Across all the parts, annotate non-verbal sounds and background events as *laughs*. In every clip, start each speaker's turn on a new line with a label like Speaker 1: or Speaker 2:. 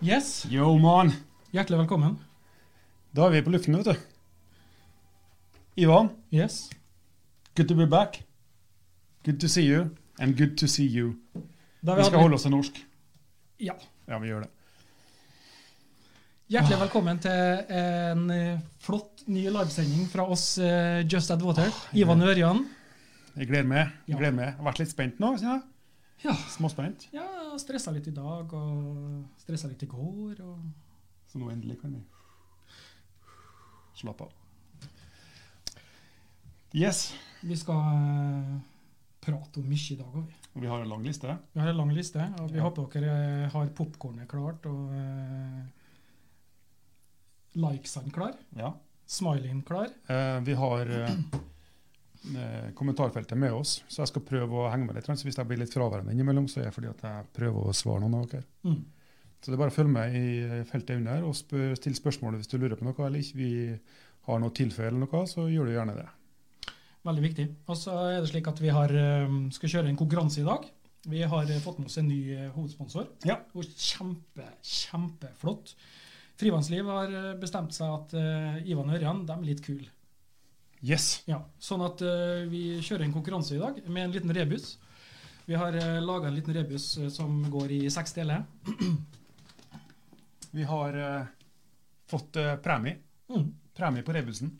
Speaker 1: Yo, man!
Speaker 2: Hjertelig velkommen.
Speaker 1: Da er vi på luften, vet du. Ivan,
Speaker 2: Yes.
Speaker 1: good to be back. Good to see you, and good to see you.
Speaker 2: Da har
Speaker 1: Vi skal
Speaker 2: hatt-
Speaker 1: holde oss til norsk.
Speaker 2: Ja.
Speaker 1: Ja, vi gjør det.
Speaker 2: Hjertelig velkommen til en eh, flott ny livesending fra oss eh, Just Add
Speaker 1: Ah,
Speaker 2: Water. Ivan og Ørjan.
Speaker 1: Jeg gleder meg.
Speaker 2: Ja.
Speaker 1: Jeg gleder meg. Jeg har vært litt spent nå, kjenner jeg.
Speaker 2: Ja.
Speaker 1: Småspent.
Speaker 2: ja, stressa litt i dag og stressa litt i går. Og...
Speaker 1: Så nå endelig kan vi slappe av. Yes.
Speaker 2: Vi skal eh, prate om mye i dag òg.
Speaker 1: Og vi har en lang liste.
Speaker 2: Vi har en lang liste, og vi
Speaker 1: Ja.
Speaker 2: håper dere eh, har popkornet klart og eh, likesene klar.
Speaker 1: Ja.
Speaker 2: Smileyen klar.
Speaker 1: Eh, vi har eh, eh, kommentarfeltet med oss, så jeg skal prøve å henge med litt. Så hvis jeg blir litt fraværende innimellom, så er det fordi at jeg prøver å svare noen av dere.
Speaker 2: Mm.
Speaker 1: Så det er bare å følge med i eh, feltet under og spør, still spørsmål hvis du lurer på noe eller ikke vi har noe tilfelle eller noe, så gjør du gjerne det.
Speaker 2: Veldig viktig. Og så er det slik at vi har, eh, skal kjøre en konkurranse i dag. Vi har eh, fått med oss en ny eh, hovedsponsor.
Speaker 1: Ja.
Speaker 2: Og kjempe, kjempeflott. Frivannsliv har eh, bestemt seg at eh, Ivan og Ørjan, de er litt kule.
Speaker 1: Yes!
Speaker 2: Ja, sånn at eh, vi kjører en konkurranse i dag med en liten rebus. Vi har uh, laga en liten rebus eh, som går i seks deler.
Speaker 1: Vi har eh, fått eh, premie.
Speaker 2: Mm.
Speaker 1: Premie på rebusen.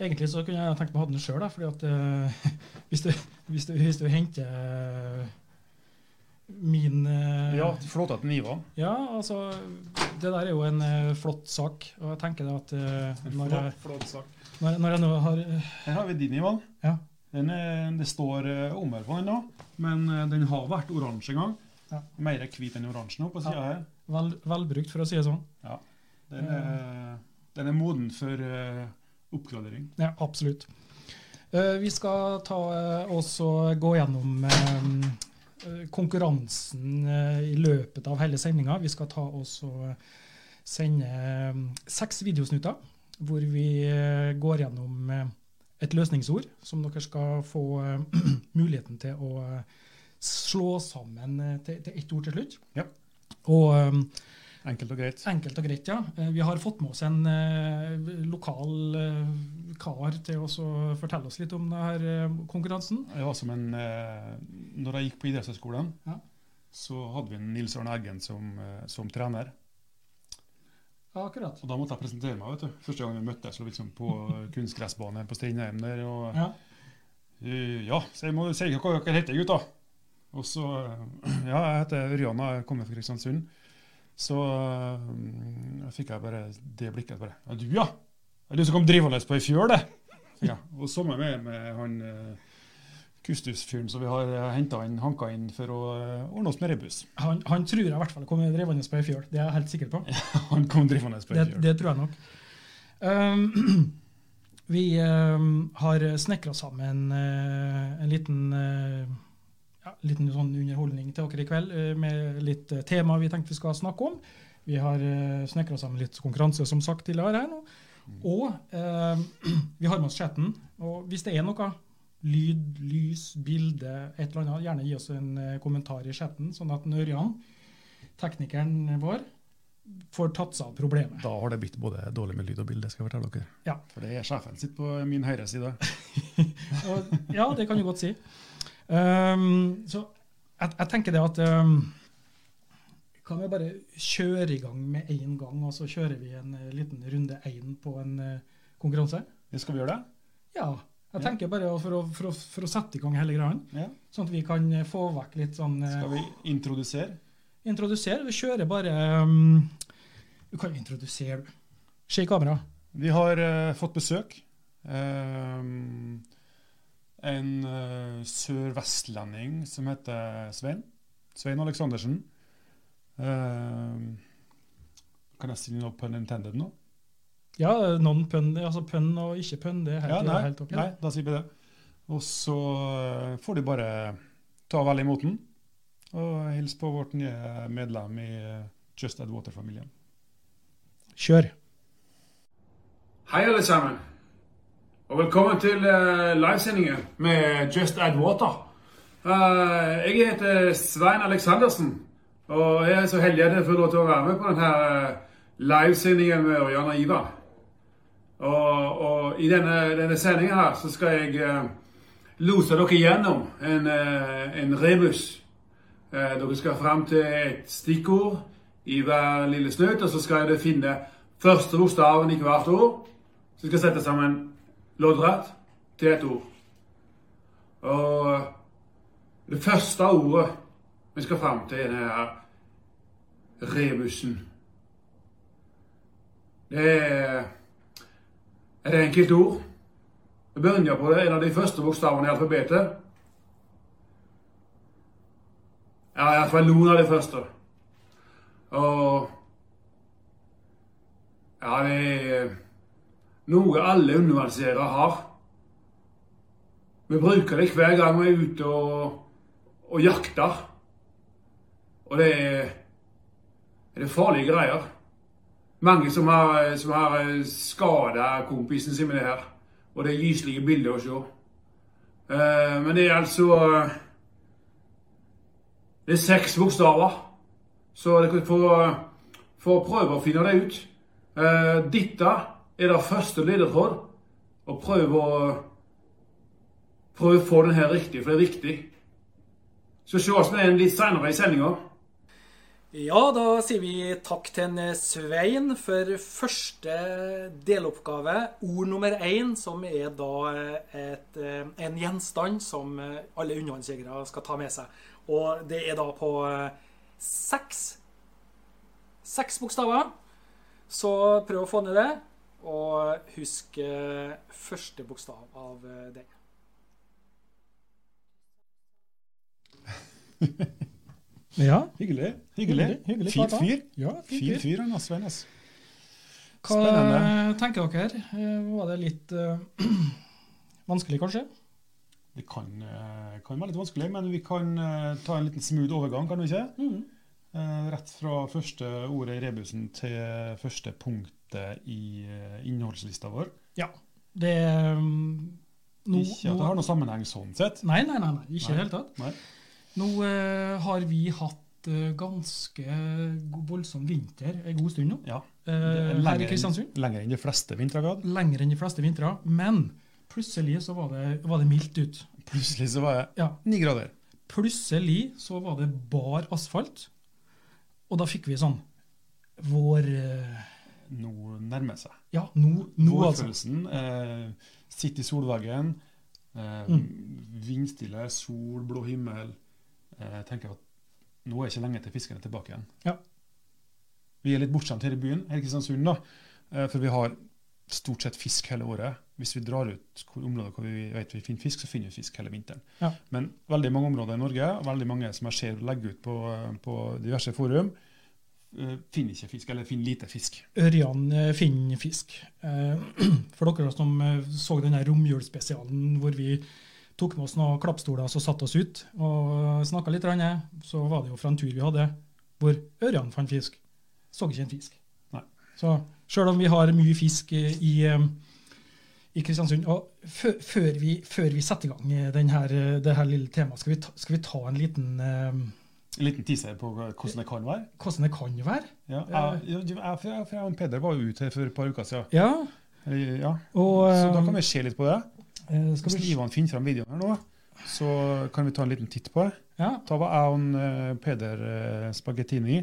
Speaker 2: Egentlig så kunne jeg tenkt meg å ha den sjøl, fordi at eh, *laughs* hvis, du, hvis, du, hvis du henter eh, min eh,
Speaker 1: Ja, flott at den Ivan.
Speaker 2: Ja, altså Det der er jo en eh, flott sak. Og jeg tenker det at eh, når, jeg,
Speaker 1: Flott sak.
Speaker 2: når, når jeg nå har eh,
Speaker 1: Her har vi din, Ivan.
Speaker 2: Ja.
Speaker 1: Den er, det står uh, omvær på den nå, men eh, den har vært oransje en gang.
Speaker 2: Ja.
Speaker 1: Mer hvit enn oransje nå på sida her.
Speaker 2: vel, Velbrukt, for å si det sånn.
Speaker 1: Den er, den er moden for eh, oppgradering.
Speaker 2: Ja, absolutt. Eh, vi skal ta eh, og så gå gjennom eh, eh, konkurransen eh, i løpet av hele sendinga. Vi skal ta og så sende eh, seks videosnutter hvor vi eh, går gjennom eh, et løsningsord som dere skal få eh, *clears throat* muligheten til å eh, slå sammen eh, til, til ett ord til slutt.
Speaker 1: Ja.
Speaker 2: Og eh,
Speaker 1: Enkelt og greit.
Speaker 2: Enkelt og greit, ja. Eh, Vi har fått med oss en eh, lokal eh, kar til oss å fortelle oss litt om denne eh, konkurransen.
Speaker 1: Det var som en, eh, når jeg gikk på idrettshøyskolen,
Speaker 2: Ja.
Speaker 1: så hadde vi en Nils Arne Eggen som, eh, som trener.
Speaker 2: Ja, akkurat.
Speaker 1: Og da måtte jeg presentere meg. vet du. Første gang vi møttes så liksom på
Speaker 2: *laughs*
Speaker 1: kunstgressbanen på Strindheim der. Og,
Speaker 2: Ja.
Speaker 1: «Eh, ja, så jeg må si hva dere heter, gutta. Og så eh, *clears throat* Ja, jeg heter Ørjan, og jeg kommer fra Kristiansund. Så eh, fikk jeg bare det blikket. bare, Ja, du, ja! Det er du som kom drivende på ei fjøl, det! fikk jeg. Og sammen med, med han eh, Kustus-fyren som vi har eh, hentet inn, hanka inn for å eh, ordne oss med rebus. *laughs*
Speaker 2: Han, han tror jeg i hvert fall kom drevende på ei fjøl, det er jeg helt sikker på.
Speaker 1: Han kom drivende på ei
Speaker 2: Det,
Speaker 1: fjøl.
Speaker 2: det tror jeg nok. Um, *clears throat* vi um, har snekra sammen eh, en liten eh, ja, liten sånn underholdning til dere i kveld, eh, med litt eh, tema vi tenkte vi skal snakke om. Vi har uh, snekra sammen litt konkurranse, som sagt tidligere her nå. Og eh, *clears throat* vi har med oss chatten. Og hvis det er noe lyd, lys, bilde, et eller annet, gjerne gi oss en eh, kommentar i chatten, sånn at Ørjan, teknikeren vår, får tatt seg av problemet.
Speaker 1: Da har det blitt både dårlig med lyd og bilde, skal jeg fortelle dere.
Speaker 2: Ja.
Speaker 1: For det er sjefen sitt på min høyre side.
Speaker 2: Og, ja, det kan du godt si. Ehm, så jeg, jeg tenker det at ehm, Kan vi bare kjøre i gang med én gang, og så kjører vi en eh, liten runde én på en eh, konkurranse?
Speaker 1: Skal vi gjøre det?
Speaker 2: Ja. Jeg
Speaker 1: Ja.
Speaker 2: tenker bare for å, for, å, for å sette i gang hele greia,
Speaker 1: Ja.
Speaker 2: sånn at vi kan eh, få vekk litt sånn eh,
Speaker 1: Skal vi introdusere?
Speaker 2: Introdusere. Vi kjører bare ehm, Du kan jo introdusere, du. Se i kamera.
Speaker 1: Vi har eh, fått besøk. Ehm, en eh, sørvestlending som heter Svein. Svein Aleksandersen. Ehm, kan jeg si noe på Nintendo nå?
Speaker 2: Ja, noen pønn, altså pønn og ikke pønn, det er helt,
Speaker 1: Ja, nei,
Speaker 2: helt ok.
Speaker 1: nei, da sier vi det. Og så eh, får du bare ta vel imot den. Og hils på vårt nye medlem i eh, Just Add Water-familien.
Speaker 2: Kjør.
Speaker 3: Hei, alle sammen. Og velkommen til eh, livesendingen med Just Add Water. Eh, jeg heter Svein Aleksandersen, Og jeg er så heldig at jeg får lov til å være med på denne eh, livesendingen med Ørjan og Ivar. Og, og i denne, denne sendingen her så skal jeg eh, lose dere gjennom en, eh, en rebus. Eh, dere skal fram til et stikkord i hver lille snutt, og så skal dere finne første bokstaven i hvert ord. Så skal jeg sette sammen loddrett til et ord. Og eh, det første ordet vi skal fram til, er denne her rebusen. Det er et enkelt ord. Vi begynner på en av de første bokstavene i alfabetet. Ja, i hvert fall noen av de første. Og Ja, det er noe alle undervannsseere har. Vi bruker det hver gang vi er ute og, og jakter. Og det er, det er farlige greier. Mange som har, som har skada kompisen sin med det her. Og det er gyselige bilder å se. Eh, men det er altså eh, Det er seks bokstaver. Så dere får, eh, får prøve å finne det ut. Eh, dette er det første ledetråd. Og prøv å prøv å få den her riktig, for det er viktig. Så ses vi igjen litt seinere i sendinga.
Speaker 4: Ja, da sier vi takk til en eh, Svein for første deloppgave. Ord nummer én, som er da eh, et, en gjenstand som eh, alle undervannsjegere skal ta med seg. Og det er da på eh, seks seks bokstaver. Så prøv å få ned det. Og husk eh, første bokstav av eh, den.
Speaker 2: Ja.
Speaker 1: Hyggelig. Hyggelig.
Speaker 2: Hyggelig, hyggelig
Speaker 1: Fint
Speaker 2: prata.
Speaker 1: fyr.
Speaker 2: Ja, fin
Speaker 1: Fin fyr, han Svein. ass.
Speaker 2: Hva
Speaker 1: Spennende.
Speaker 2: tenker dere? Eh, Var det litt eh, *clears throat* vanskelig, kanskje?
Speaker 1: Det kan, eh, kan være litt vanskelig, men vi kan eh, ta en liten smooth overgang, kan vi ikke? Eh, Rett fra første ordet i rebusen til første punktet i eh, innholdslista vår.
Speaker 2: Ja. Det eh, nå,
Speaker 1: ikke at det har noen sammenheng sånn sett.
Speaker 2: Nei, nei, nei, nei ikke i det hele tatt.
Speaker 1: Nei.
Speaker 2: Nå eh, har vi hatt eh, ganske go- voldsom vinter en god stund nå.
Speaker 1: Ja.
Speaker 2: Eh, her i Kristiansund.
Speaker 1: lenger enn de fleste vintre vi har hatt.
Speaker 2: Lenger enn de fleste vintre. Men plutselig så var det, var det mildt ut.
Speaker 1: Plutselig så var jeg
Speaker 2: Ja.
Speaker 1: ni grader.
Speaker 2: Plutselig så var det bar asfalt. Og da fikk vi sånn Vår eh,
Speaker 1: Nå nærmer det seg.
Speaker 2: Ja, nå, nå altså.
Speaker 1: Vårfølelsen. Eh, sitte i solveggen. Eh,
Speaker 2: Mm.
Speaker 1: Vindstille, sol, blå himmel. Eh, jeg tenker at nå er ikke lenge til fisken er tilbake igjen.
Speaker 2: Ja.
Speaker 1: Vi er litt bortskjemt her i byen, her i Kristiansund, da. Eh, for vi har stort sett fisk hele året. Hvis vi drar ut hvor områder hvor vi vet vi finner fisk, så finner vi fisk hele vinteren.
Speaker 2: Ja.
Speaker 1: Men veldig mange områder i Norge, veldig mange som jeg ser legger ut på, eh, på diverse forum, eh, finner ikke fisk, eller finner lite fisk.
Speaker 2: Ørjan eh, finner fisk. Eh, *clears throat* For dere som eh, så denne romjulsspesialen hvor vi tok med oss noen klappstoler og satte oss ut og snakka litt, grann, eh, så var det jo fra en tur vi hadde hvor Ørjan fant fisk. Så ikke en fisk.
Speaker 1: Nei.
Speaker 2: Så sjøl om vi har mye fisk eh, i, eh, i Kristiansund og før, før, vi, før vi setter i gang eh, den her, eh, det her lille temaet, skal vi ta, skal vi ta en liten eh,
Speaker 1: En liten teaser på eh, hvordan det kan være.
Speaker 2: hvordan det kan være?
Speaker 1: Ja, jeg, jeg, jeg, for jeg, for jeg og Peder var jo ute her for et par uker siden.
Speaker 2: Ja,
Speaker 1: Eller, ja.
Speaker 2: og
Speaker 1: Så da kan vi se litt på det.
Speaker 2: eh, skal
Speaker 1: um, Hvis
Speaker 2: vi,
Speaker 1: Ivan finner fram videoen her nå, så kan vi ta en liten titt på det.
Speaker 2: ja,
Speaker 1: Da var jeg og en, eh, Peder eh, Spagettini,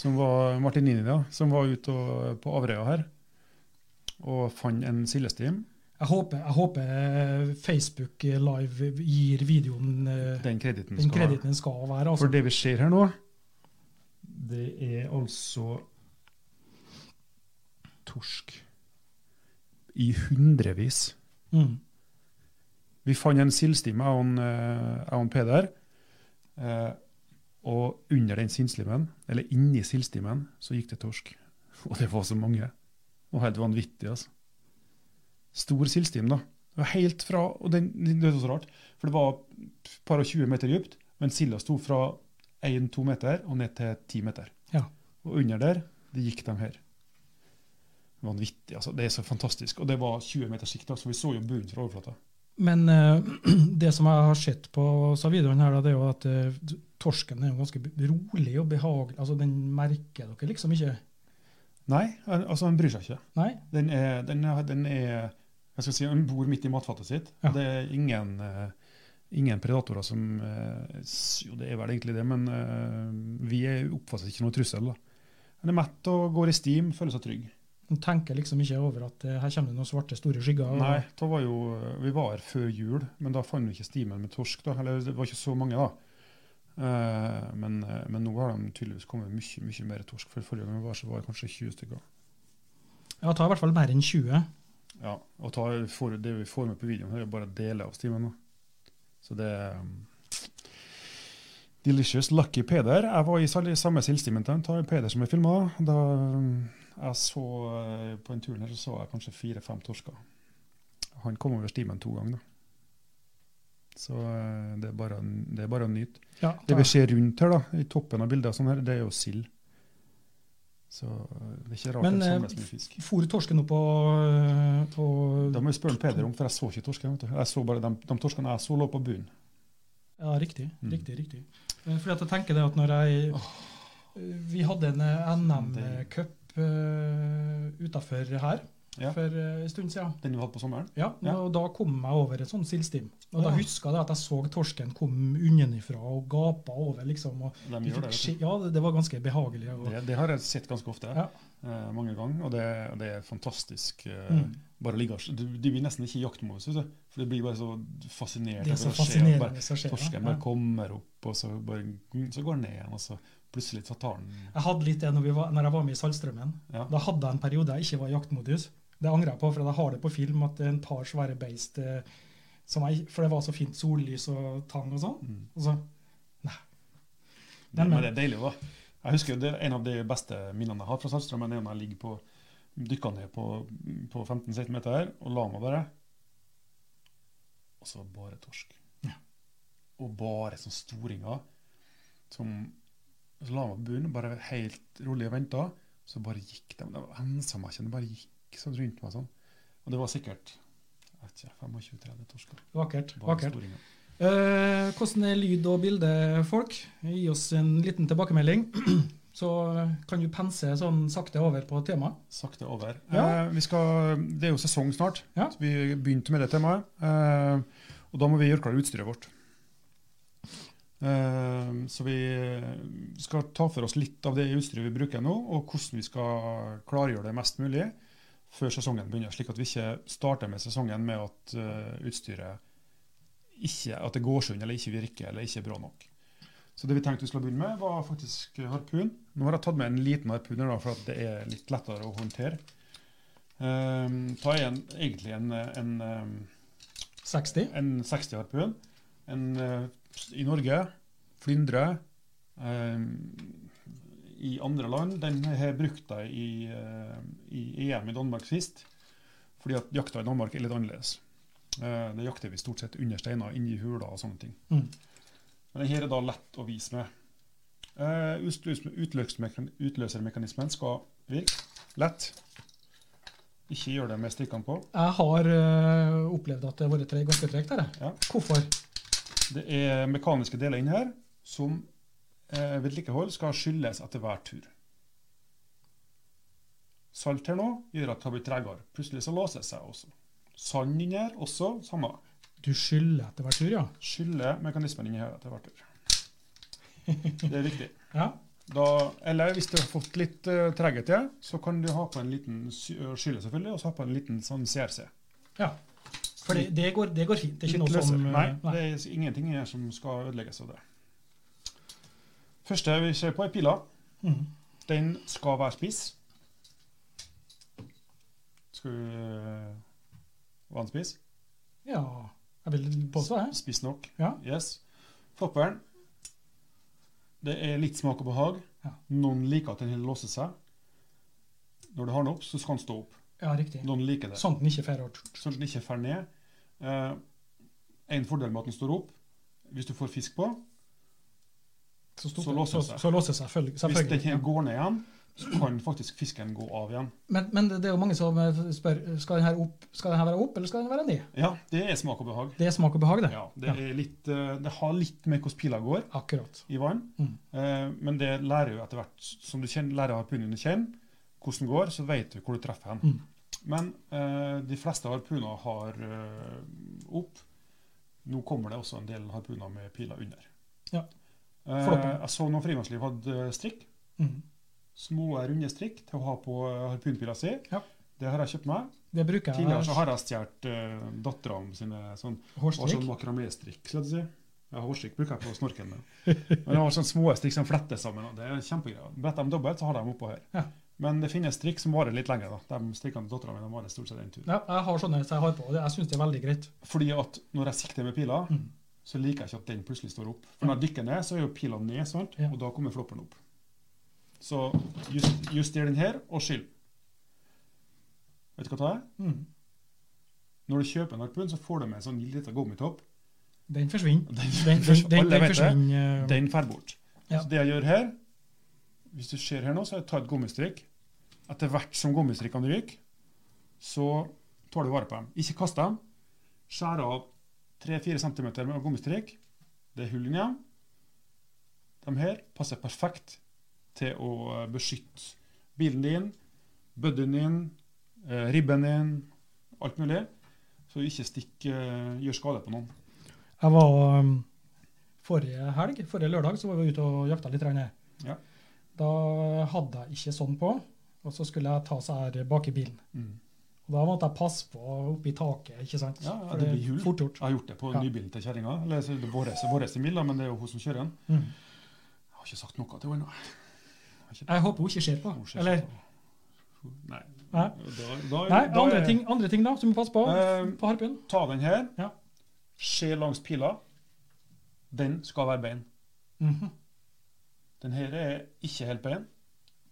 Speaker 1: som var Martinini da, som var ute og, på Averøya her og fant en sildestim.
Speaker 2: Jeg håper, jeg håper eh, Facebook Live gir videoen eh,
Speaker 1: Den krediten
Speaker 2: den
Speaker 1: skal
Speaker 2: krediten den skal være.
Speaker 1: For
Speaker 2: Altså.
Speaker 1: det vi ser her nå, det er altså torsk i hundrevis.
Speaker 2: Mm.
Speaker 1: Vi fant en sildstim av en, eh, av en Peder. eh, Og under den sildstimmen, eller inni sildstimmen, så gikk det torsk. *laughs* Og det var så mange. Det var helt vanvittig, altså. Stor sildstim, da. Det var helt fra Og den, det var så rart, for det var et par og 20 meter dypt, men silda sto fra 1-2 meter og ned til 10 meter.
Speaker 2: Ja.
Speaker 1: Og under der, det gikk de her. Vanvittig, altså. Det er så fantastisk. Og det var 20 meters sikt, da, så vi så jo bunnen fra overflata.
Speaker 2: Men eh, *clears throat* det som jeg har sett på så videoen her, da, det er jo at eh, torsken er jo ganske rolig og behagelig. Altså, den merker dere liksom ikke.
Speaker 1: Nei, al- altså den bryr seg ikke.
Speaker 2: Nei?
Speaker 1: Den er, den er, den er jeg skal si, den bor midt i matfatet sitt.
Speaker 2: Ja.
Speaker 1: Det er ingen, eh, ingen predatorer som eh, s- Jo, det er vel egentlig det, men eh, vi er- oppfatter ikke noe trussel. da. Den er mett og går i stim, føler seg trygg.
Speaker 2: Den tenker liksom ikke over at eh, her kommer det noen svarte, store skygger. og-
Speaker 1: Nei, da var jo, vi var her før jul, men da fant vi ikke stimen med torsk. da, Eller det var ikke så mange, da. Eh, Men, eh, men nå har de tydeligvis kommet mye, mye mer torsk. For forrige gang vi var, så var det kanskje 20 stykker.
Speaker 2: Ja, ta i hvert fall mer enn 20.
Speaker 1: Ja, og ta, for, det vi får med på videoen her, er bare deler av stimen. Da. Så det er um, Delicious Lucky Peder. Jeg var i sal- samme sildstimen til han, ta Peder som jeg filma. Da um, jeg så eh, på den turen her, så så jeg kanskje fire-fem torsker. Han kom over stimen to ganger, da. Så eh, det er bare, det er bare å nyte.
Speaker 2: Ja,
Speaker 1: Det
Speaker 2: da-
Speaker 1: vi ser rundt her, da, i toppen av bildet, og sånn her, det er jo sild. Så eh, det er ikke rart
Speaker 2: Men,
Speaker 1: det
Speaker 2: eh,
Speaker 1: samles mye fisk.
Speaker 2: For torsken opp på, eh, på
Speaker 1: Da må vi spørre Peder om, for jeg så ikke torsken. Vet du. Jeg så bare de, de torskene jeg så lå på bunnen.
Speaker 2: Ja, riktig.
Speaker 1: Mm.
Speaker 2: Riktig, riktig. Eh, Fordi at jeg tenker det at når jeg eh, Vi hadde en NM-cup eh, utafor her
Speaker 1: Ja.
Speaker 2: for eh, en stund siden.
Speaker 1: Den vi hadde på sommeren.
Speaker 2: Ja,
Speaker 1: Ja.
Speaker 2: og Da kom jeg over et sånn sildstim. Og Da
Speaker 1: Ja.
Speaker 2: huska jeg at jeg så torsken kom ungenifra og gapa over. liksom. Og
Speaker 1: De
Speaker 2: vi fikk
Speaker 1: gjør det,
Speaker 2: ski-
Speaker 1: vet du.
Speaker 2: ja, det, det var ganske behagelig. Og,
Speaker 1: det, det har jeg sett ganske ofte.
Speaker 2: Ja.
Speaker 1: eh, mange ganger. Og det, det er fantastisk. eh,
Speaker 2: Mm.
Speaker 1: Bare å ligge og s- Du, du blir nesten ikke i jaktmodus, vet du. For du blir bare så fascinert.
Speaker 2: det
Speaker 1: over
Speaker 2: er så
Speaker 1: å se at bare-
Speaker 2: fascinerende som skjer.
Speaker 1: Torsken
Speaker 2: ja.
Speaker 1: bare kommer opp, og så, bare, så går den ned igjen. Og så plutselig så tar den
Speaker 2: Jeg hadde litt det når, vi var, når jeg var med i Saltstraumen.
Speaker 1: Ja.
Speaker 2: Da hadde jeg en periode jeg ikke var i jaktmodus. Det angrer jeg på, for jeg har det på film at en par svære beist eh, som jeg, For det var så fint sollys og tang og sånn.
Speaker 1: Mm.
Speaker 2: Og så
Speaker 1: Det,
Speaker 2: Den
Speaker 1: men
Speaker 2: er-
Speaker 1: det er deilig, da. Jeg husker det er En av de beste minnene jeg har fra Saltstraumen, er når jeg ligger på dykka ned på, på 15 cm her og la meg bare. Og så bare torsk.
Speaker 2: Ja.
Speaker 1: Og bare sånne storinger som Så la jeg meg på bunnen, bare helt rolig og venta. Så bare gikk de. De hensa meg ikke, de bare gikk sånn rundt meg sånn. Og det var sikkert jeg vet ikke, 25-30 torsker.
Speaker 2: vakkert.
Speaker 1: Bare
Speaker 2: vakkert.
Speaker 1: storinger.
Speaker 2: Eh, hvordan er lyd og bilde, folk? Gi oss en liten tilbakemelding. *clears throat* Så eh, kan du pense sånn sakte over på temaet.
Speaker 1: Sakte over.
Speaker 2: Ja.
Speaker 1: Eh, vi skal, det er jo sesong snart.
Speaker 2: Ja.
Speaker 1: Så vi begynte med det temaet. Eh, og da må vi gjøre klar utstyret vårt. Eh, så vi skal ta for oss litt av det utstyret vi bruker nå, og hvordan vi skal klargjøre det mest mulig før sesongen begynner. Slik at vi ikke starter med sesongen med at eh, utstyret ikke, at det går seg unna, eller ikke virker, eller ikke er bra nok. Så det vi tenkte vi skulle begynne med, var faktisk harpun. Nå har jeg tatt med en liten harpun, her da, for at det er litt lettere å håndtere. Ehm, ta en, egentlig en, en, ehm,
Speaker 2: 60.
Speaker 1: en 60-harpun. En eh, i Norge, flyndre. ehm, I andre land. Den har jeg brukt jeg i, eh, i EM i Danmark sist. Fordi at jakta i Danmark er litt annerledes. Eh, det jakter vi stort sett under steiner, inni huler og sånne ting.
Speaker 2: Mm.
Speaker 1: Men denne er da lett å vise med. Eh, utløs- utløsermekan- Utløsermekanismen skal virke lett. Ikke gjør det med stikkene på.
Speaker 2: Jeg har eh, opplevd at det har vært tre ganske tregt her. jeg.
Speaker 1: Ja.
Speaker 2: Hvorfor?
Speaker 1: Det er mekaniske deler inni her som eh, vedlikehold skal skyldes etter hver tur. Salt her nå gjør at det har blitt tregere. Plutselig så låser det seg også. Sand inni her også samme.
Speaker 2: Du skylder etter hver tur, ja.
Speaker 1: Skyller mekanismen inni her etter hver tur. Det er viktig.
Speaker 2: ja.
Speaker 1: Da, eller hvis du har fått litt uh, treghet til, så kan du ha på en liten sy- øh, skylle selvfølgelig, og så ha på en liten sånn CRC.
Speaker 2: Ja. For det, det, går, det går fint. Det er ikke
Speaker 1: Litt
Speaker 2: noe som
Speaker 1: løsere.
Speaker 2: eh,
Speaker 1: Nei, det er ingenting her som skal ødelegges av det. Første vi ser på, er pila.
Speaker 2: Mm.
Speaker 1: Den skal være spiss. Skal du øh, være en spiss?
Speaker 2: Ja, jeg vil påstå det.
Speaker 1: Spiss nok.
Speaker 2: Ja.
Speaker 1: Yes. Popperen. Det er litt smak og behag.
Speaker 2: Ja.
Speaker 1: Noen liker at den helt låser seg. Når du har den opp, så skal den stå opp.
Speaker 2: Ja, riktig.
Speaker 1: Noen liker det.
Speaker 2: Sånn at den ikke får hardt.
Speaker 1: sånn at den ikke faller ned. Eh, en fordel med at den står opp, hvis du får fisk på
Speaker 2: Så, stopper-
Speaker 1: Så låser det
Speaker 2: så,
Speaker 1: seg.
Speaker 2: så låser det seg følg-
Speaker 1: Hvis den
Speaker 2: selvfølgelig.
Speaker 1: ikke går ned igjen, så kan faktisk fisken gå av igjen.
Speaker 2: Men, men det det er jo mange som eh, spør skal den her opp, skal den her være opp, eller skal den være ned.
Speaker 1: Ja, det er smak og behag.
Speaker 2: Det er smak og behag, det.
Speaker 1: Ja, det, er litt, eh, det har litt med hvordan pila går
Speaker 2: Akkurat.
Speaker 1: i vann,
Speaker 2: Mm.
Speaker 1: eh, men det lærer jo etter hvert Som du kjenner, lærer harpunene å kjenne hvordan det går, så vet du hvor du treffer hen.
Speaker 2: Mm.
Speaker 1: Men eh, de fleste harpuner har eh, opp. Nå kommer det også en del harpuner med piler under.
Speaker 2: Ja.
Speaker 1: Eh,
Speaker 2: Floppen.
Speaker 1: jeg så noen frimannsliv hadde eh, strikk.
Speaker 2: Mm.
Speaker 1: Små, runde strikk til å ha på eh, harpunpila si.
Speaker 2: Ja.
Speaker 1: Det har jeg kjøpt meg.
Speaker 2: Det bruker jeg.
Speaker 1: Tidligere så har jeg stjålet uh, dattera sine sånn, og sånn
Speaker 2: Hårstrikk.
Speaker 1: makraméstrikk. skal jeg si. Ja, hårstrikk bruker jeg på snorken. da. Men jeg har sånne små strikk som flettes sammen. og Det er kjempegreier. Bretter de dobbelt, så har de dem oppå her.
Speaker 2: Ja.
Speaker 1: Men det finnes strikk som varer litt lenger. da. De strikkene til dattera mi varer stort sett en tur.
Speaker 2: Ja, jeg har sånne som jeg har på. og det- Jeg syns det er veldig greit.
Speaker 1: Fordi at når jeg sikter med pila,
Speaker 2: Mm.
Speaker 1: så liker jeg ikke at den plutselig står opp. For når jeg dykker ned, så er jo pila ned, sant?
Speaker 2: Ja.
Speaker 1: og da kommer floppen opp. Så just, juster den her, og skyld. Vet du hva det er?
Speaker 2: Mm.
Speaker 1: Når du kjøper en harpun, så får du med en sånn liten gummitopp.
Speaker 2: Den forsvinner.
Speaker 1: *laughs* Den,
Speaker 2: Den, den, den, den
Speaker 1: alle vet det.
Speaker 2: forsvinner. eh,
Speaker 1: Den fer bort.
Speaker 2: Ja.
Speaker 1: Så det jeg gjør her, hvis du ser her nå, så jeg tar et gummistrikk. Etter hvert som gummistrikkene ryker, så tar du vare på dem. Ikke kast dem. Skjær av 3-4 cm med gummistrikk. Det er hull inni dem. De her passer perfekt til å eh, beskytte bilen din, bødden din, eh, ribben din, alt mulig. Så ikke stikk, eh, gjør skade på noen.
Speaker 2: Jeg var um, Forrige helg, forrige lørdag, så var vi ute og jakta litt. Rene.
Speaker 1: Ja.
Speaker 2: Da hadde jeg ikke sånn på, og så skulle jeg ta seg her bak i bilen.
Speaker 1: Mm.
Speaker 2: Og Da måtte jeg passe på oppi taket, ikke sant?
Speaker 1: Ja, ja,
Speaker 2: For
Speaker 1: det
Speaker 2: er
Speaker 1: blir hull.
Speaker 2: Fort gjort.
Speaker 1: Jeg har gjort det på
Speaker 2: Ja.
Speaker 1: nybilen til kjerringa. Eller så er det vår bil, da, men det er jo hun som kjører den.
Speaker 2: Mm.
Speaker 1: Jeg har ikke sagt noe til henne.
Speaker 2: Jeg håper hun ikke ser på.
Speaker 1: Hun ser
Speaker 2: Eller,
Speaker 1: ikke på. Nei.
Speaker 2: Nei.
Speaker 1: Da, da,
Speaker 2: nei,
Speaker 1: da
Speaker 2: andre
Speaker 1: er-
Speaker 2: ting, andre ting da, som vi passer på
Speaker 1: Eh,
Speaker 2: på harpen.
Speaker 1: Ta den her.
Speaker 2: Ja.
Speaker 1: Se langs pila. Den skal være bein.
Speaker 2: Mhm.
Speaker 1: Den her er ikke helt bein.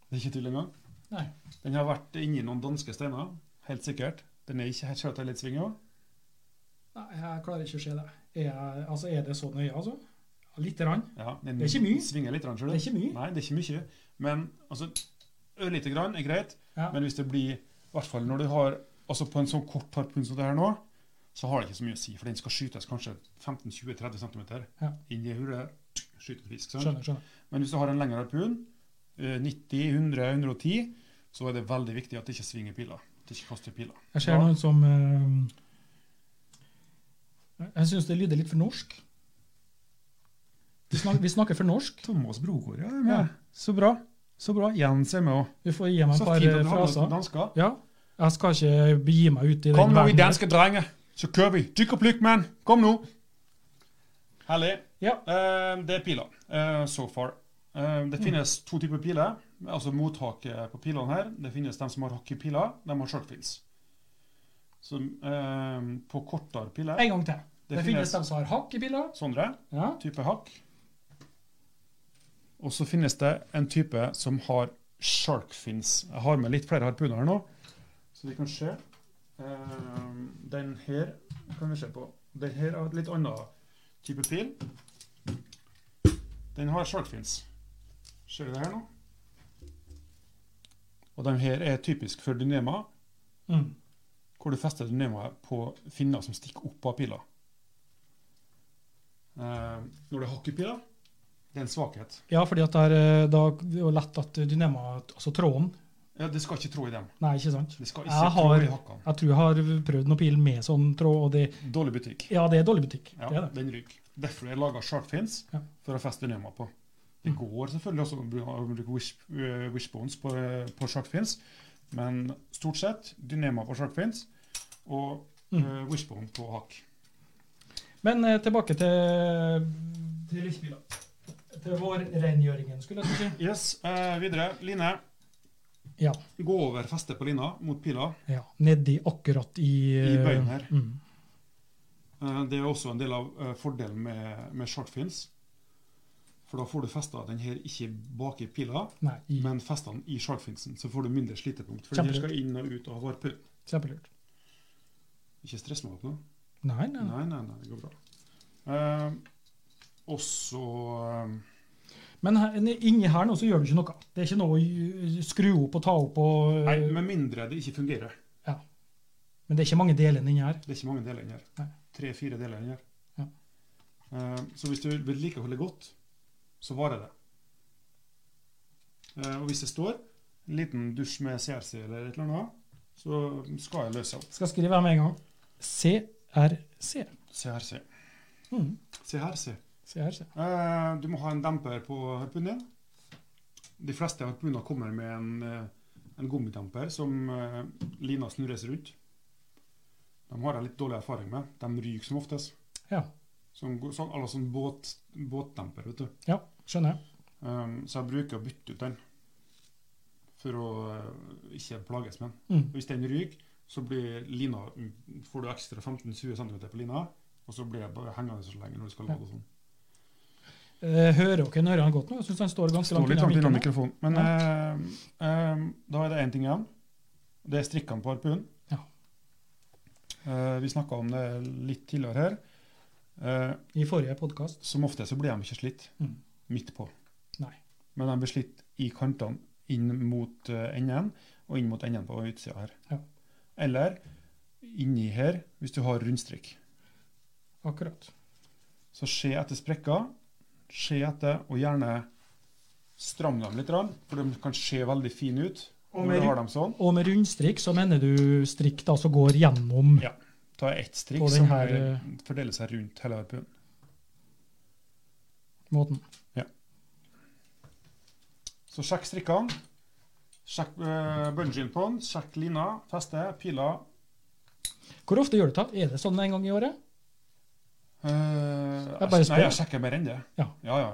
Speaker 1: Det er ikke tull engang.
Speaker 2: Nei.
Speaker 1: Den har vært inni noen danske steiner, helt sikkert. Den er ikke helt skjøt, litt sving òg.
Speaker 2: nei, jeg klarer ikke å se det. Er, jeg, altså, er det så nøye, altså? Ja, Lite grann.
Speaker 1: Ja, den
Speaker 2: Det er ikke mye.
Speaker 1: Svinger litt, skjønner du.
Speaker 2: Det er ikke mye.
Speaker 1: Nei, det er ikke mye. Men altså, ørlite grann er greit.
Speaker 2: Ja.
Speaker 1: Men hvis det blir, i hvert fall når du har altså på en sånn kort harpun som det her nå, så har det ikke så mye å si, for den skal skytes kanskje 15-20-30 cm
Speaker 2: Ja.
Speaker 1: inn i hullet. tuk, Skyter en fisk. Sant?
Speaker 2: Skjønner, skjønner.
Speaker 1: Men hvis du har en lengre harpun, eh, 90-100-110, så er det veldig viktig at det ikke svinger pila. At det ikke kaster pila.
Speaker 2: Jeg ser
Speaker 1: Ja.
Speaker 2: noen som eh, Jeg syns det lyder litt for norsk. Vi snakker, vi snakker for norsk.
Speaker 1: Thomas Brogård, ja.
Speaker 2: med.
Speaker 1: Så bra. Så bra. Jens er med òg.
Speaker 2: Vi får gi meg
Speaker 1: Så
Speaker 2: et par
Speaker 1: fint at
Speaker 2: eh,
Speaker 1: du har med
Speaker 2: fraser.
Speaker 1: dansker.
Speaker 2: Ja. Jeg skal ikke begi meg ut i
Speaker 1: Kom
Speaker 2: den
Speaker 1: nå, vi
Speaker 2: verden.
Speaker 1: danske drenger. Så kører vi. Dykk og plukk, mann. Kom nå. Herlig.
Speaker 2: Ja.
Speaker 1: Eh, det er piler. eh, so far. Eh,
Speaker 2: Mm.
Speaker 1: det finnes to typer piler. Altså mottaket på pilene her. Det finnes dem som har hockeypiler. De har sharkfins. Så eh, på kortere piler
Speaker 2: En gang til. Det,
Speaker 1: Det finnes-
Speaker 2: finnes dem som har hakk i biler.
Speaker 1: Sondre.
Speaker 2: Ja.
Speaker 1: Type hakk. Og så finnes det en type som har sharkfins. Jeg har med litt flere harpuner her nå, så vi kan se. Eh, den her kan vi se på. Den her har et litt annen type pil. Den har sharkfins. Ser du det her nå? Og den her er typisk for dynema,
Speaker 2: Mm.
Speaker 1: hvor du fester dynemaet på finner som stikker opp av pila. Eh, når det er hockeypila, det er en svakhet.
Speaker 2: ja, fordi at det er, eh, da, det er jo lett at dynama Altså tråden.
Speaker 1: Ja, det skal ikke trå i dem.
Speaker 2: Nei, ikke sant?
Speaker 1: Det skal ikke
Speaker 2: Jeg
Speaker 1: trå
Speaker 2: har-
Speaker 1: i hakkene.
Speaker 2: Jeg tror jeg har prøvd noen pil med sånn tråd, og det
Speaker 1: Dårlig butikk.
Speaker 2: Ja, det er dårlig butikk.
Speaker 1: Ja,
Speaker 2: Det er det.
Speaker 1: Den ryker. Derfor er det laga sharkfins
Speaker 2: Ja. Mm.
Speaker 1: for å feste nema på. Det går selvfølgelig også å bruke- å bruke wish, øh, wishbones på, på sharkfins, men stort sett dynema på sharkfins og
Speaker 2: Mm.
Speaker 1: øh, wishbone på hakk.
Speaker 2: Men eh, tilbake til Til lysbiler. Til vårrengjøringen, skulle jeg til å si.
Speaker 1: Yes, eh, Videre. Line.
Speaker 2: Ja.
Speaker 1: Gå over festet på lina mot pila.
Speaker 2: ja. Nedi akkurat i
Speaker 1: I
Speaker 2: eh,
Speaker 1: bøyen her.
Speaker 2: Mm.
Speaker 1: Eh, Det er også en del av eh, fordelen med, med sharkfins. For da får du festa den her ikke bak i pila,
Speaker 2: Nei, i.
Speaker 1: men festa den i sharkfinsen. Så får du mindre slitepunkt. For den her
Speaker 2: Kjempelurt.
Speaker 1: skal inn og ut av harpun.
Speaker 2: Kjempelurt.
Speaker 1: Ikke stress meg opp nå.
Speaker 2: Nei, nei. nei.
Speaker 1: Nei, nei, nei, det går bra. Eh, og så eh,
Speaker 2: Men her, inni her nå så gjør du ikke noe. Det er ikke noe å gj- skru opp og ta opp og
Speaker 1: Nei, med mindre det ikke fungerer.
Speaker 2: ja. Men det er ikke mange delene inni her.
Speaker 1: Det er ikke mange deler inni her.
Speaker 2: Nei.
Speaker 1: Tre-fire deler inni her.
Speaker 2: Ja.
Speaker 1: Eh, Så hvis du vedlikeholder godt, så varer det. Eh, Og hvis det står en liten dusj med CRC eller et eller annet, så skal jeg løse opp.
Speaker 2: Skal skrive her med en gang. CRC.
Speaker 1: CRC.
Speaker 2: Mm.
Speaker 1: CRC.
Speaker 2: CRC.
Speaker 1: Eh, Du må ha en demper på harpunen din. De fleste harpuner kommer med en, eh, en gummidemper som eh, lina snurres rundt. De har jeg litt dårlig erfaring med. De ryker som oftest.
Speaker 2: Ja.
Speaker 1: Som, går- sånn, eller sånn båt, båtdemper, vet du.
Speaker 2: ja, skjønner jeg.
Speaker 1: Um, så jeg bruker å bytte ut den for å eh, ikke plages med den.
Speaker 2: Mm.
Speaker 1: Hvis den ryker, så blir lina, mm, får du ekstra 15-20 cm på lina, og så blir jeg bare hengende så lenge når du skal
Speaker 2: Ja.
Speaker 1: lade. og sånn.
Speaker 2: Eh, Hører dere Nøran godt nå? Jeg syns han står ganske
Speaker 1: Står
Speaker 2: langt
Speaker 1: litt
Speaker 2: unna
Speaker 1: langt unna
Speaker 2: mikken.
Speaker 1: mikrofonen. Men eh, eh, da er det én ting igjen. Det er strikkene på harpunen.
Speaker 2: Ja.
Speaker 1: Eh, vi snakka om det litt tidligere her. Eh,
Speaker 2: I forrige podkast.
Speaker 1: som ofte så blir de ikke slitt
Speaker 2: Mm.
Speaker 1: midt på.
Speaker 2: Nei.
Speaker 1: Men de blir slitt i kantene inn mot eh, enden og inn mot enden på utsida her.
Speaker 2: Ja.
Speaker 1: Eller inni her, hvis du har rundstrikk.
Speaker 2: Akkurat.
Speaker 1: Så se etter sprekker. Se etter, og gjerne stram dem litt, grann, for de kan se veldig fine ut
Speaker 3: Og
Speaker 1: når
Speaker 3: med-
Speaker 1: du har dem sånn.
Speaker 2: Og med rundstrikk så mener du strikk da som går gjennom
Speaker 1: Ja. Ta ett strikk
Speaker 2: På den
Speaker 1: som
Speaker 2: her,
Speaker 1: eh,
Speaker 2: eh,
Speaker 1: fordeler seg rundt hele harpunen.
Speaker 2: måten?
Speaker 1: Så sjekk strikkene. Sjekk uh, bungeen på den. Sjekk lina, feste, piler.
Speaker 2: Hvor ofte gjør du det? Er det sånn en gang i året?
Speaker 1: Eh,
Speaker 2: Jeg
Speaker 1: jeg,
Speaker 2: bare
Speaker 1: nei,
Speaker 2: spør.
Speaker 1: jeg sjekker mer enn det.
Speaker 2: Ja.
Speaker 1: ja, ja.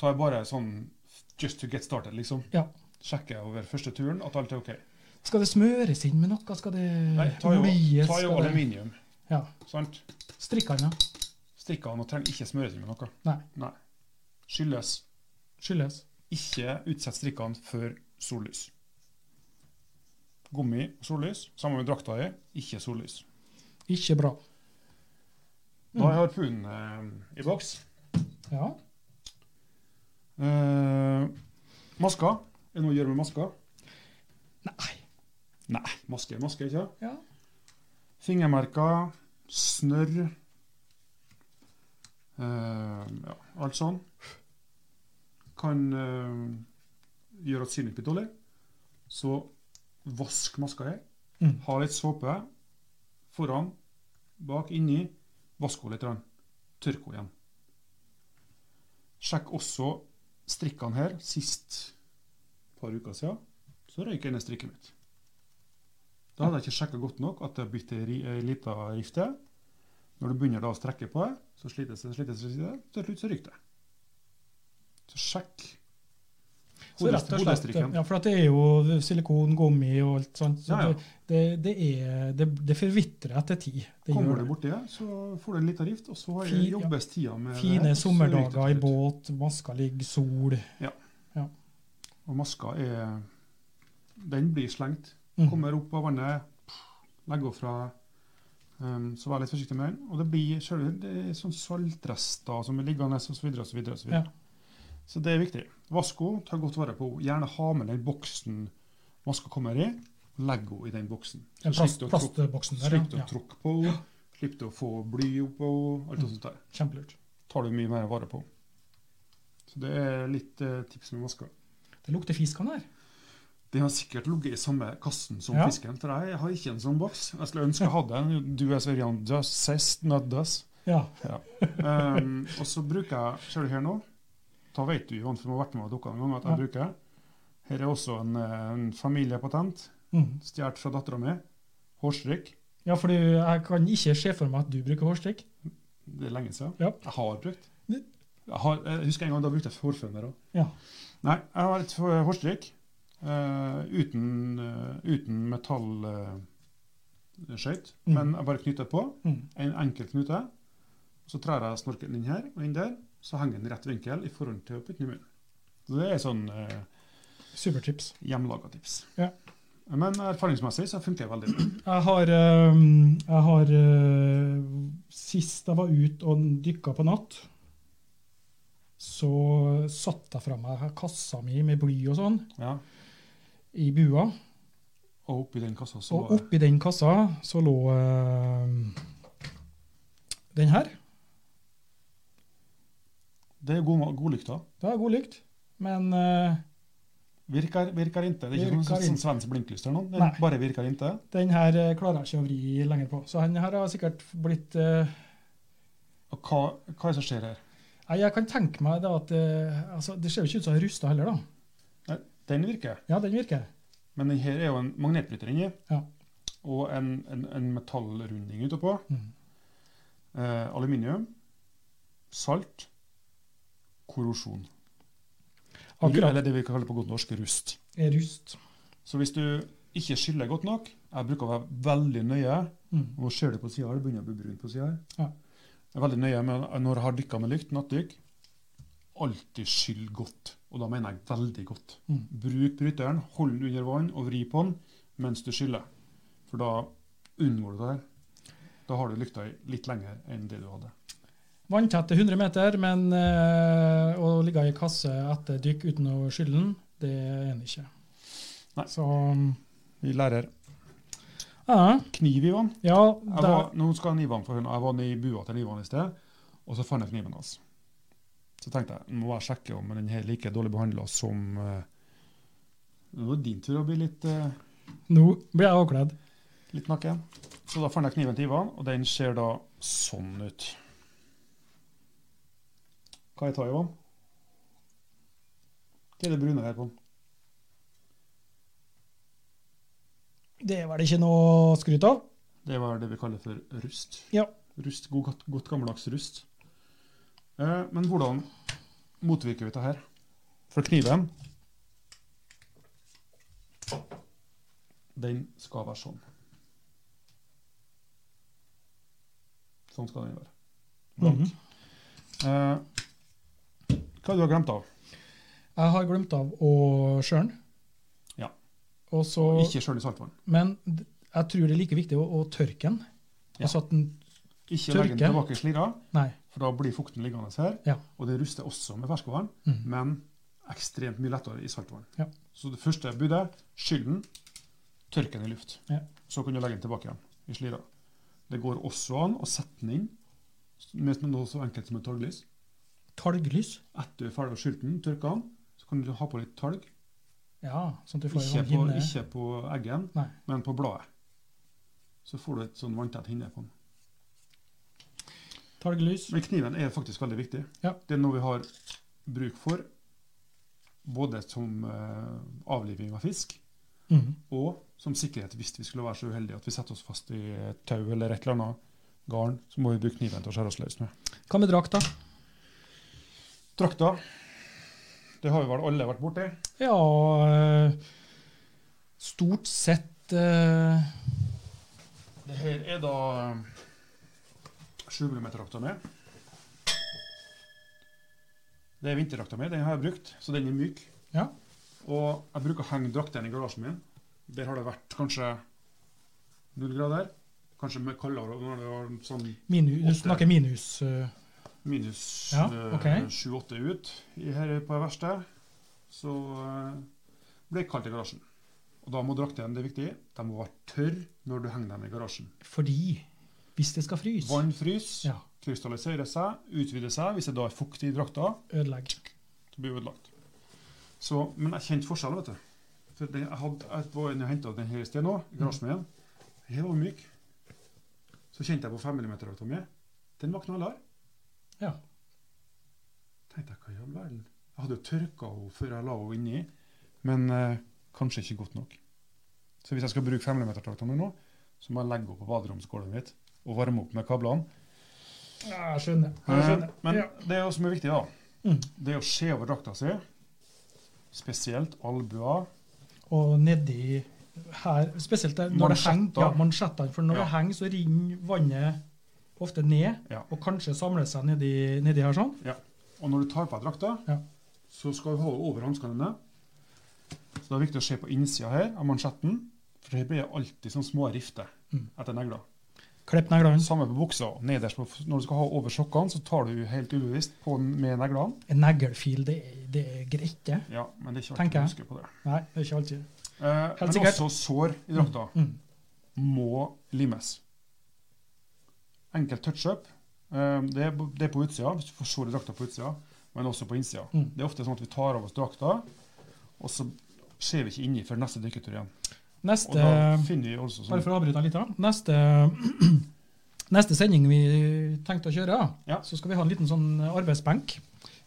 Speaker 1: Tar jeg bare sånn just to get started, liksom.
Speaker 2: Ja.
Speaker 1: Sjekker over første turen at alt er OK.
Speaker 2: Skal det smøres inn med noe? Skal det
Speaker 1: Nei, ta jo,
Speaker 2: olies?
Speaker 1: ta jo
Speaker 2: Skal det-
Speaker 1: aluminium,
Speaker 2: Ja.
Speaker 1: sant?
Speaker 2: Strikkene
Speaker 1: Strikkene trenger ikke smøres inn med noe.
Speaker 2: Nei.
Speaker 1: Skyldes
Speaker 2: skyldes.
Speaker 1: ikke utsett strikkene før sollys. Gummi og sollys, sammen med drakta i, ikke sollys.
Speaker 2: Ikke bra. Mm.
Speaker 1: Da er harpunen eh, i boks.
Speaker 2: Ja.
Speaker 1: Eh, maska. Er det noe å gjøre med maska?
Speaker 2: Nei.
Speaker 1: Nei. Maske er maske, ikke sant?
Speaker 2: Ja.
Speaker 1: Fingermerker, snørr eh, ja, Alt sånn. Kan eh, gjøre at synet blir dårlig. Så vask maska her.
Speaker 2: Mm.
Speaker 1: Ha litt såpe foran, bak, inni. Vask henne litt. grann. Tørk henne igjen. Sjekk også strikkene her. Sist par uker siden så røyk ene strikket mitt. Da hadde jeg ikke sjekka godt nok at det har blitt ei ri- ei lita rifte. Når du begynner da å strekke på det, så slites det, slites det, slites det. Til slutt så ryker det. Så sjekk
Speaker 2: Så rett og slett, eh,
Speaker 1: hodestrikken.
Speaker 2: ja, for at det er jo silikon, gummi og alt sånt. Så
Speaker 1: Ja, ja.
Speaker 2: Det, det, det, er, det, det forvitrer etter tid. Det gjør
Speaker 1: Kommer du
Speaker 2: det.
Speaker 1: borti det, så får du en liten rift, og så har-
Speaker 2: Fi- ja.
Speaker 1: jobbes tida med det her,
Speaker 2: Fine
Speaker 1: og så ryker det
Speaker 2: sommerdager i
Speaker 1: til slutt.
Speaker 2: båt, maska ligger, sol.
Speaker 1: Og maska er Den blir slengt.
Speaker 2: Mm.
Speaker 1: Kommer opp av vannet, legger henne fra. Um, så vær litt forsiktig med den. Og det blir selv, det er sånn saltrester som er liggende osv. Så, videre, og så, videre, og så, videre. så det er viktig. Vask henne, ta godt vare på henne. Gjerne ha med den boksen maska kommer i. og Legg henne i den boksen.
Speaker 2: Den
Speaker 1: Så
Speaker 2: plast,
Speaker 1: slipper du å tråkke-
Speaker 2: plastboksen der,
Speaker 1: slipper du
Speaker 2: ja.
Speaker 1: å tråkke på henne, slipper du å få bly oppå henne. Alt sånt der
Speaker 2: ja. Kjempelurt.
Speaker 1: tar du mye mer vare på. Så det er litt eh, tips med maska.
Speaker 2: Det lukter fisk han her.
Speaker 1: Den har sikkert ligget i samme kassen som
Speaker 2: Ja.
Speaker 1: fisken, for jeg har ikke en sånn boks. Jeg skulle ønske jeg hadde en. Du er så young, just says, not does.
Speaker 2: Ja.
Speaker 1: Um, og så bruker jeg, ser du her nå, da vet du Johan, for du har vært med og dukket en gang, at jeg
Speaker 2: Ja.
Speaker 1: bruker. Her er også en, eh, en familiepatent,
Speaker 2: Mm.
Speaker 1: stjålet fra dattera mi. Hårstrikk.
Speaker 2: ja, for du, jeg kan ikke se for meg at du bruker hårstrikk.
Speaker 1: Det er lenge siden.
Speaker 2: Ja.
Speaker 1: Jeg har brukt.
Speaker 2: Ne-
Speaker 1: Jeg, har, jeg husker en gang da brukte jeg hårføner òg.
Speaker 2: Ja.
Speaker 1: Nei, jeg har et hår- hårstrikk eh, uten, eh, uten metallskøyt,
Speaker 2: Mm.
Speaker 1: men jeg bare knytter på.
Speaker 2: Mm.
Speaker 1: En enkel knute. Så trær jeg snorken inn her og inn der, så henger den i rett vinkel i forhold til å putte den i munnen. Så det er sånn eh,
Speaker 2: Supertips.
Speaker 1: hjemmelaga tips.
Speaker 2: Ja.
Speaker 1: Men erfaringsmessig så funker det veldig bra.
Speaker 2: *clears throat* Jeg har, ehm, jeg har eh, Sist jeg var ute og dykka på natt, så satte jeg fra meg kassa mi med bly og sånn
Speaker 1: Ja.
Speaker 2: i bua.
Speaker 1: Og oppi den kassa så
Speaker 2: Og oppi den kassa så lå eh, den her.
Speaker 1: Det er god, god lykta.
Speaker 2: Det er god lykt, men eh,
Speaker 1: Virker, virker ikke. Det er ikke
Speaker 2: Virker
Speaker 1: noe sånn,
Speaker 2: inte.
Speaker 1: sånn svensk blinklys eller noe. Den
Speaker 2: Nei.
Speaker 1: bare virker ikke.
Speaker 2: den her eh, klarer jeg ikke å vri lenger på. Så den her har sikkert blitt eh,
Speaker 1: Og hva, hva er det som skjer her?
Speaker 2: Nei, jeg kan tenke meg det at eh, altså, Det ser jo ikke ut som det er rusta heller, da.
Speaker 1: Nei, den virker.
Speaker 2: Ja, den virker.
Speaker 1: Men den her er jo en magnetbryter inni.
Speaker 2: Ja.
Speaker 1: Og en, en, en metallrunding utapå.
Speaker 2: Mhm.
Speaker 1: Eh, aluminium. Salt. Korrosjon.
Speaker 2: Akkurat.
Speaker 1: Eller det vi kaller på godt norsk rust.
Speaker 2: Er rust.
Speaker 1: Så hvis du ikke skyller godt nok Jeg bruker å være veldig nøye.
Speaker 2: Mm.
Speaker 1: Nå ser du på sida her, det begynner å bli brunt på sida her.
Speaker 2: Ja.
Speaker 1: Jeg er veldig nøye med når jeg har dykka med lykt, nattdykk, alltid skyll godt. Og da mener jeg veldig godt.
Speaker 2: Mm.
Speaker 1: Bruk bryteren, hold den under vann og vri på den mens du skyller. For da unngår du det her. Da har du lykta i litt lenger enn det du hadde.
Speaker 2: Vanntett til 100 meter, men eh, å ligge i kasse etter dykk uten å skylle den, det er en ikke.
Speaker 1: Nei.
Speaker 2: Så
Speaker 1: Vi lærer
Speaker 2: ja,
Speaker 1: kniv i vann.
Speaker 2: ja
Speaker 1: Jeg
Speaker 2: det,
Speaker 1: var, nå skal han Ivan få høre noe. Jeg var nede i bua til Ivan i sted, og så fant jeg kniven hans. Så tenkte jeg nå må jeg sjekke om den her er like dårlig behandla som eh, Nå er det din tur å bli litt eh,
Speaker 2: nå blir jeg avkledd.
Speaker 1: Litt nakken. Så da fant jeg kniven til Ivan, og den ser da sånn ut. Hva jeg tar Ivan? Hva er det brune her på?
Speaker 2: Det er vel ikke noe å skryte av?
Speaker 1: Det var det vi kaller for rust.
Speaker 2: Ja.
Speaker 1: Rust, god, godt- godt gammeldags rust. Eh, men hvordan motvirker vi dette her? For kniven Den skal være sånn. Sånn skal den være. Blank.
Speaker 2: Mhm.
Speaker 1: Eh, hva har du har glemt av?
Speaker 2: Jeg har glemt av å skjøre den.
Speaker 1: Ja.
Speaker 2: Og så,
Speaker 1: ikke skjøl i saltvann.
Speaker 2: men d- jeg tror det er like viktig å, å tørke den.
Speaker 1: Ja.
Speaker 2: Altså at den
Speaker 1: Ikke legg den
Speaker 2: Tørke.
Speaker 1: tilbake i slira,
Speaker 2: Nei.
Speaker 1: for da blir fukten liggende her.
Speaker 2: Ja.
Speaker 1: Og det ruster også med ferskvann,
Speaker 2: Mm.
Speaker 1: men ekstremt mye lettere i saltvann.
Speaker 2: Ja.
Speaker 1: Så det første budet skyll den, tørk den i luft.
Speaker 2: Ja.
Speaker 1: Så kan du legge den tilbake igjen i slira. Det går også an å sette den inn med noe så enkelt som et talglys.
Speaker 2: Talglys?
Speaker 1: Etter du er ferdig å skylle den, tørke den, så kan du ha på litt talg.
Speaker 2: Ja, sånn at du får en
Speaker 1: Ikke
Speaker 2: sånn
Speaker 1: på,
Speaker 2: hinne.
Speaker 1: ikke på eggen,
Speaker 2: Nei.
Speaker 1: men på bladet. Så får du et sånn vanntett hinne på den.
Speaker 2: Talglys.
Speaker 1: Men kniven er faktisk veldig viktig.
Speaker 2: Ja.
Speaker 1: Det er noe vi har bruk for, både som eh, avliving av fisk,
Speaker 2: Mhm.
Speaker 1: og som sikkerhet hvis vi skulle være så uheldige at vi setter oss fast i et tau eller et eller annet garn, så må vi bruke kniven til å skjære oss løs med.
Speaker 2: Hva med drakt, da?
Speaker 1: Drakta, det har vi vel alle vært borti.
Speaker 2: Ja eh, Stort sett eh,
Speaker 1: Det her er da eh, 7 mm-drakta mi. Det er vinterdrakta mi, den har jeg brukt, så den er myk.
Speaker 2: Ja.
Speaker 1: Og jeg bruker å henge draktene i garasjen min. Der har det vært kanskje null grader. Kanskje med kaldere når det var sånn
Speaker 2: Minus, du
Speaker 1: Åtte.
Speaker 2: snakker minus. eh,
Speaker 1: minus
Speaker 2: Ja,
Speaker 1: sju-åtte
Speaker 2: ok.
Speaker 1: ut i- her på det verste. Så eh, blir det kaldt i garasjen. Og da må draktene, det er viktig, de må være tørre når du henger dem i garasjen.
Speaker 2: fordi hvis det skal fryse,
Speaker 1: Vann fryser,
Speaker 2: Ja.
Speaker 1: krystalliserer seg, utvider seg. Hvis det da er fukt i drakta,
Speaker 2: ødelegg.
Speaker 1: så blir det ødelagt. Så, men jeg kjente forskjellen, vet du. For den, jeg, hadde, jeg var inne og henta den her i sted nå, i garasjen min. Den her var myk. Så kjente jeg på 5 mm-drakta mi. Den var knallhard.
Speaker 2: Ja.
Speaker 1: Tenkte jeg, hva i all verden? Jeg hadde jo tørka henne før jeg la henne inni, men eh, kanskje ikke godt nok. Så hvis jeg skal bruke 5 mm-drakta mi nå, så må jeg legge henne på baderomsgulvet mitt og varme opp med kablene.
Speaker 2: Ja, Jeg skjønner. Jeg
Speaker 1: Eh,
Speaker 2: skjønner.
Speaker 1: Men
Speaker 2: ja.
Speaker 1: det er jo som er viktig, da.
Speaker 2: Mm.
Speaker 1: Det er å se over drakta si. Spesielt albuer.
Speaker 2: Og nedi her Spesielt der, når det henger.
Speaker 1: Mansjetter.
Speaker 2: Ja, mansjettene. For når
Speaker 1: Ja.
Speaker 2: det henger, så renner vannet ofte ned,
Speaker 1: Ja.
Speaker 2: og kanskje samler seg nedi, nedi her sånn.
Speaker 1: Og når du tar på deg drakta,
Speaker 2: Ja.
Speaker 1: så skal du holde over hanskene dine. Så det er viktig å se på innsida her av mansjetten, for her blir det alltid sånne små rifter
Speaker 2: Mm.
Speaker 1: etter negler.
Speaker 2: Klipp neglene.
Speaker 1: Samme på buksa. Nederst på, når du skal ha over sokkene, så tar du helt ubevisst på med neglene.
Speaker 2: En neglefil, det er, det er greit, det.
Speaker 1: Ja, men det er ikke
Speaker 2: Tenker
Speaker 1: alltid
Speaker 2: jeg.
Speaker 1: du husker på det.
Speaker 2: Nei, det er ikke alltid.
Speaker 1: Eh, men
Speaker 2: sikkert.
Speaker 1: også sår i drakta
Speaker 2: Mm.
Speaker 1: må limes. Enkelt touch-up. Eh, det, er på- det er på utsida, hvis du får sår i drakta på utsida, men også på innsida.
Speaker 2: Mm.
Speaker 1: Det er ofte sånn at vi tar av oss drakta, og så ser vi ikke inni før neste dykketur igjen. Og
Speaker 2: Neste
Speaker 1: da finner vi også
Speaker 2: Bare
Speaker 1: sånn
Speaker 2: for å avbryte deg litt, da. Neste, *clears throat* neste sending vi tenkte å kjøre,
Speaker 1: Ja.
Speaker 2: så skal vi ha en liten sånn arbeidsbenk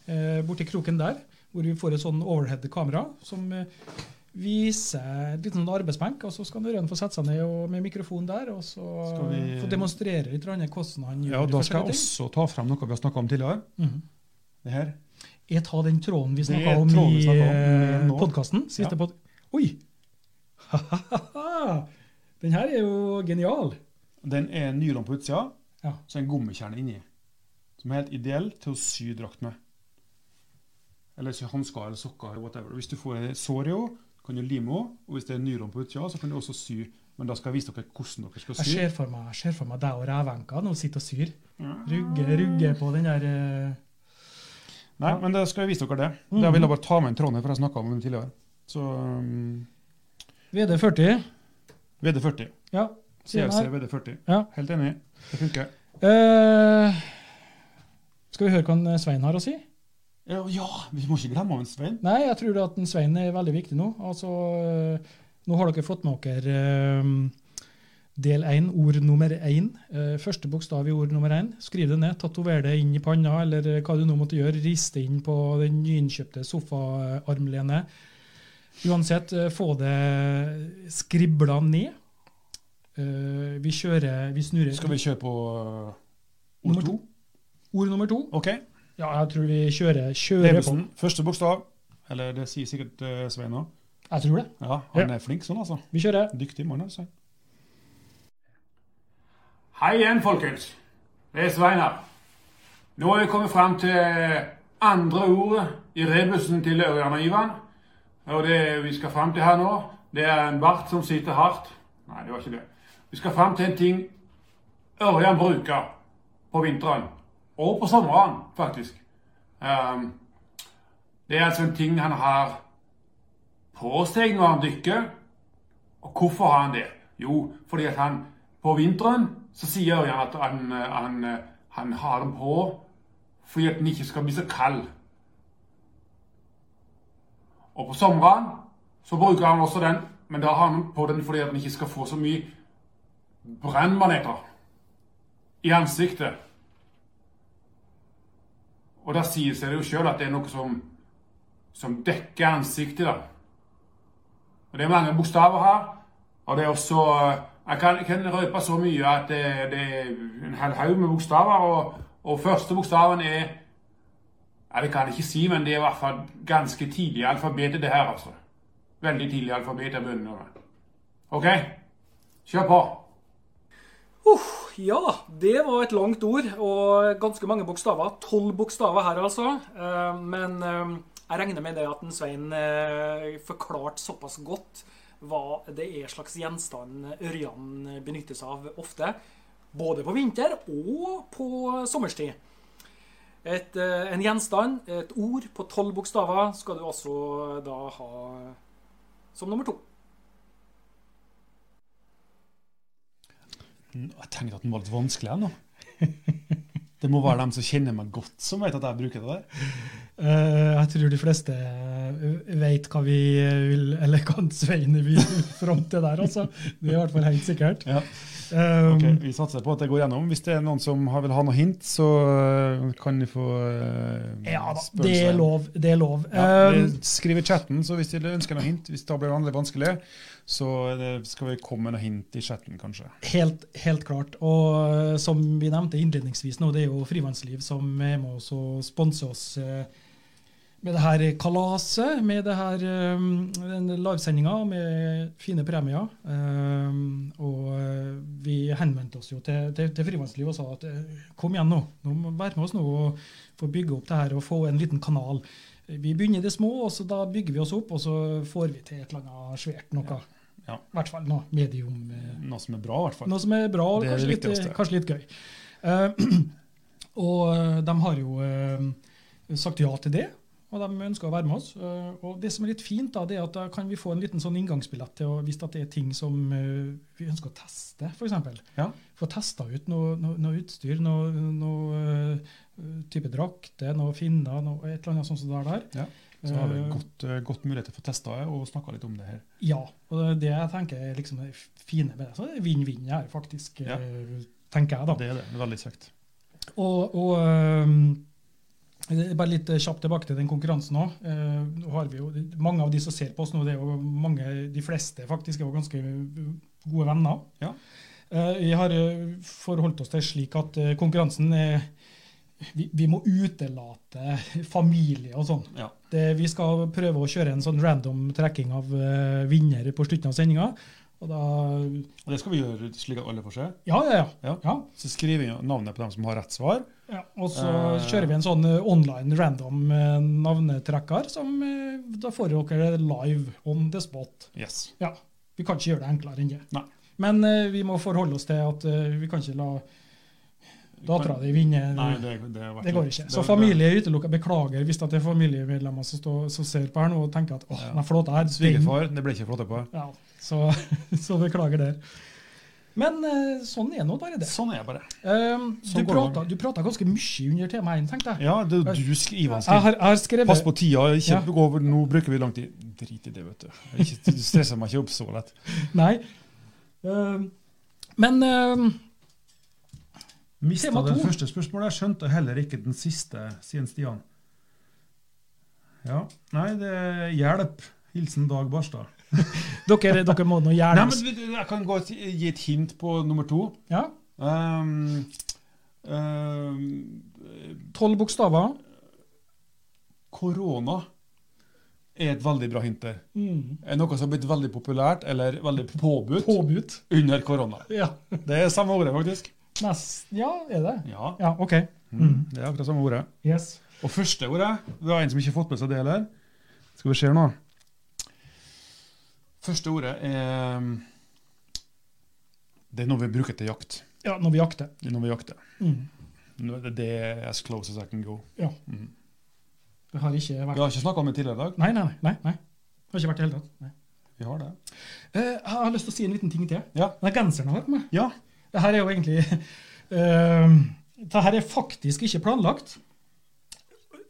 Speaker 2: eh, borti kroken der, hvor vi får et sånn overhead-kamera som eh, viser et liten sånn arbeidsbenk, og så skal Ørjan få sette seg ned og, med mikrofon der, og så
Speaker 1: Skal vi-
Speaker 2: få demonstrere litt grann hvordan han gjør
Speaker 1: Ja, og Da
Speaker 2: de
Speaker 1: skal jeg
Speaker 2: forskjellige ting.
Speaker 1: også ta frem noe vi har snakka om tidligere.
Speaker 2: Mhm.
Speaker 1: Det her.
Speaker 2: Jeg tar den tråden vi
Speaker 1: Det er
Speaker 2: snakka om
Speaker 1: tråden vi
Speaker 2: i
Speaker 1: snakket om, men nå-
Speaker 2: podkasten. Siste
Speaker 1: Ja.
Speaker 2: pod... Oi! *laughs* den her er jo genial.
Speaker 1: Den er nylon på utsida,
Speaker 2: Ja.
Speaker 1: så er en gummikjerne inni. Som er helt ideell til å sy drakt med. Eller sy hansker eller sokker eller whatever. Hvis du får en sår i henne, kan du lime henne. Og hvis det er nylon på utsida, så kan du også sy. Men da skal jeg vise dere hvordan dere skal
Speaker 2: Jeg
Speaker 1: sy.
Speaker 2: ser for meg, jeg ser for meg deg og revenka nå sitter og syr. Rugge, rugge på den der eh,
Speaker 1: Nei, men da skal jeg vise dere det.
Speaker 2: Mhm.
Speaker 1: Det Jeg ville bare ta med en tråd her, for jeg snakka om den tidligere. Så um,
Speaker 2: VD40.
Speaker 1: VD40.
Speaker 2: Ja. sier den
Speaker 1: CLC
Speaker 2: her.
Speaker 1: VD40.
Speaker 2: Ja.
Speaker 1: Helt enig. Det funker.
Speaker 2: Eh, skal vi høre hva en Svein har å si?
Speaker 1: Ja, ja, vi må ikke glemme han Svein.
Speaker 2: Nei, jeg tror at en Svein er veldig viktig nå. Altså, eh, nå har dere fått med dere eh, del én, ord nummer én. Eh, første bokstav i ord nummer én. Skriv det ned. Tatover det inn i panna, eller eh, hva du nå måtte gjøre. Riste inn på den nyinnkjøpte sofaarmlenet. Uansett, eh, få det skribla ned. Eh, vi kjører Vi snurrer.
Speaker 1: Skal vi kjøre på uh,
Speaker 2: Nummer
Speaker 1: O2?
Speaker 2: Ord nummer to.
Speaker 1: OK.
Speaker 2: Ja, jeg tror vi kjører, kjører på.
Speaker 1: Evensen, første bokstav. Eller det sier sikkert eh, Svein òg.
Speaker 2: Jeg tror det.
Speaker 1: Ja, han er flink sånn, altså.
Speaker 2: Vi kjører.
Speaker 1: Dyktig mann, altså.
Speaker 3: Hei igjen, folkens. Det er Svein her. Nå er vi kommet fram til andre ordet i rebusen til Ørjan og Ivan. Og det vi skal fram til her nå, det er en bart som sitter hardt. Nei, det var ikke det. Vi skal fram til en ting Ørjan bruker på vinteren. Og på sommeren, faktisk. Ehm, det er altså en ting han har på seg når han dykker. Og hvorfor har han det? Jo, fordi at han på vinteren så sier Ørjan at han, eh, han, eh, han har den på fordi at den ikke skal bli så kald. Og på sommeren så bruker han også den, men da har han på den fordi at han ikke skal få så mye brennmaneter i ansiktet. Og da sier seg det jo sjøl at det er noe som, som dekker ansiktet, da. Og Det er mange bokstaver her. Og det er også eh, Jeg kan, jeg kan røpe så mye at det, det er en hel haug med bokstaver. Og, og første bokstaven er Ja, det kan jeg ikke si, men det er i hvert fall ganske tidlig i alfabetet, det her, altså. Veldig tidlig i alfabetet jeg begynner med. OK? Kjør på.
Speaker 4: Uff, ja, det var et langt ord og ganske mange bokstaver. Tolv bokstaver her, altså. Eh, Men eh, jeg regner med det at en Svein eh, forklarte såpass godt hva det er slags gjenstand Ørjan benytter seg av ofte. Både på vinter og på sommerstid. Et, eh, en gjenstand, et ord på tolv bokstaver, skal du altså da ha som nummer to.
Speaker 1: Jeg tenkte at den var litt vanskelig ennå. *laughs* Det må være dem som kjenner meg godt, som vet at jeg bruker det der.
Speaker 2: Eh, jeg tror de fleste eh, vet hva vi eh, vil, eller hva Svein vil fram til der, altså. Det er i hvert fall helt sikkert.
Speaker 1: Ja.
Speaker 2: Um,
Speaker 1: Ok, vi satser på at det går gjennom. Hvis det er noen som har- vil ha noe hint, så øh, kan de få øh,
Speaker 2: Ja da,
Speaker 1: spørre
Speaker 2: det er
Speaker 1: seg.
Speaker 2: lov. Det er lov.
Speaker 1: Ja,
Speaker 2: Um,
Speaker 1: det- skriv i chatten, så hvis de ønsker noe hint, hvis det blir vanlig vanskelig, så er det- skal vi komme med noe hint i chatten, kanskje.
Speaker 2: Helt, helt klart. Og eh, som vi nevnte innledningsvis nå, det er jo Frivannsliv som er med oss og sponser oss eh, med det her kalaset, med det her eh, den livesendinga, med fine premier. Eh, Og eh, vi henvendte oss jo til, til, til Frivannsliv og sa at eh, kom igjen nå, nå må være med oss nå og få bygge opp det her og få en liten kanal. Vi begynner i det små, og så da bygger vi oss opp, og så får vi til et eller annet svært noe.
Speaker 1: Ja.
Speaker 2: I hvert fall noe medium. eh,
Speaker 1: Noe som er bra, i hvert fall.
Speaker 2: Noe som er bra og
Speaker 1: Det er
Speaker 2: kanskje,
Speaker 1: det
Speaker 2: litt,
Speaker 1: viktigste.
Speaker 2: kanskje litt gøy. Eh, *clears throat* og eh, de har jo eh, sagt ja til det, og de ønsker å være med oss. Eh, og det som er litt fint, da, det er at da kan vi få en liten sånn inngangsbillett til å vise at det er ting som eh, vi ønsker å teste, f.eks.
Speaker 1: Ja.
Speaker 2: Få testa ut noe, noe, noe utstyr, noe, noe eh, type drakter, noe finner, noe, et eller annet sånt som det er der.
Speaker 1: Ja. Så har vi
Speaker 2: Eh,
Speaker 1: godt, eh, godt mulighet til å få testa og snakka litt om det her.
Speaker 2: Ja, og det er det jeg tenker er liksom det fine med det. Så det er vinn-vinn her, faktisk,
Speaker 1: Ja.
Speaker 2: eh, tenker jeg da.
Speaker 1: Det er det. Veldig kjekt.
Speaker 2: Og, og øhm, det er bare litt eh, kjapt tilbake til den konkurransen òg. nå har vi jo, mange av de som ser på oss nå, det er jo mange, de fleste faktisk er jo ganske gode venner.
Speaker 1: Ja.
Speaker 2: Eh, vi har eh, forholdt oss til slik at eh, konkurransen er vi, vi må utelate familie og sånn.
Speaker 1: Ja.
Speaker 2: Det- Vi skal prøve å kjøre en sånn random trekking av eh, vinner på slutten av sendinga. Og da
Speaker 1: Og det skal vi gjøre slik at alle får se.
Speaker 2: Ja, ja, ja.
Speaker 1: Ja.
Speaker 2: ja.
Speaker 1: Så skriver vi navnet på dem som har rett svar.
Speaker 2: Ja, og så
Speaker 1: Eh,
Speaker 2: kjører vi en sånn eh, online random eh, navnetrekker som eh, da får dere live on the spot.
Speaker 1: Yes.
Speaker 2: Ja, vi kan ikke gjøre det enklere enn det.
Speaker 1: Nei.
Speaker 2: Men eh, vi må forholde oss til at eh, vi kan ikke la dattera di vinne.
Speaker 1: Nei, det, det, har vært
Speaker 2: det går
Speaker 1: litt-
Speaker 2: ikke.
Speaker 1: det-
Speaker 2: Så familie er utelukka. Beklager hvis at det er familiemedlemmer som, står, som ser på her nå og tenker at åh,
Speaker 1: Ja.
Speaker 2: den flåta her
Speaker 1: det- Svigerfar, det ble ikke flott på.
Speaker 2: Ja, så, *laughs* så beklager der. Men eh, sånn er nå bare det.
Speaker 1: Sånn er jeg bare.
Speaker 2: Um, du
Speaker 1: Sånn går det.
Speaker 2: prata- du prata ganske mye under temaet, tenkte jeg.
Speaker 1: Ja, det er du sk- Ivan
Speaker 2: Jeg
Speaker 1: skriver.
Speaker 2: har, jeg har skrevet
Speaker 1: Pass på tida, ikke
Speaker 2: Ja.
Speaker 1: gå over, nå bruker vi lang tid. Drit i det, vet du. Ikke, du stresser meg ikke opp så lett.
Speaker 2: Nei. Ehm, men ehm,
Speaker 1: Mista
Speaker 2: Tema
Speaker 1: det
Speaker 2: to.
Speaker 1: første spørsmålet, skjønte heller ikke den siste, sier Stian. Ja, nei, det er hjelp. Hilsen Dag Barstad.
Speaker 2: dere, dere må nå
Speaker 1: Nei,
Speaker 2: gjerne
Speaker 1: men vet du, jeg kan gå til- gi et hint på nummer to.
Speaker 2: ja,
Speaker 1: Um, um,
Speaker 2: Tolv bokstaver.
Speaker 1: korona er et veldig bra hint der.
Speaker 2: Mm.
Speaker 1: Er noe som har blitt veldig populært, eller veldig påbudt,
Speaker 2: Påbudt.
Speaker 1: under korona.
Speaker 2: Ja.
Speaker 1: Det er samme ordet, faktisk.
Speaker 2: Nest, ja, er det?
Speaker 1: Ja,
Speaker 2: Ja, OK.
Speaker 1: mm, det er akkurat samme ordet.
Speaker 2: Yes.
Speaker 1: Og første ordet Det er en som ikke har fått med seg det heller. Skal vi se nå. Første ordet er ehm, Det er noe vi bruker til jakt.
Speaker 2: Ja, når vi jakter.
Speaker 1: Det er noe vi jakter.
Speaker 2: Mm.
Speaker 1: Nå er Det det er as close as I can go.
Speaker 2: Ja.
Speaker 1: Mm.
Speaker 2: Det har ikke
Speaker 1: Vi
Speaker 2: vært
Speaker 1: har ikke snakka om det tidligere i dag.
Speaker 2: Nei, nei, nei. nei, nei. Det har ikke vært i det hele tatt. Nei.
Speaker 1: Vi har det.
Speaker 2: Eh, jeg har lyst til å si en liten ting til.
Speaker 1: Ja.
Speaker 2: Den genseren jeg har på meg
Speaker 1: Ja.
Speaker 2: Det her er jo egentlig *laughs* ehm, Det her er faktisk ikke planlagt.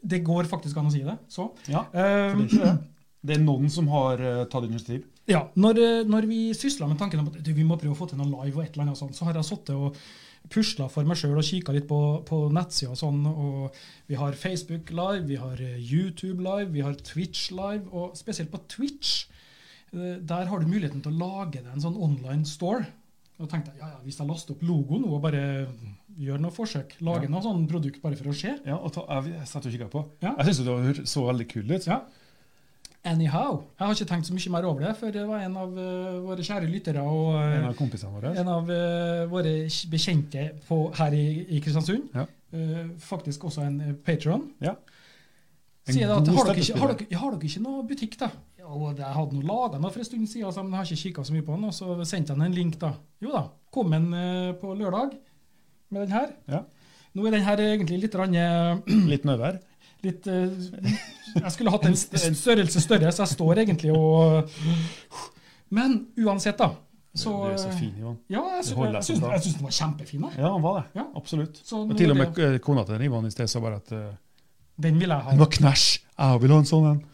Speaker 2: Det går faktisk an å si det. Så.
Speaker 1: ja.
Speaker 2: ehm,
Speaker 1: For det, er ikke det. det er noen som har eh, tatt initiativ.
Speaker 2: Ja, når, eh, når vi sysla med tanken om at du, vi må prøve å få til noe live, og et eller annet sånt, så har jeg sittet og pusla for meg sjøl og kikka litt på, på nettsida og sånn. og Vi har Facebook live, vi har eh, YouTube live, vi har Twitch live. Og spesielt på Twitch, eh, der har du muligheten til å lage deg en sånn online store. Og da tenkte jeg, ja, ja, Hvis jeg laster opp logoen nå og bare gjør noe forsøk, lager noe sånn produkt bare for å se
Speaker 1: Ja, og ta, jeg, jeg satt og kikka på.
Speaker 2: Ja.
Speaker 1: Jeg syns du har- så veldig kul ut.
Speaker 2: Ja. Anyhow. Jeg har ikke tenkt så mye mer over det, for det var en av eh, våre kjære lyttere og eh,
Speaker 1: En av kompisene våre.
Speaker 2: En av eh, våre kj- bekjente på, her i, i Kristiansund,
Speaker 1: Ja.
Speaker 2: eh, faktisk også en eh, patron,
Speaker 1: Ja. En
Speaker 2: sier da at
Speaker 1: god
Speaker 2: har dere, ikke, har,
Speaker 1: støttespiller.
Speaker 2: dere, har dere ikke noe butikk, da? Jo, det- jeg hadde noe laga noe for en stund siden, så, men jeg har ikke kikka så mye på den. Og så sendte han en link, da. Jo da, kom han eh, på lørdag med den her.
Speaker 1: Ja.
Speaker 2: Nå er den her egentlig litt rann, eh,
Speaker 1: Litt nøver.
Speaker 2: litt eh, Jeg skulle hatt en st- en størrelse større, så jeg står egentlig og Men uansett, da. Så,
Speaker 1: du er så fin, Ivan.
Speaker 2: ja, jeg, sy
Speaker 1: Det holder
Speaker 2: jeg,
Speaker 1: jeg
Speaker 2: syns-
Speaker 1: så bra.
Speaker 2: jeg syns den var kjempefin. Jeg.
Speaker 1: Ja, han var det.
Speaker 2: Ja.
Speaker 1: Absolutt.
Speaker 2: Så
Speaker 1: Og
Speaker 2: nå
Speaker 1: til og
Speaker 2: er
Speaker 1: med
Speaker 2: det-
Speaker 1: eh, kona til Ivan i sted sa bare at eh,
Speaker 2: Den vil jeg ha.
Speaker 1: Den var knæsj! Jeg vil ha en sånn en.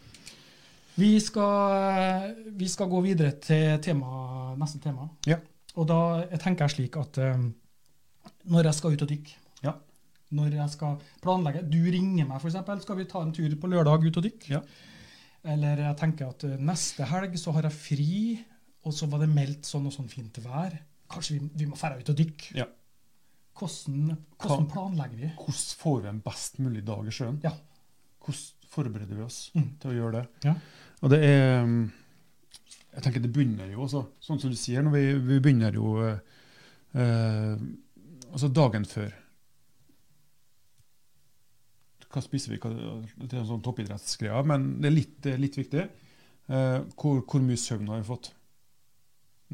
Speaker 2: Vi skal, eh, vi skal gå videre til tema, neste tema.
Speaker 1: Ja.
Speaker 2: Og da jeg tenker jeg slik at eh, når jeg skal ut og dykke
Speaker 1: Ja.
Speaker 2: Når jeg skal planlegge Du ringer meg, f.eks. Skal vi ta en tur på lørdag ut og dykke?
Speaker 1: Ja.
Speaker 2: Eller jeg tenker at eh, neste helg så har jeg fri, og så var det meldt sånn og sånn fint vær. Kanskje vi, vi må dra ut og dykke?
Speaker 1: Ja.
Speaker 2: Hvordan, hvordan planlegger vi?
Speaker 1: Hvordan får vi en best mulig dag i sjøen?
Speaker 2: Ja.
Speaker 1: Hvordan forbereder vi oss
Speaker 2: Mm.
Speaker 1: til å gjøre det?
Speaker 2: Ja.
Speaker 1: Og det er mm, Jeg tenker det begynner jo også, sånn som du sier, når vi, vi begynner jo eh, eh, Altså dagen før. Hva spiser vi? Hva, det er en sånn toppidrettsgreie, men det er litt, det er litt viktig. Eh, hvor, hvor mye søvn har vi fått?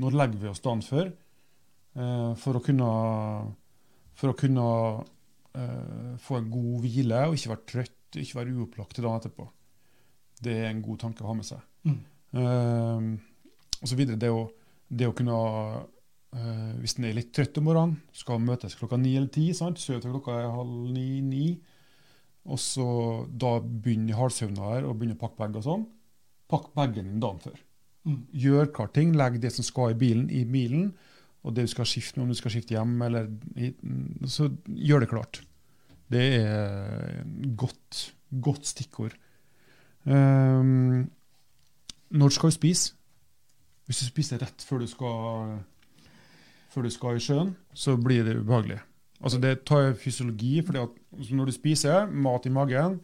Speaker 1: Når legger vi oss dagen før? Eh, for å kunne, for å kunne eh, få en god hvile og ikke være trøtt, ikke være uopplagt til dagen etterpå. Det er en god tanke å ha med seg.
Speaker 2: Mm.
Speaker 1: Eh, og så videre, det å, det å kunne eh, Hvis en er litt trøtt om morgenen, skal møtes klokka ni eller ti, sant? sove til klokka er halv ni-ni. Og så da begynner halvsøvna her og begynner å pakke bag og sånn. Pakk bagen din dagen før.
Speaker 2: Mm.
Speaker 1: Gjør klart ting, legg det som skal i bilen, i bilen. Og det du skal skifte med, om du skal skifte hjem eller i- Så gjør det klart. Det er godt, godt stikkord. Ehm, når skal du spise? Hvis du spiser rett før du skal, før du skal i sjøen, så blir det ubehagelig. Altså Det tar fysiologi, for når du spiser mat i magen,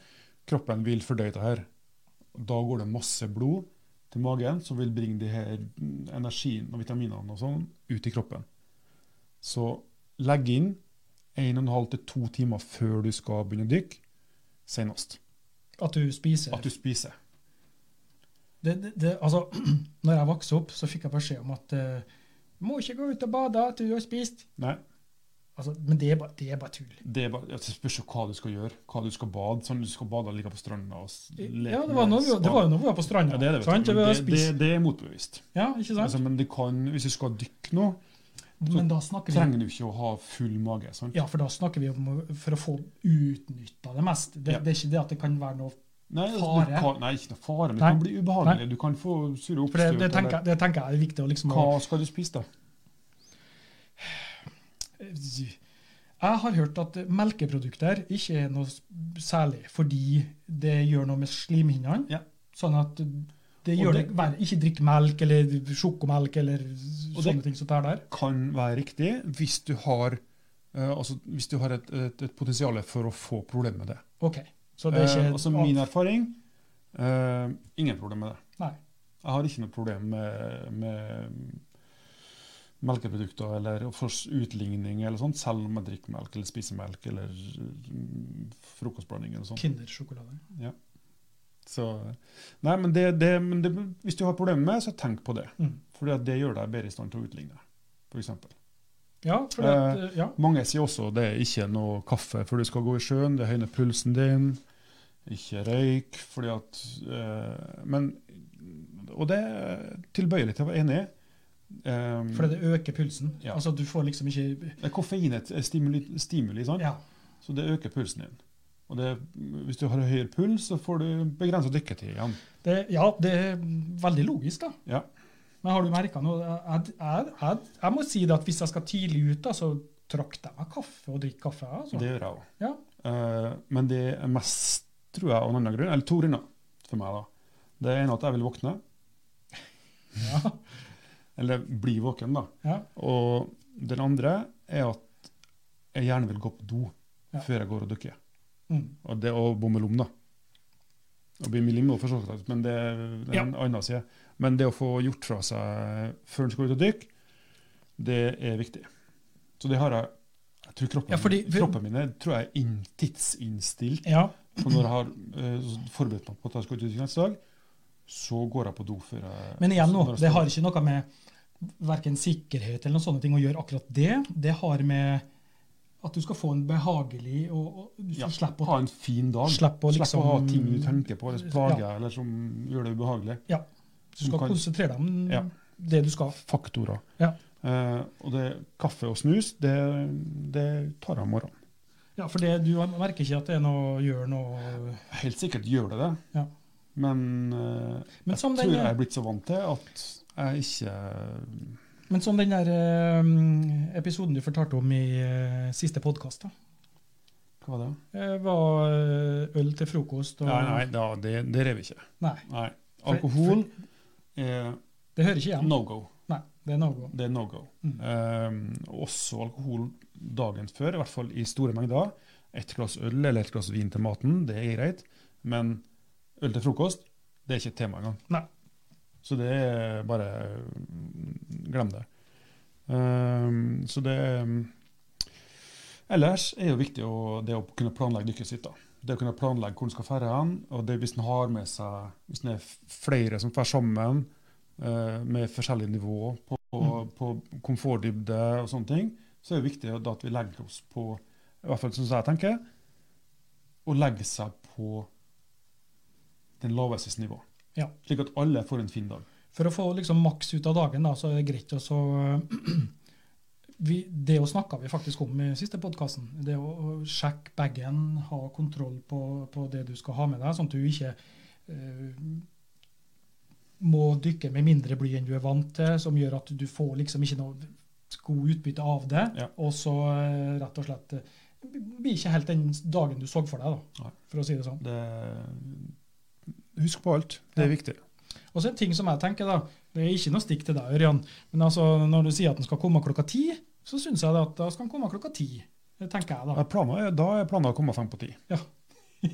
Speaker 1: kroppen vil fordøye det her. Da går det masse blod til magen, som vil bringe de her energien og vitaminene og sånn ut i kroppen. Så legg inn 1,5 til 2 timer før du skal begynne å dykke, senest.
Speaker 2: At du spiser.
Speaker 1: At du spiser.
Speaker 2: Det, det, det, altså, *clears throat* når jeg vokste opp, så fikk jeg beskjed om at eh, du må ikke gå ut og bade til du har spist.
Speaker 1: Nei,
Speaker 2: Altså, men det er, bare, det er bare tull.
Speaker 1: det er bare, det spørs jo hva du skal gjøre. Hva du skal bade. Sånn du skal bade og ligge på stranda og s- leke
Speaker 2: Ja, det var når vi, det var jo når vi var på stranda.
Speaker 1: Ja, det er det,
Speaker 2: sant?
Speaker 1: vet du.
Speaker 2: Vi
Speaker 1: Men
Speaker 2: har
Speaker 1: Det, det,
Speaker 2: spist.
Speaker 1: det er motbevist.
Speaker 2: ja, ikke sant?
Speaker 1: Altså, men det kan, hvis du skal dykke nå,
Speaker 2: men da snakker vi
Speaker 1: trenger du ikke å ha full mage. Sant?
Speaker 2: ja, for da snakker vi om å- for å få utnytta det mest. Det,
Speaker 1: Ja.
Speaker 2: det er ikke det at det kan være noe
Speaker 1: Nei, altså, du
Speaker 2: Fare.
Speaker 1: Kan, nei, ikke noe fare, men det
Speaker 2: Nei.
Speaker 1: kan bli ubehagelig. Du kan få
Speaker 2: For
Speaker 1: sure
Speaker 2: det,
Speaker 1: oppstøt.
Speaker 2: det, tenker,
Speaker 1: eller-
Speaker 2: jeg- det tenker jeg er viktig å liksom
Speaker 1: Hva skal du spise, da?
Speaker 2: Jeg har hørt at melkeprodukter ikke er noe s- særlig fordi det gjør noe med slimhinnene.
Speaker 1: Ja.
Speaker 2: Sånn at det
Speaker 1: Og
Speaker 2: gjør det,
Speaker 1: det-
Speaker 2: verre. Ikke drikk melk eller sjokomelk eller
Speaker 1: Og
Speaker 2: sånne
Speaker 1: det-
Speaker 2: ting som det er der.
Speaker 1: Kan være riktig hvis du har, eh, altså, hvis du har et, et, et potensial for å få problemer med det.
Speaker 2: Ok, så det er ikke...
Speaker 1: Eh, altså, min erfaring eh, Ingen problem med det.
Speaker 2: Nei.
Speaker 1: Jeg har ikke noe problem med, med melkeprodukter eller fors- utligning eller sånt, selv om jeg drikker melk eller spiser melk eller mm, frokostblanding eller sånt.
Speaker 2: Kindersjokolade.
Speaker 1: Så, nei, men det, det, men det, hvis du har problemer med det, så tenk på det.
Speaker 2: Mm.
Speaker 1: For det gjør deg bedre i stand til å utligne, f.eks.
Speaker 2: Ja, for det, at,
Speaker 1: Eh.
Speaker 2: ja.
Speaker 1: Mange sier også det er ikke noe kaffe før du skal gå i sjøen, det høyner pulsen din. Ikke røyk, fordi at eh, Men Og det er tilbøyelig til å være enig i. Um,
Speaker 2: for det øker pulsen.
Speaker 1: Ja.
Speaker 2: Altså du får liksom ikke...
Speaker 1: det er koffein et et stimuli, stimuli sant?
Speaker 2: Ja,
Speaker 1: så det øker pulsen din. Og det, hvis du har høyere puls, så får du begrensa dykketid igjen.
Speaker 2: det, ja, det er veldig logisk da.
Speaker 1: Ja.
Speaker 2: Men har du merket noe? Jeg, jeg, jeg, jeg må si det at hvis jeg skal tidlig ut da, så trakter jeg meg kaffe og drikker kaffe. Altså.
Speaker 1: Det gjør jeg òg.
Speaker 2: Ja.
Speaker 1: men det er mest, tror jeg, av en annen grunn. Eller to grunner for meg. da. Det ene er at jeg vil våkne.
Speaker 2: Ja.
Speaker 1: Eller bli våken, da.
Speaker 2: Ja.
Speaker 1: Og den andre er at jeg gjerne vil gå på do
Speaker 2: Ja.
Speaker 1: før jeg går og dukker.
Speaker 2: Mm.
Speaker 1: Og det å bomme lom, da. Å bli milim for så vidt, men det er en
Speaker 2: Ja.
Speaker 1: annen side. Men det å få gjort fra seg før en skal ut og dykke, det er viktig. Så det har jeg Jeg tror kroppen,
Speaker 2: Ja, fordi-
Speaker 1: kroppen min er- tror jeg er inn, tidsinnstilt.
Speaker 2: ja.
Speaker 1: For når jeg har eh, forberedt meg på at jeg skal ut og dykke neste dag, så går jeg på do før jeg
Speaker 2: Men igjen nå,
Speaker 1: når jeg
Speaker 2: det
Speaker 1: står
Speaker 2: har
Speaker 1: opp.
Speaker 2: ikke noe med verken sikkerhet eller noen sånne ting å gjøre akkurat det. Det har med at du skal få en behagelig og, og du skal
Speaker 1: ja,
Speaker 2: slippe
Speaker 1: Ha
Speaker 2: å
Speaker 1: en fin dag.
Speaker 2: Slipp å liksom-
Speaker 1: ha ting du tenker på, eller plager, eller som gjør det ubehagelig.
Speaker 2: Du skal
Speaker 1: du kan-
Speaker 2: konsentrere deg om
Speaker 1: Ja.
Speaker 2: det du skal.
Speaker 1: faktorer.
Speaker 2: Ja.
Speaker 1: Eh, og det, kaffe og snus, det, det tar jeg om morgenen.
Speaker 2: Ja, for det, du merker ikke at det er noe gjør noe
Speaker 1: Helt sikkert gjør det det,
Speaker 2: Ja.
Speaker 1: men eh,
Speaker 2: Men som
Speaker 1: jeg tror jeg
Speaker 2: den,
Speaker 1: er blitt så vant til at jeg ikke
Speaker 2: men som den der eh, episoden du fortalte om i eh, siste podkast, da.
Speaker 1: Hva var det?
Speaker 2: eh, Var eh, øl til frokost og
Speaker 1: Nei, nei da, det, det rev ikke.
Speaker 2: Nei,
Speaker 1: Nei.
Speaker 2: For-
Speaker 1: Alkohol er
Speaker 2: Det hører ikke igjen.
Speaker 1: no go.
Speaker 2: Nei, det er no-go.
Speaker 1: Det er no go.
Speaker 2: Mm.
Speaker 1: Eh, også alkohol dagen før, i hvert fall i store mengder. Et glass øl eller et glass vin til maten, det er greit. Men øl til frokost, det er ikke et tema engang.
Speaker 2: Nei.
Speaker 1: Så det er bare mm, Glem det. Eh, så det eh, Ellers er jo viktig å, det å kunne planlegge dykket sitt. da. Det å kunne planlegge hvor en skal ferde hen. Og det hvis en har med seg Hvis en er f- flere som fer sammen, eh, med forskjellig nivå på på, på komfortdybde og sånne ting, så er det viktig da at vi legger oss på i hvert fall sånn som jeg tenker, å legge seg på den laveste nivå.
Speaker 2: Ja.
Speaker 1: Slik at alle får en fin dag.
Speaker 2: For å få liksom maks ut av dagen, da, så er det greit å så- *clears throat* vi, Det jo snakka vi faktisk om i siste podkasten. Det å å sjekke bagen, ha kontroll på, på det du skal ha med deg, sånn at du ikke eh, må dykke med mindre bly enn du er vant til, som gjør at du får liksom ikke noe god utbytte av det.
Speaker 1: Ja.
Speaker 2: Og så eh, rett og slett eh, blir ikke helt den dagen du så for deg, da,
Speaker 1: Nei.
Speaker 2: for å si det sånn.
Speaker 1: Det, husk på alt. Det er viktig.
Speaker 2: Og så en ting som jeg tenker da, det er ikke noe stikk til deg, Ørjan, men altså, når du sier at den skal komme klokka ti, så syns jeg da at da skal den komme klokka ti. Det tenker jeg da.
Speaker 1: Ja, planen er- Da er planen å komme fem på ti.
Speaker 2: Ja.
Speaker 1: *laughs*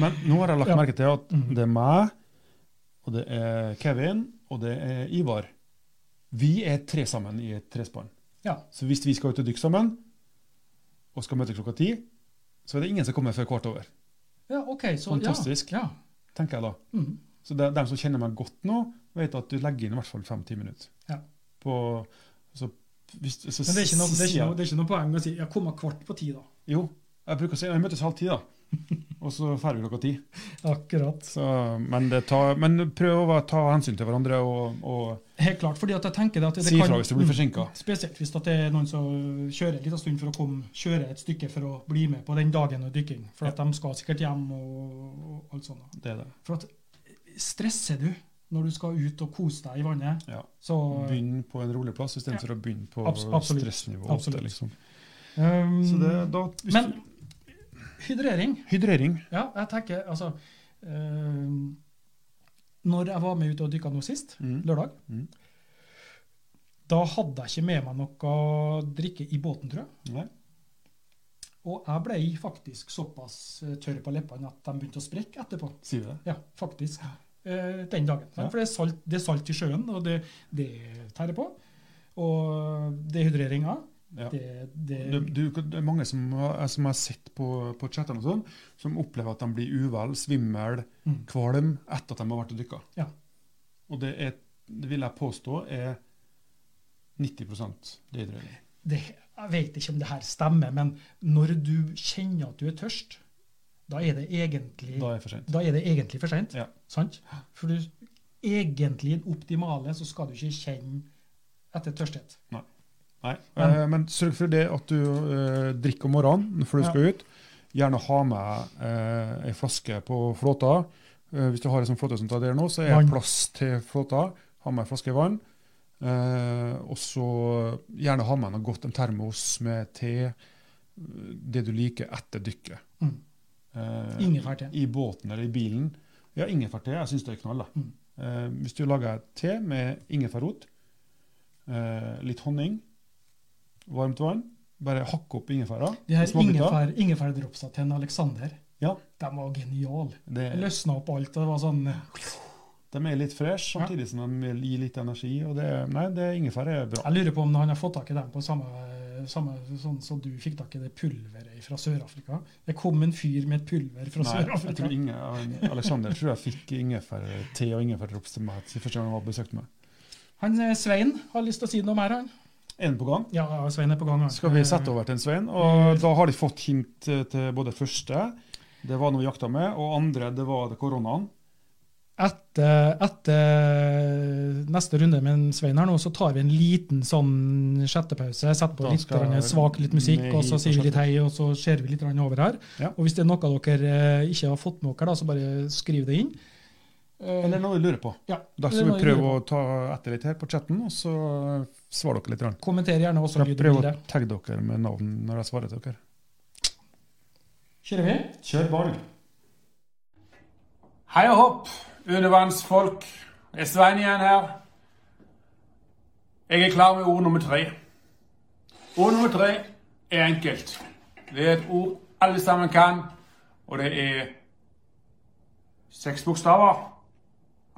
Speaker 1: Men nå har jeg lagt
Speaker 2: Ja.
Speaker 1: merke til at
Speaker 2: Mhm.
Speaker 1: det er meg, og det er Kevin, og det er Ivar. Vi er tre sammen i et trespann.
Speaker 2: Ja.
Speaker 1: Så hvis vi skal ut og dykke sammen, og skal møte klokka ti, så er det ingen som kommer før kvart over.
Speaker 2: Ja, ok. Så,
Speaker 1: Fantastisk.
Speaker 2: Ja,
Speaker 1: tenker jeg da.
Speaker 2: ja. Mm.
Speaker 1: Så det, dem som kjenner meg godt nå, vet at du legger inn i hvert fall fem-ti minutter.
Speaker 2: Ja.
Speaker 1: På, så, hvis, så,
Speaker 2: Men det er, ikke noe, det, er
Speaker 1: sier jeg-
Speaker 2: ikke noe, det er ikke noe poeng å si jeg kommer kvart på ti, da.
Speaker 1: Jo, jeg bruker å si «Ja, vi møtes halv *laughs* ti, da. Og så ferdig klokka ti.
Speaker 2: Akkurat.
Speaker 1: Så, men, det tar, men prøv å være- ta hensyn til hverandre og, og
Speaker 2: Helt klart, fordi at jeg tenker det at det
Speaker 1: si ifra hvis du blir forsinka.
Speaker 2: Spesielt hvis at det er noen som kjører en liten stund for å komme, kjøre et stykke for å bli med på den dagen og dykking. For at de skal sikkert hjem og, og alt sånt. da.
Speaker 1: Det er det.
Speaker 2: For at stresser du når du skal ut og kose deg i vannet,
Speaker 1: Ja.
Speaker 2: så
Speaker 1: Begynn på en rolig plass istedenfor for å begynne på
Speaker 2: Abs- absolutt.
Speaker 1: stressnivå.
Speaker 2: Absolutt.
Speaker 1: Åtte, liksom.
Speaker 2: um,
Speaker 1: Så det, da, hvis
Speaker 2: Men
Speaker 1: du,
Speaker 2: hydrering
Speaker 1: hydrering.
Speaker 2: Ja, jeg tenker altså um, Når jeg var med ut og dykka nå sist,
Speaker 1: Mm.
Speaker 2: lørdag,
Speaker 1: Mm.
Speaker 2: da hadde jeg ikke med meg noe drikke i båten, tror jeg.
Speaker 1: Nei.
Speaker 2: Og jeg ble faktisk såpass eh, tørr på leppene at de begynte å sprekke etterpå.
Speaker 1: Si det.
Speaker 2: Ja, faktisk. Eh, den dagen. sant?
Speaker 1: Ja.
Speaker 2: For det er, salt, det er salt i sjøen, og det, det tærer på. Og dehydreringa,
Speaker 1: Ja.
Speaker 2: det, det,
Speaker 1: Det, du, det er mange som, har- eh, som har sett på, på chattene og sånn, som opplever at de blir uvel, svimmel,
Speaker 2: Mm.
Speaker 1: kvalm etter at de har vært og dykka.
Speaker 2: Ja.
Speaker 1: Og det, er, det vil jeg påstå er 90 dehydrering.
Speaker 2: det Jeg vet ikke om det her stemmer, men når du kjenner at du er tørst, da er det egentlig
Speaker 1: Da er det for sent.
Speaker 2: da er det egentlig for seint.
Speaker 1: Ja.
Speaker 2: Sant? For du, egentlig i det optimale så skal du ikke kjenne etter tørsthet.
Speaker 1: Nei.
Speaker 2: Men-
Speaker 1: eh, men sørg for det at du eh, drikker om morgenen før du
Speaker 2: Ja.
Speaker 1: skal ut. Gjerne ha med eh, ei flaske på flåta. Eh, hvis du har ei sånn flåte som tar der nå, så er
Speaker 2: Vann.
Speaker 1: det plass til flåta. Ha med ei flaske vann. Eh, og så gjerne ha med noe godt, en termos med te. Det du liker etter dykket.
Speaker 2: Mm.
Speaker 1: Eh,
Speaker 2: Ingefærte.
Speaker 1: I båten eller i bilen. Ja, ingefærte. Jeg syns det er knall. da.
Speaker 2: Mm.
Speaker 1: Eh, hvis du lager te med ingefærrot, eh, litt honning, varmt vann Bare hakke opp ingefæra.
Speaker 2: De her
Speaker 1: i småbiter.
Speaker 2: ingefær, ingefærdropsa til en Alexander,
Speaker 1: Ja.
Speaker 2: de var geniale.
Speaker 1: Det,
Speaker 2: Løsna opp alt, og det var sånn
Speaker 1: de er litt fresh,
Speaker 2: Ja.
Speaker 1: samtidig som de vil gi litt energi. Og det, nei, det ingefær er bra.
Speaker 2: Jeg lurer på om han har fått tak i dem på samme, samme sånn som du fikk tak i det pulveret fra Sør-Afrika. Det kom en fyr med et pulver fra
Speaker 1: Nei, jeg
Speaker 2: Sør-Afrika.
Speaker 1: tror Inge, Alexander tror jeg fikk ingefærte og ingefærdrops til meg til første gang han var besøkte meg.
Speaker 2: Han eh, Svein har lyst til å si noe mer, han.
Speaker 1: Er den på gang?
Speaker 2: Ja, Svein er på gang. han.
Speaker 1: Skal vi sette over til en Svein?
Speaker 2: Mm.
Speaker 1: Og da har de fått hint eh, til både første, det var noe vi jakta med, og andre, det var det koronaen.
Speaker 2: Eh, Etter, etter neste runde med en Svein her nå, så tar vi en liten sånn sjettepause. Setter på
Speaker 1: Da
Speaker 2: litt
Speaker 1: skal
Speaker 2: grann svak litt musikk,
Speaker 1: vi
Speaker 2: og så
Speaker 1: hit og
Speaker 2: sier vi litt hei, og så ser vi litt grann over her.
Speaker 1: Ja.
Speaker 2: Og hvis det er noe dere eh, ikke har fått med dere, da, så bare skriv det inn. Eh,
Speaker 1: Eller noe vi lurer på.
Speaker 2: Ja,
Speaker 1: Da
Speaker 2: det
Speaker 1: skal
Speaker 2: er
Speaker 1: vi
Speaker 2: noe
Speaker 1: prøve
Speaker 2: lurer
Speaker 1: å ta etter litt her på chatten, og så svarer dere litt. grann.
Speaker 2: på. Kommenter gjerne også
Speaker 1: Skal jeg
Speaker 2: lyd og
Speaker 1: prøve å
Speaker 2: bilde.
Speaker 1: tagge dere med navn når jeg svarer til dere.
Speaker 2: Kjører vi?
Speaker 1: Kjør ball.
Speaker 3: Hei og hopp, undervannsfolk. Det er Svein igjen her. Jeg er klar med ord nummer tre. Ord nummer tre er enkelt. Det er et ord alle sammen kan, og det er seks bokstaver.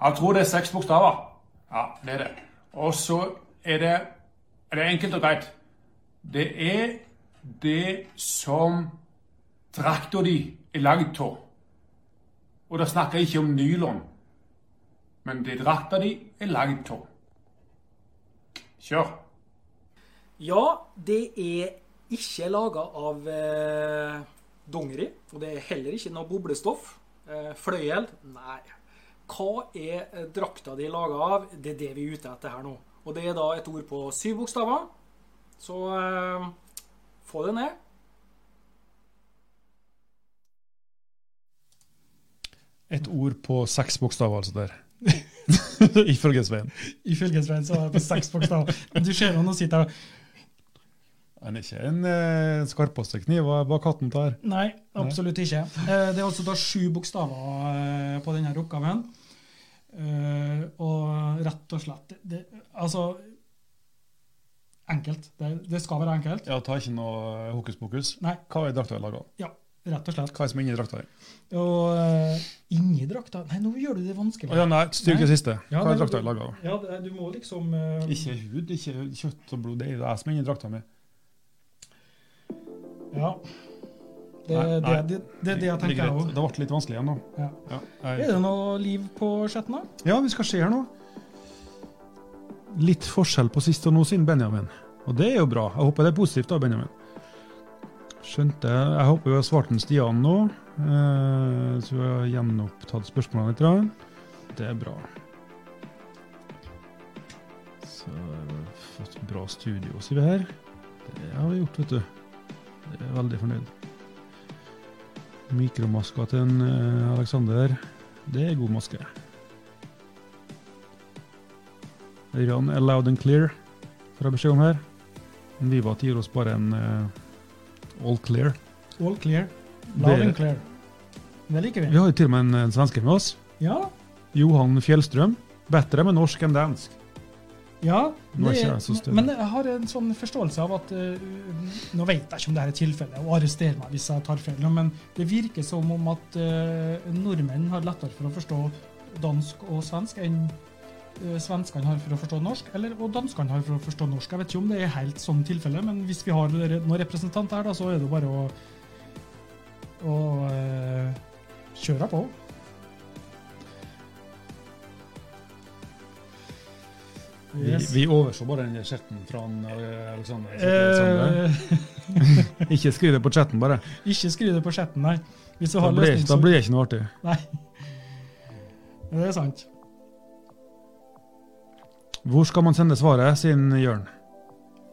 Speaker 3: Jeg tror det er seks bokstaver. Ja, det er det. Og så er det, er det enkelt og greit. Det er det som drakta di er lagd av. Og da snakker jeg ikke om nylon, men det drakta di er lagd av. Kjør.
Speaker 4: Ja, det er ikke laga av eh, dongeri, og det er heller ikke noe boblestoff. Eh, fløyel? Nei. Hva er eh, drakta di laga av? Det er det vi er ute etter her nå. Og det er da et ord på syv bokstaver. Så eh, få det ned.
Speaker 1: Et ord på seks bokstaver, altså
Speaker 2: *laughs*
Speaker 1: der. Ifølge Svein.
Speaker 2: Ifølge Svein så er det på seks bokstaver. Men Du ser jo nå sitter jeg
Speaker 1: Han er ikke en eh, skarpastekniv hva- hva katten tar.
Speaker 2: Nei, absolutt ikke. Eh, Det er altså da sju bokstaver eh, på denne oppgaven. Eh, Og rett og slett det- det, Altså Enkelt. Det, det skal være enkelt.
Speaker 1: Ja, ta ikke noe hokus pokus.
Speaker 2: Nei,
Speaker 1: Hva er drakta laga av?
Speaker 2: ja. Rett og slett.
Speaker 1: Hva er det som er inni drakta? her?
Speaker 2: Og eh, inni drakta Nei, nå gjør du det vanskelig.
Speaker 1: Å ja, nei, styrk det siste.
Speaker 2: Ja,
Speaker 1: Hva er
Speaker 2: nei,
Speaker 1: drakta laga av?
Speaker 2: Ja, det- du må liksom eh,
Speaker 1: Ikke hud, ikke kjøtt og blod. Det er jo jeg som er inni drakta mi.
Speaker 2: Ja. Det
Speaker 1: Nei,
Speaker 2: er det,
Speaker 1: nei.
Speaker 2: det, det, er det jeg tenker, jeg
Speaker 1: greit.
Speaker 2: òg.
Speaker 1: Det ble litt vanskelig igjen nå.
Speaker 2: Ja.
Speaker 1: Ja,
Speaker 2: Er
Speaker 1: jeg,
Speaker 2: det noe liv på chatten, da?
Speaker 1: ja, vi skal se her nå. Litt forskjell på sist og nå, siden Benjamin. Og det er jo bra. Jeg håper det er positivt, da, Benjamin. Skjønte. Jeg håper vi har svart en Stian nå. Eh, Så vi har gjenopptatt spørsmålene litt. grann. Det er bra. Så har vi fått bra studio, sier vi her. Det har vi gjort, vet du. Jeg er veldig fornøyd. Mikromaska til en eh, Alexander. Det er god maske. Ørjan er loud and clear, får jeg beskjed om her. Vivat gir oss bare en eh, all clear.
Speaker 2: All clear. Loud
Speaker 1: Dere-
Speaker 2: and clear. Det liker
Speaker 1: Vi
Speaker 2: vi.
Speaker 1: har jo til og med en, en svenske med oss.
Speaker 2: Ja.
Speaker 1: Johan Fjellstrøm. Bedre med norsk enn dansk.
Speaker 2: ja
Speaker 1: Nå er
Speaker 2: det-
Speaker 1: ikke jeg så stødig.
Speaker 2: men jeg har en sånn forståelse av at eh, Nå vet jeg ikke om det her er tilfellet, og arrester meg hvis jeg tar feil, men det virker som om at eh, nordmenn har lettere for å forstå dansk og svensk enn eh, svenskene har for å forstå norsk, eller, og danskene har for å forstå norsk. Jeg vet ikke om det er helt sånn tilfelle, men hvis vi har dere- noen representant her, da, så er det jo bare å, å eh, kjøre på. Yes.
Speaker 1: Vi, vi overså bare den chatten fra han, eh, Alexander. Alexander.
Speaker 2: Eh, *laughs*
Speaker 1: Ikke skriv det på chatten, bare.
Speaker 2: Ikke skru det på chatten, nei. Hvis du
Speaker 1: Da
Speaker 2: har
Speaker 1: blir,
Speaker 2: løsning,
Speaker 1: da
Speaker 2: så
Speaker 1: blir det ikke noe artig.
Speaker 2: Nei. Det er sant.
Speaker 1: Hvor skal man sende svaret, siden Jørn?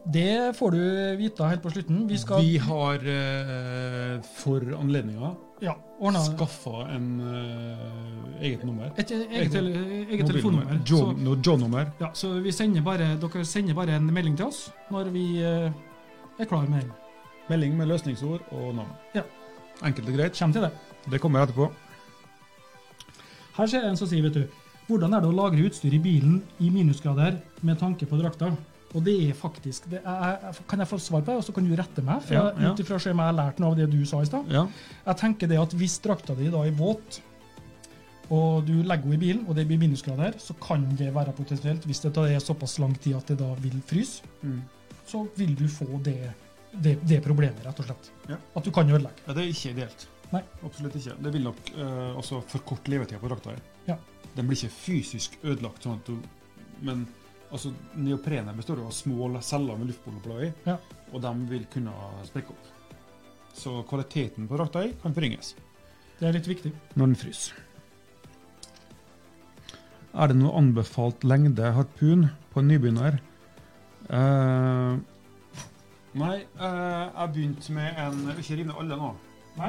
Speaker 2: Det får du vite helt på slutten. Vi skal
Speaker 1: Vi har eh, for anledninga
Speaker 2: ja, ordne
Speaker 1: skaffa en eh, eget nummer.
Speaker 2: et e- eget, tele- eget
Speaker 1: Mobilnummer.
Speaker 2: telefonnummer. Så,
Speaker 1: John- no, John-nummer.
Speaker 2: ja, så vi sender bare, dere sender bare en melding til oss når vi eh, er klar med den.
Speaker 1: Melding med løsningsord og navn.
Speaker 2: Ja.
Speaker 1: Enkelt og greit.
Speaker 2: Kjem til det.
Speaker 1: Det kommer etterpå.
Speaker 2: Her ser jeg en som sier, vet du, hvordan er det å lagre utstyr i bilen i minusgrader med tanke på drakta? Og det er faktisk det er, er- Kan jeg få svar på det, og så kan du rette meg? For
Speaker 1: Ja, ja.
Speaker 2: Ut ifra om jeg har lært noe av det du sa i stad.
Speaker 1: Ja.
Speaker 2: Jeg tenker det at hvis drakta di da er våt, og du legger henne i bilen, og det blir minusgrader, så kan det være potensielt, hvis det tar- er såpass lang tid at det da vil fryse,
Speaker 1: Mm.
Speaker 2: så vil du få det, det, det problemet, rett og slett.
Speaker 1: Ja.
Speaker 2: At du kan ødelegge.
Speaker 1: det er ikke ideelt.
Speaker 2: Nei.
Speaker 1: Absolutt ikke. Det vil nok eh, også forkorte levetida på drakta. her.
Speaker 2: Ja.
Speaker 1: Den blir ikke fysisk ødelagt, sånn at du, men altså, neoprenet består jo av små celler med luftbobler i,
Speaker 2: Ja.
Speaker 1: og de vil kunne sprekke opp. Så kvaliteten på drakta her kan forringes.
Speaker 2: Det er litt viktig.
Speaker 1: når den fryser. Er det noe anbefalt lengde harpun på en nybegynner? Eh, Nei, eh, jeg begynte med en Ikke riv ned alle nå.
Speaker 2: Nei.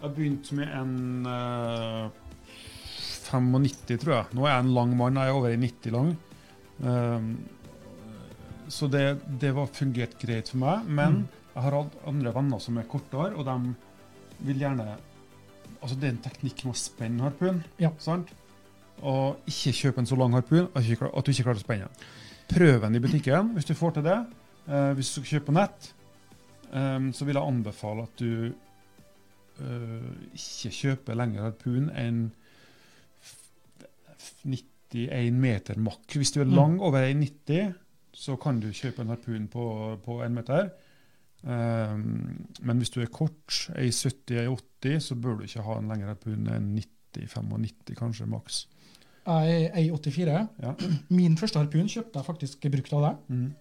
Speaker 1: Jeg begynte med en eh, 95, tror jeg. Nå er jeg en lang mann, jeg er over i 90 lang. Eh, så det, det var fungert greit for meg, men
Speaker 2: Mm.
Speaker 1: jeg har hatt andre venner som er kortere, og de vil gjerne Altså, det er en teknikk med å spenne harpun,
Speaker 2: Ja.
Speaker 1: sant? Og ikke kjøpe en så lang harpun at du ikke klar- at du ikke klarer å spenne den. Prøv den i butikken hvis du får til det. Eh, hvis du skal kjøpe på nett, eh, så vil jeg anbefale at du eh, ikke kjøper lengre harpun enn f- 91 meter makk. Hvis du er
Speaker 2: Mm.
Speaker 1: lang over 1,90, så kan du kjøpe en harpun på, på 1 meter. Ehm, men hvis du er kort, 1,70-1,80, så bør du ikke ha en lengre harpun enn 90-95, kanskje maks.
Speaker 2: Jeg er 1,84.
Speaker 1: Ja.
Speaker 2: Min første harpun kjøpte jeg faktisk brukt av deg.
Speaker 1: Mhm.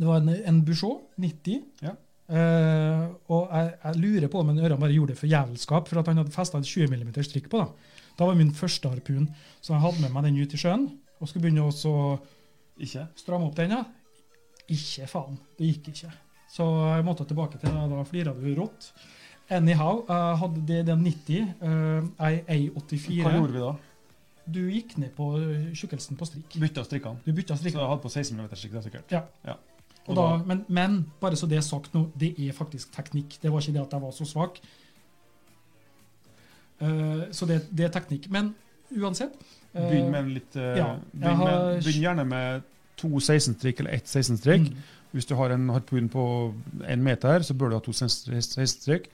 Speaker 2: Det var en, en Peugeot 90.
Speaker 1: Ja.
Speaker 2: Eh, og jeg, jeg lurer på om en Ørjan bare gjorde det for jævelskap, for at han hadde festa en 20 mm strikk på. Da Da var min første harpun. Så jeg hadde med meg den ut i sjøen og skulle begynne å så
Speaker 1: Ikke?
Speaker 2: stramme opp den. Ja. Ikke faen. Det gikk ikke. Så jeg måtte tilbake til det. Da flira du rått. Anyhow, jeg hadde det, den 90. eh, Jeg er
Speaker 1: Hva
Speaker 2: 1,84.
Speaker 1: gjorde vi da?
Speaker 2: Du gikk ned på tjukkelsen på strikk.
Speaker 1: Bytta strikkene.
Speaker 2: Du bytta
Speaker 1: Så
Speaker 2: strikk.
Speaker 1: jeg hadde på 16 mm strikk, da sikkert.
Speaker 2: Ja.
Speaker 1: Ja.
Speaker 2: Og da, men, men bare så det er sagt nå, det er faktisk teknikk. Det var ikke det at jeg var så svak. Eh, så det, det er teknikk. Men uansett eh,
Speaker 1: Begynn med en litt eh,
Speaker 2: ja, jeg
Speaker 1: begynn,
Speaker 2: har-
Speaker 1: med, begynn gjerne med to 16-strikk eller ett 16-strikk.
Speaker 2: Mm.
Speaker 1: Hvis du har en harpun på én meter, så bør du ha to 16-strikk.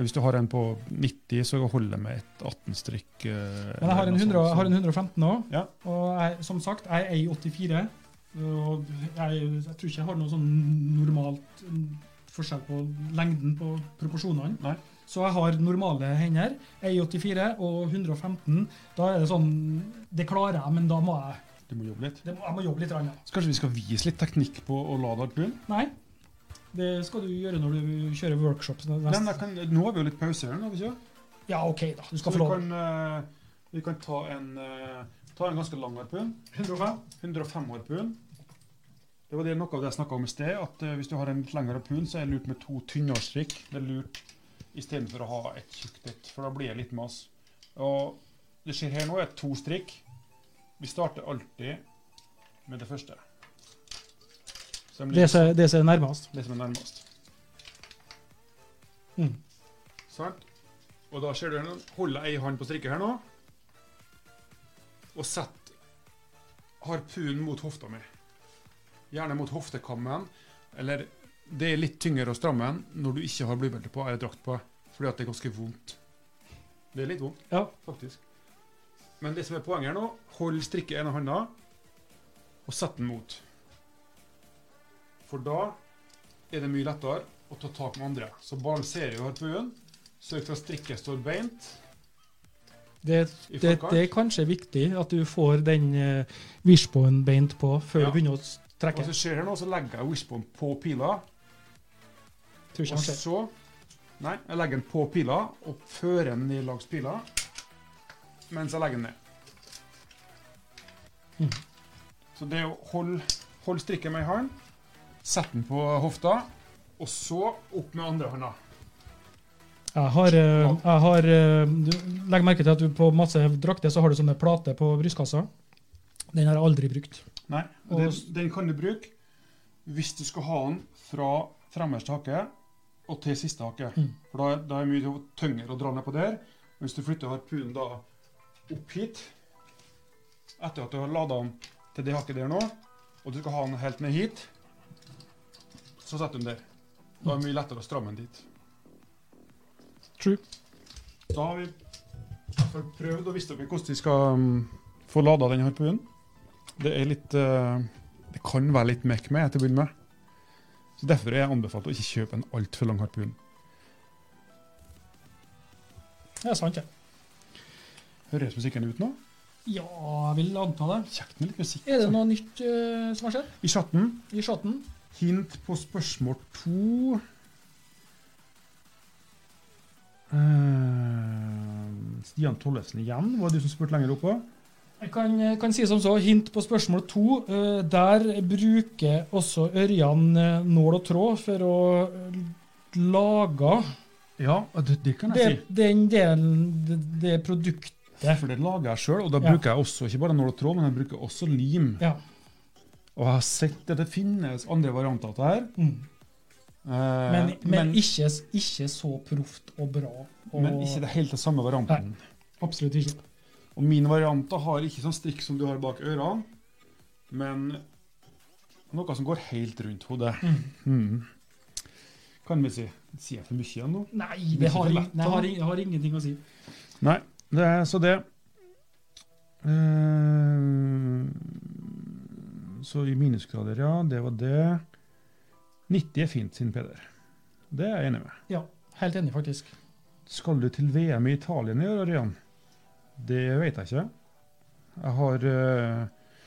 Speaker 1: Hvis du har en på 90, så holder det med et eh, 18-strikk.
Speaker 2: Men jeg har en, 100, jeg har en 115 nå,
Speaker 1: Ja.
Speaker 2: og jeg, som sagt, jeg er i 84. Og jeg, jeg tror ikke jeg har noe sånn normalt mm, forskjell på lengden på proporsjonene.
Speaker 1: Nei.
Speaker 2: Så jeg har normale hender. Jeg er i 84 og 115. Da er det sånn Det klarer jeg, men da må jeg,
Speaker 1: Du må jobbe litt.
Speaker 2: det må, jeg må jobbe litt. Rann, ja.
Speaker 1: Så kanskje vi skal vise litt teknikk på å lade harpun?
Speaker 2: Nei. Det skal du gjøre når du kjører workshops.
Speaker 1: Nei,
Speaker 2: neste-
Speaker 1: men jeg kan, nå har vi jo litt pause her, nå, har vi ikke?
Speaker 2: Ja, OK, da. Du skal
Speaker 1: Så
Speaker 2: få
Speaker 1: vi
Speaker 2: lov.
Speaker 1: kan, eh, vi kan ta en, eh, ta en ganske lang harpun.
Speaker 2: 105.
Speaker 1: 105 harpun. Det var det noe av det jeg snakka om i sted, at eh, hvis du har en litt lengre harpun, så er det lurt med to tynnere strikk. Det er lurt istedenfor å ha et tjukt et, for da blir det litt mas. Og det skjer her nå, er to strikk. Vi starter alltid med det første. Som
Speaker 2: Det
Speaker 1: ligger-
Speaker 2: som det som er nærmest.
Speaker 1: det som er nærmest.
Speaker 2: Mm.
Speaker 1: Sant? Og da ser du her nå, holder ei hånd på strikket her nå, og setter harpunen mot hofta mi. Gjerne mot hoftekammen, eller det er litt tyngre å stramme enn når du ikke har blybelte på eller drakt på, fordi at det er ganske vondt. Det er litt vondt
Speaker 2: Ja.
Speaker 1: faktisk. Men det som er poenget her nå, hold strikket i ene hånda, og sett den mot. For da er det mye lettere å ta tak med andre. Så balanserer jo harpuen. Sørg for at strikket står beint.
Speaker 2: Det,
Speaker 1: I
Speaker 2: det,
Speaker 1: forkant.
Speaker 2: det er kanskje viktig at du får den uh, wishbone beint på før
Speaker 1: Ja.
Speaker 2: du begynner å s-
Speaker 1: Og
Speaker 2: trekke.
Speaker 1: så ser her nå, så legger jeg wishbone på pila,
Speaker 2: Tror ikke
Speaker 1: og
Speaker 2: han ser.
Speaker 1: så Nei, jeg legger den på pila, og fører den ned langs pila mens jeg legger den ned.
Speaker 2: Mhm.
Speaker 1: Så det er å holde hold strikken med ei hånd, sette den på hofta, og så opp med andre hånda.
Speaker 2: Jeg har, eh, jeg har eh, du- Legg merke til at du på masse drakter så har du sånne plater på brystkassa. Den har jeg aldri brukt.
Speaker 1: Nei,
Speaker 2: Og-
Speaker 1: den, den kan du bruke hvis du skal ha den fra fremmerste hake og til siste hake.
Speaker 2: Mm.
Speaker 1: For da, da er det mye tyngre å dra ned på der. Men Hvis du flytter harpunen da opp hit, etter at du har lada den til det hakket der nå, og du skal ha den helt ned hit, så setter du den der. Da er det mye lettere å stramme den dit.
Speaker 2: True.
Speaker 1: Da har vi i hvert fall prøvd å vise dere hvordan vi skal um, få lada den harpunen. Det er litt eh, Det kan være litt mekk med til å begynne med. Så Derfor er jeg anbefalt å ikke kjøpe en altfor lang harpun.
Speaker 2: Det er sant, det.
Speaker 1: Høres musikken ut nå?
Speaker 2: Ja, jeg vil anta det.
Speaker 1: Kjekt med litt musikk.
Speaker 2: Er det
Speaker 1: altså.
Speaker 2: noe nytt eh, som har skjedd
Speaker 1: I chatten
Speaker 2: i chatten?
Speaker 1: hint på spørsmål to Eh, Stian Tollefsen igjen, var det du som spurte lenger oppe?
Speaker 2: Jeg kan, kan si som så, hint på spørsmål to. Eh, Der bruker også Ørjan eh, nål og tråd for å eh, lage
Speaker 1: Ja, det, det kan
Speaker 2: det,
Speaker 1: jeg si.
Speaker 2: den delen, det, det produktet
Speaker 1: For det lager jeg sjøl, og da
Speaker 2: Ja.
Speaker 1: bruker jeg også ikke bare nål og tråd, men jeg bruker også lim.
Speaker 2: Ja.
Speaker 1: Og jeg har sett at det finnes andre varianter av det her.
Speaker 2: Mm.
Speaker 1: eh,
Speaker 2: Men, men,
Speaker 1: men,
Speaker 2: ikke, ikke så proft og bra. Og,
Speaker 1: men ikke det helt det samme varianten.
Speaker 2: Absolutt ikke.
Speaker 1: Og min variant da har ikke sånn strikk som du har bak ørene, men noe som går helt rundt hodet. Mm. Kan vi si. Sier jeg for mye igjen nå?
Speaker 2: Nei,
Speaker 1: Det er
Speaker 2: det
Speaker 1: ikke
Speaker 2: har,
Speaker 1: for
Speaker 2: ing-
Speaker 1: lett,
Speaker 2: nei,
Speaker 1: da.
Speaker 2: har, ing- har ingenting å si.
Speaker 1: Nei, det er så det. Eh, Så i minusgrader, ja. Det var det. 90 er fint, sin Peder. Det er jeg enig med.
Speaker 2: Ja, Helt enig, faktisk.
Speaker 1: Skal du til VM i Italien i år, Ørjan? Det vet jeg ikke. Jeg har eh,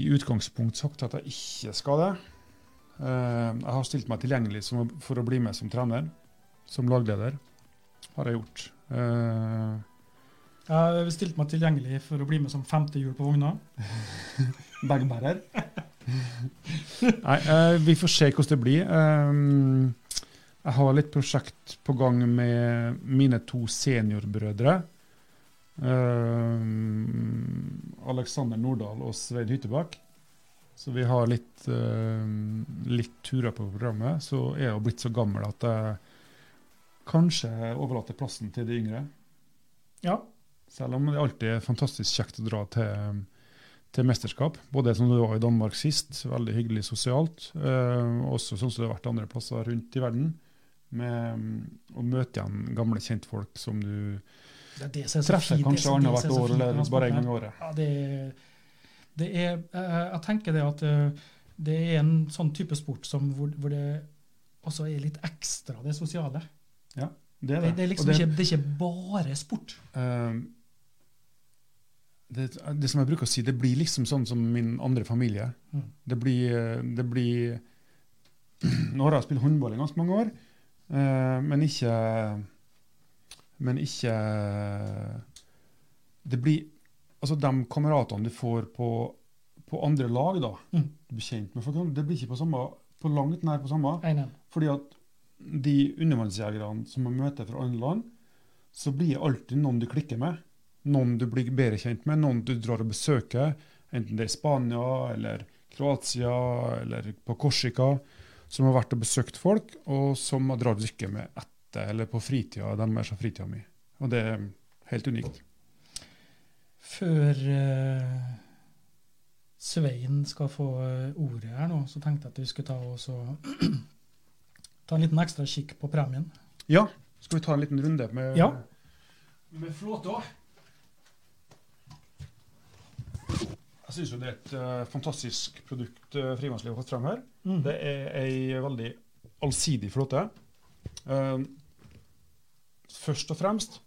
Speaker 1: i utgangspunkt sagt at jeg ikke skal det. Eh, jeg har stilt meg tilgjengelig som, for å bli med som trener, som lagleder. Har jeg gjort. Eh,
Speaker 2: Jeg har stilt meg tilgjengelig for å bli med som femte hjul på
Speaker 1: *laughs*
Speaker 2: vogna.
Speaker 1: Bagbærer. Nei, eh, vi får se hvordan det blir. Um, jeg har litt prosjekt på gang med mine to seniorbrødre. Um, Alexander Nordahl og Svein Hyttebakk. Så vi har litt, um, litt turer på programmet. Så er jeg jo blitt så gammel at jeg kanskje overlater plassen til de yngre.
Speaker 2: Ja.
Speaker 1: Selv om det alltid er fantastisk kjekt å dra til, til mesterskap. Både som det var i Danmark sist, veldig hyggelig sosialt. Eh, også sånn som det har vært andre plasser rundt i verden. Med mm, å møte igjen gamle kjentfolk som du
Speaker 2: Det er det som er så
Speaker 1: treffer
Speaker 2: fint, det er
Speaker 1: kanskje
Speaker 2: så- det som
Speaker 1: annethvert
Speaker 2: er så
Speaker 1: år
Speaker 2: fint med
Speaker 1: eller
Speaker 2: denne
Speaker 1: bare
Speaker 2: sporten
Speaker 1: en
Speaker 2: her.
Speaker 1: gang i året.
Speaker 2: Ja, det, det er eh, Jeg tenker det at eh, det er en sånn type sport som hvor, hvor det også er litt ekstra det sosiale.
Speaker 1: Det
Speaker 2: Det, det er liksom
Speaker 1: Og det-
Speaker 2: ikke, det er ikke bare sport.
Speaker 1: Ehm, det, det som jeg bruker å si, det blir liksom sånn som min andre familie.
Speaker 2: Mm.
Speaker 1: Det, blir, det blir *clears throat* Nå har jeg spilt håndball i ganske mange år, eh, men ikke Men ikke Det blir Altså, de kameratene du får på, på andre lag, da,
Speaker 2: Mm.
Speaker 1: du blir kjent med folk, det blir ikke på samme, på langt nær på samme.
Speaker 2: Jeg er enig.
Speaker 1: Fordi at de undervannsjegerne som man møter fra andre land, så blir det alltid noen du klikker med. Noen du blir bedre kjent med, noen du drar og besøker. Enten det er Spania eller Kroatia eller på Korsika, som har vært og besøkt folk, og som man drar og drikker med etter eller på fritida deres og fritida mi. Og det er helt unikt.
Speaker 2: Før eh, Svein skal få eh, ordet her nå, så tenkte jeg at vi skulle ta, og så- *clears throat* ta en liten ekstra kikk på premien.
Speaker 1: Ja, skal vi ta en liten runde med,
Speaker 2: Ja.
Speaker 1: med flåta? Jeg syns jo det er et eh, fantastisk produkt uh, frivannslivet har fått frem her. Det er ei veldig allsidig flåte. Eh, først og fremst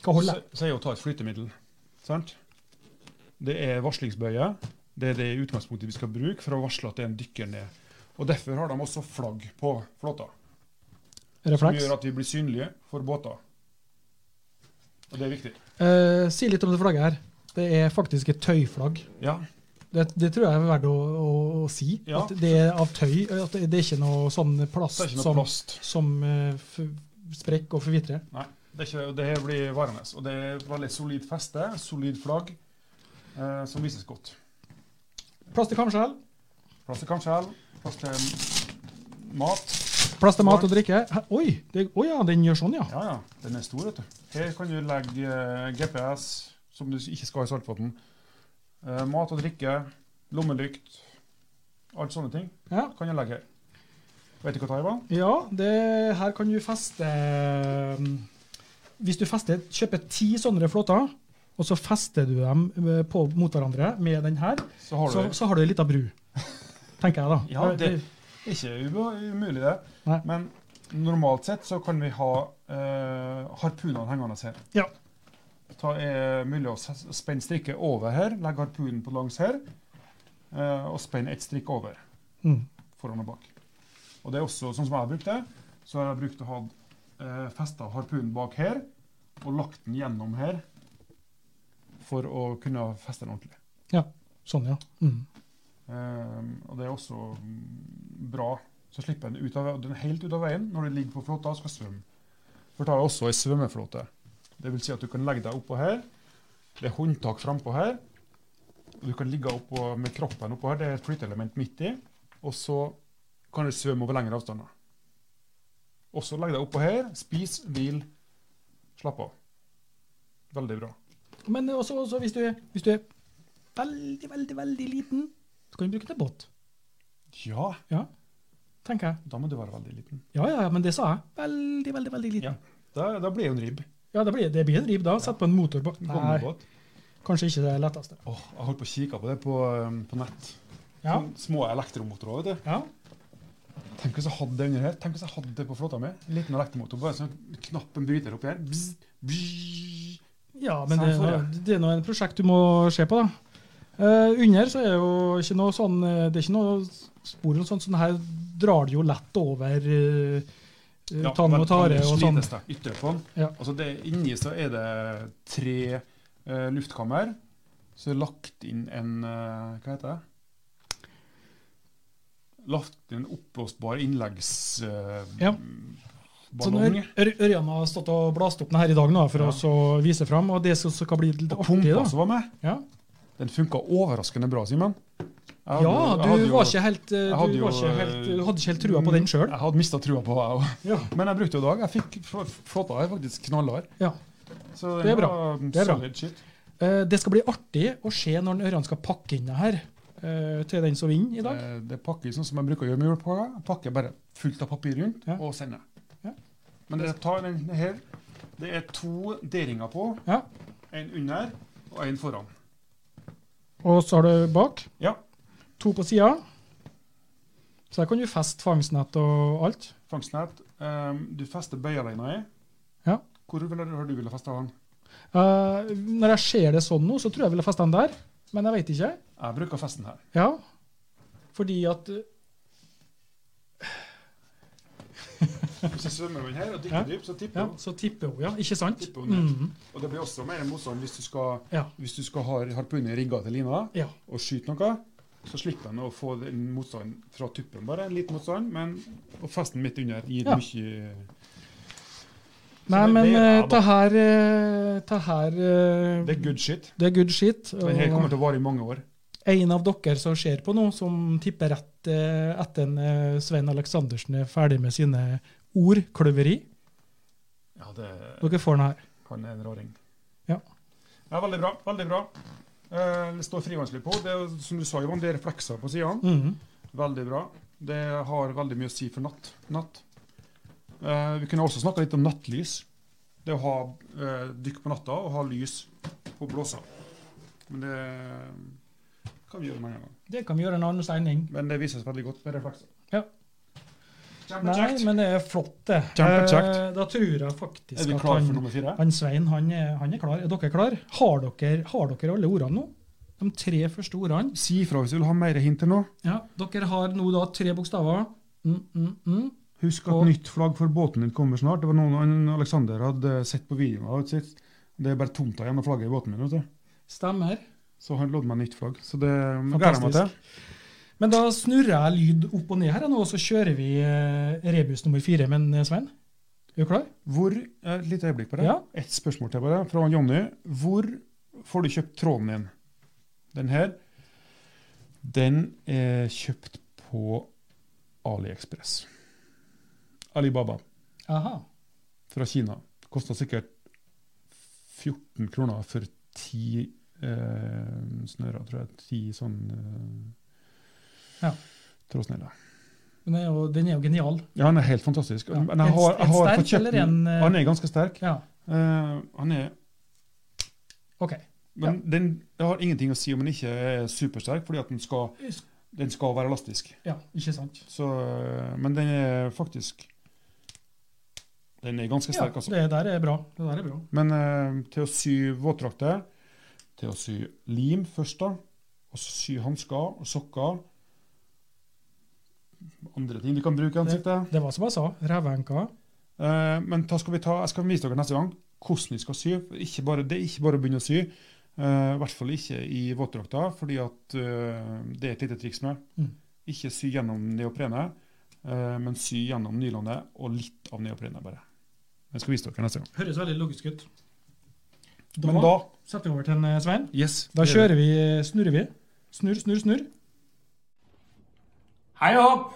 Speaker 2: Hva
Speaker 1: så,
Speaker 2: holder jeg?
Speaker 1: så er jo å ta et flytemiddel. Sant? Det er varslingsbøye. Det er det utgangspunktet vi skal bruke for å varsle at det er en dykker ned. Og Derfor har de også flagg på flåta. Som
Speaker 2: Refleks?
Speaker 1: gjør at vi blir synlige for båter. Og det er viktig.
Speaker 2: Eh, si litt om det flagget her. Det er faktisk et tøyflagg.
Speaker 1: Ja,
Speaker 2: Det, det tror jeg er verdt å, å, å si.
Speaker 1: Ja.
Speaker 2: At det er av tøy. At det, det er ikke noe sånn plast
Speaker 1: det er ikke noe
Speaker 2: som,
Speaker 1: plast.
Speaker 2: som eh, f sprekker og forvitrer.
Speaker 1: Det, er ikke, det her blir varende. Og det er et veldig solid feste, solid flagg, eh, som vises godt.
Speaker 2: Plass til kamskjell,
Speaker 1: Plass til kamskjell, plass til mat.
Speaker 2: plass til mat og drikke. Hæ? Oi! det- Å ja, den gjør sånn, ja.
Speaker 1: Ja, ja. Den er stor, vet du. Her kan du legge eh, GPS, som du ikke skal ha i saltvann. Eh, mat og drikke, lommelykt, alt sånne ting
Speaker 2: Ja,
Speaker 1: kan du legge her. Vet du hva det er, Ivan?
Speaker 2: ja det, her kan du feste mm, Hvis du fester, kjøper ti sånne flåter, og så fester du dem eh, på, mot hverandre med den her,
Speaker 1: Så har du
Speaker 2: så, så har du ei lita bru. Tenker jeg, da.
Speaker 1: Ja, det- Ikke ube- umulig, det.
Speaker 2: Nei.
Speaker 1: Men normalt sett så kan vi ha eh, harpunene hengende her.
Speaker 2: Ja.
Speaker 1: Det er mulig å s- spenne strikket over her, legge harpunen på langs her, eh, og spenne ett strikk over,
Speaker 2: Mm.
Speaker 1: foran og bak. Og det er også sånn som jeg har brukt det, så har jeg brukt å ha uh, festa harpunen bak her, og lagt den gjennom her, for å kunne feste den ordentlig.
Speaker 2: Sånn, ja. Mm.
Speaker 1: Ehm, og det er også mm, bra. Så slipper en ut av, den helt ut av veien når du ligger på flåta og skal svømme. For da er det også ei svømmeflåte. Det vil si at du kan legge deg oppå her. Det er håndtak frampå her. Og du kan ligge oppå med kroppen oppå her. Det er et flyteelement midt i. Og så kan du svømme over lengre avstander. Og så legg deg oppå her. Spis, hvil, slapp av. Veldig bra.
Speaker 2: Men også, også hvis, du er, hvis du er veldig, veldig, veldig liten, så kan du bruke det til båt,
Speaker 1: Ja,
Speaker 2: tenker jeg.
Speaker 1: da må du være veldig liten.
Speaker 2: Ja, ja, ja, men det sa jeg. Veldig, veldig, veldig liten.
Speaker 1: Ja. Da, da blir det jo en ribb.
Speaker 2: Ja, det, blir, det blir en ribb da. Sett på en motorbåt. Nei,
Speaker 1: Gummibåt.
Speaker 2: kanskje ikke det letteste.
Speaker 1: Åh, jeg holdt på å kikke på det på, um, på nett.
Speaker 2: Ja.
Speaker 1: Sånn Små elektromotorer. vet du.
Speaker 2: ja.
Speaker 1: Tenk hvis jeg hadde det under her. Tenk hvis jeg hadde det på flåta mi. En liten elektromotor. Bare sånn knappen bryter opp igjen. Bzz, bzz,
Speaker 2: Ja, men det,
Speaker 4: Sa jeg forrige.
Speaker 2: det er nå en prosjekt du må se på, da. Eh, under så er jo ikke noe sånn eh, Det er ikke noe spor og sånt. Sånn her drar det jo lett over eh, eh, tann og tare og sånn.
Speaker 1: slites det ytre på den.
Speaker 2: Ja.
Speaker 1: Altså det, inni så er det tre eh, luftkammer. Så er det lagt inn en eh, Hva heter det? Lagt inn en oppblåsbar eh, innleggsballong.
Speaker 2: Ja. Så når Sånn, Ør Ørjan har stått og blast opp den her i dag nå, for
Speaker 1: Ja.
Speaker 2: å så vise fram, og det som skal bli litt
Speaker 1: Og
Speaker 2: artig,
Speaker 1: pumpa
Speaker 2: da.
Speaker 1: som var med,
Speaker 2: Ja,
Speaker 1: den funka overraskende bra, Simen. Jeg hadde
Speaker 2: ja
Speaker 1: jo- jeg
Speaker 2: du
Speaker 1: hadde jo-
Speaker 2: var ikke helt eh,
Speaker 1: jeg
Speaker 2: Du
Speaker 1: hadde jo,
Speaker 2: var ikke helt,
Speaker 1: eh,
Speaker 2: du hadde ikke helt trua på den sjøl.
Speaker 1: Jeg hadde mista trua på det, jeg òg.
Speaker 2: Ja.
Speaker 1: Men jeg brukte jo dag. Jeg fikk fl- flåta her faktisk knallhard.
Speaker 2: Ja.
Speaker 1: Så
Speaker 2: Det er bra.
Speaker 1: var
Speaker 2: Det er bra.
Speaker 1: Solid shit.
Speaker 2: Eh, Det skal bli artig å se når den Ørjan skal pakke inn det her eh, til den som vinner i dag.
Speaker 1: Eh, Det pakker sånn som jeg bruker å gjøre med julepakker. Jeg Pakker bare fullt av papir rundt
Speaker 2: Ja.
Speaker 1: og sender.
Speaker 2: Ja.
Speaker 1: Men det tar den her. Det er to D-ringer på.
Speaker 2: Ja.
Speaker 1: En under og en foran. Eh.
Speaker 2: Og så har du bak.
Speaker 1: Ja.
Speaker 2: To på sida. Så her kan du feste fangstnett og alt.
Speaker 1: Fangstnett. Ehm, du fester bøyaleina i.
Speaker 2: Ja.
Speaker 1: Hvor vil du, har du ville festa den?
Speaker 2: Eh, når jeg ser det sånn nå, så tror jeg jeg ville feste den der, men jeg veit ikke.
Speaker 1: Jeg bruker festen *laughs* her.
Speaker 2: Ja, fordi at eh,
Speaker 1: Hvis jeg svømmer den her og
Speaker 2: Ja.
Speaker 1: dykker dypt, så tipper
Speaker 2: Ja,
Speaker 1: den.
Speaker 2: så tipper hun, ja. Ikke sant?
Speaker 1: Tipper hun ned.
Speaker 2: Mhm.
Speaker 1: Og det blir også mer motstand hvis du skal,
Speaker 2: Ja.
Speaker 1: hvis du skal ha harpunen rigga til lina
Speaker 2: Ja.
Speaker 1: og skyte noe. Så slipper den å få den motstanden fra tuppen. Bare en liten motstand, men og festen midt under gir
Speaker 2: Ja.
Speaker 1: mye
Speaker 2: Nei,
Speaker 1: det-
Speaker 2: men
Speaker 1: det er
Speaker 2: eh,
Speaker 1: da.
Speaker 2: det her eh, Det her eh,
Speaker 1: Det er good shit.
Speaker 2: det er good shit.
Speaker 1: Den her kommer
Speaker 2: Og
Speaker 1: til å vare i mange år.
Speaker 2: en av dere som ser på nå, som tipper rett eh, etter en, eh, Svein Aleksandersen er ferdig med sine ordkløveri,
Speaker 1: Ja, det,
Speaker 2: dere får den her.
Speaker 1: han er en raring.
Speaker 2: Ja.
Speaker 1: Ja, veldig bra. Veldig bra. Eh, det står frivannslipp på. Det er, jo, som du sa, Ivan, det er reflekser på sidene.
Speaker 2: Mhm.
Speaker 1: Veldig bra. Det har veldig mye å si for natt. natt. Eh, vi kunne også snakka litt om nattlys. Det å ha eh, dykk på natta og ha lys på blåsa. Men det eh, kan vi gjøre en annen gang.
Speaker 2: Det kan vi gjøre en annen sending.
Speaker 1: Men det vises veldig godt med reflekser.
Speaker 2: Ja. Nei,
Speaker 1: Kjempekjekt.
Speaker 2: men det er flott, det.
Speaker 1: Kjempekjekt.
Speaker 2: Eh, Da tror jeg faktisk
Speaker 1: Er vi
Speaker 2: at
Speaker 1: klare
Speaker 2: han-
Speaker 1: for nummer fire?
Speaker 2: Han Svein han er, han er klar. Er dere klar? Har dere, har dere alle ordene nå? De tre første ordene.
Speaker 1: Si ifra hvis du vil ha mer hint til nå.
Speaker 2: Ja, Dere har nå da tre bokstaver. Mm, mm, mm.
Speaker 1: Husk at
Speaker 2: Og-
Speaker 1: nytt flagg for båten din kommer snart. Det var noen han Alexander hadde eh, sett på videoen. av sitt. Det er bare tomta igjen av flagget i båten min. vet du.
Speaker 2: Stemmer.
Speaker 1: Så han lovde meg nytt flagg. Så det gleder jeg meg til.
Speaker 2: Men da snurrer jeg lyd opp og ned her, jeg nå, og så kjører vi eh, rebus nummer fire. Men eh, Svein, er du klar?
Speaker 1: Hvor, eh, Et lite øyeblikk bare.
Speaker 2: Ja.
Speaker 1: Et spørsmål til bare, fra han Jonny. Hvor får du kjøpt tråden din? Den her. Den er kjøpt på AliExpress. Alibaba
Speaker 2: Aha.
Speaker 1: fra Kina. Kosta sikkert 14 kroner for 10 eh, snører, tror jeg. 10 sånn eh,
Speaker 2: Ja.
Speaker 1: trådsnører.
Speaker 2: Den er jo, den er jo genial.
Speaker 1: Ja, han er helt fantastisk.
Speaker 2: Ja.
Speaker 1: Men jeg har,
Speaker 2: En-
Speaker 1: jeg
Speaker 2: en
Speaker 1: har
Speaker 2: sterk
Speaker 1: fått kjøpt
Speaker 2: eller en,
Speaker 1: den.
Speaker 2: eh,
Speaker 1: Han er ganske sterk.
Speaker 2: Ja,
Speaker 1: Eh, han er
Speaker 2: OK.
Speaker 1: Men den det har ingenting å si om den ikke er supersterk, fordi at den skal, den skal være elastisk.
Speaker 2: Ja, ikke sant?
Speaker 1: Så, eh, men den er faktisk Den er ganske
Speaker 2: Ja,
Speaker 1: sterk, altså.
Speaker 2: det der er bra. Det der er bra.
Speaker 1: Men eh, til å sy våtdrakter, til å sy lim først, da, og så sy hansker og sokker Andre ting du kan bruke i ansiktet.
Speaker 2: Det var som jeg sa. Revenka.
Speaker 1: Eh, men da skal vi ta, jeg skal vise dere neste gang hvordan vi skal sy. Ikke bare, det er ikke bare å begynne å sy. eh, I hvert fall ikke i våtdrakta, fordi at eh, det er et lite triks med.
Speaker 2: Mm.
Speaker 1: Ikke sy gjennom neoprenet, eh, men sy gjennom nylandet og litt av neoprenet bare. Jeg skal vise dere neste gang.
Speaker 2: Høres veldig logisk ut. Da,
Speaker 1: Men da
Speaker 2: setter vi over til en, eh, Svein.
Speaker 1: yes,
Speaker 2: Da
Speaker 1: det er
Speaker 2: kjører
Speaker 1: det.
Speaker 2: vi, snurrer vi. Snurr, snurr, snurr.
Speaker 3: Hei og hopp,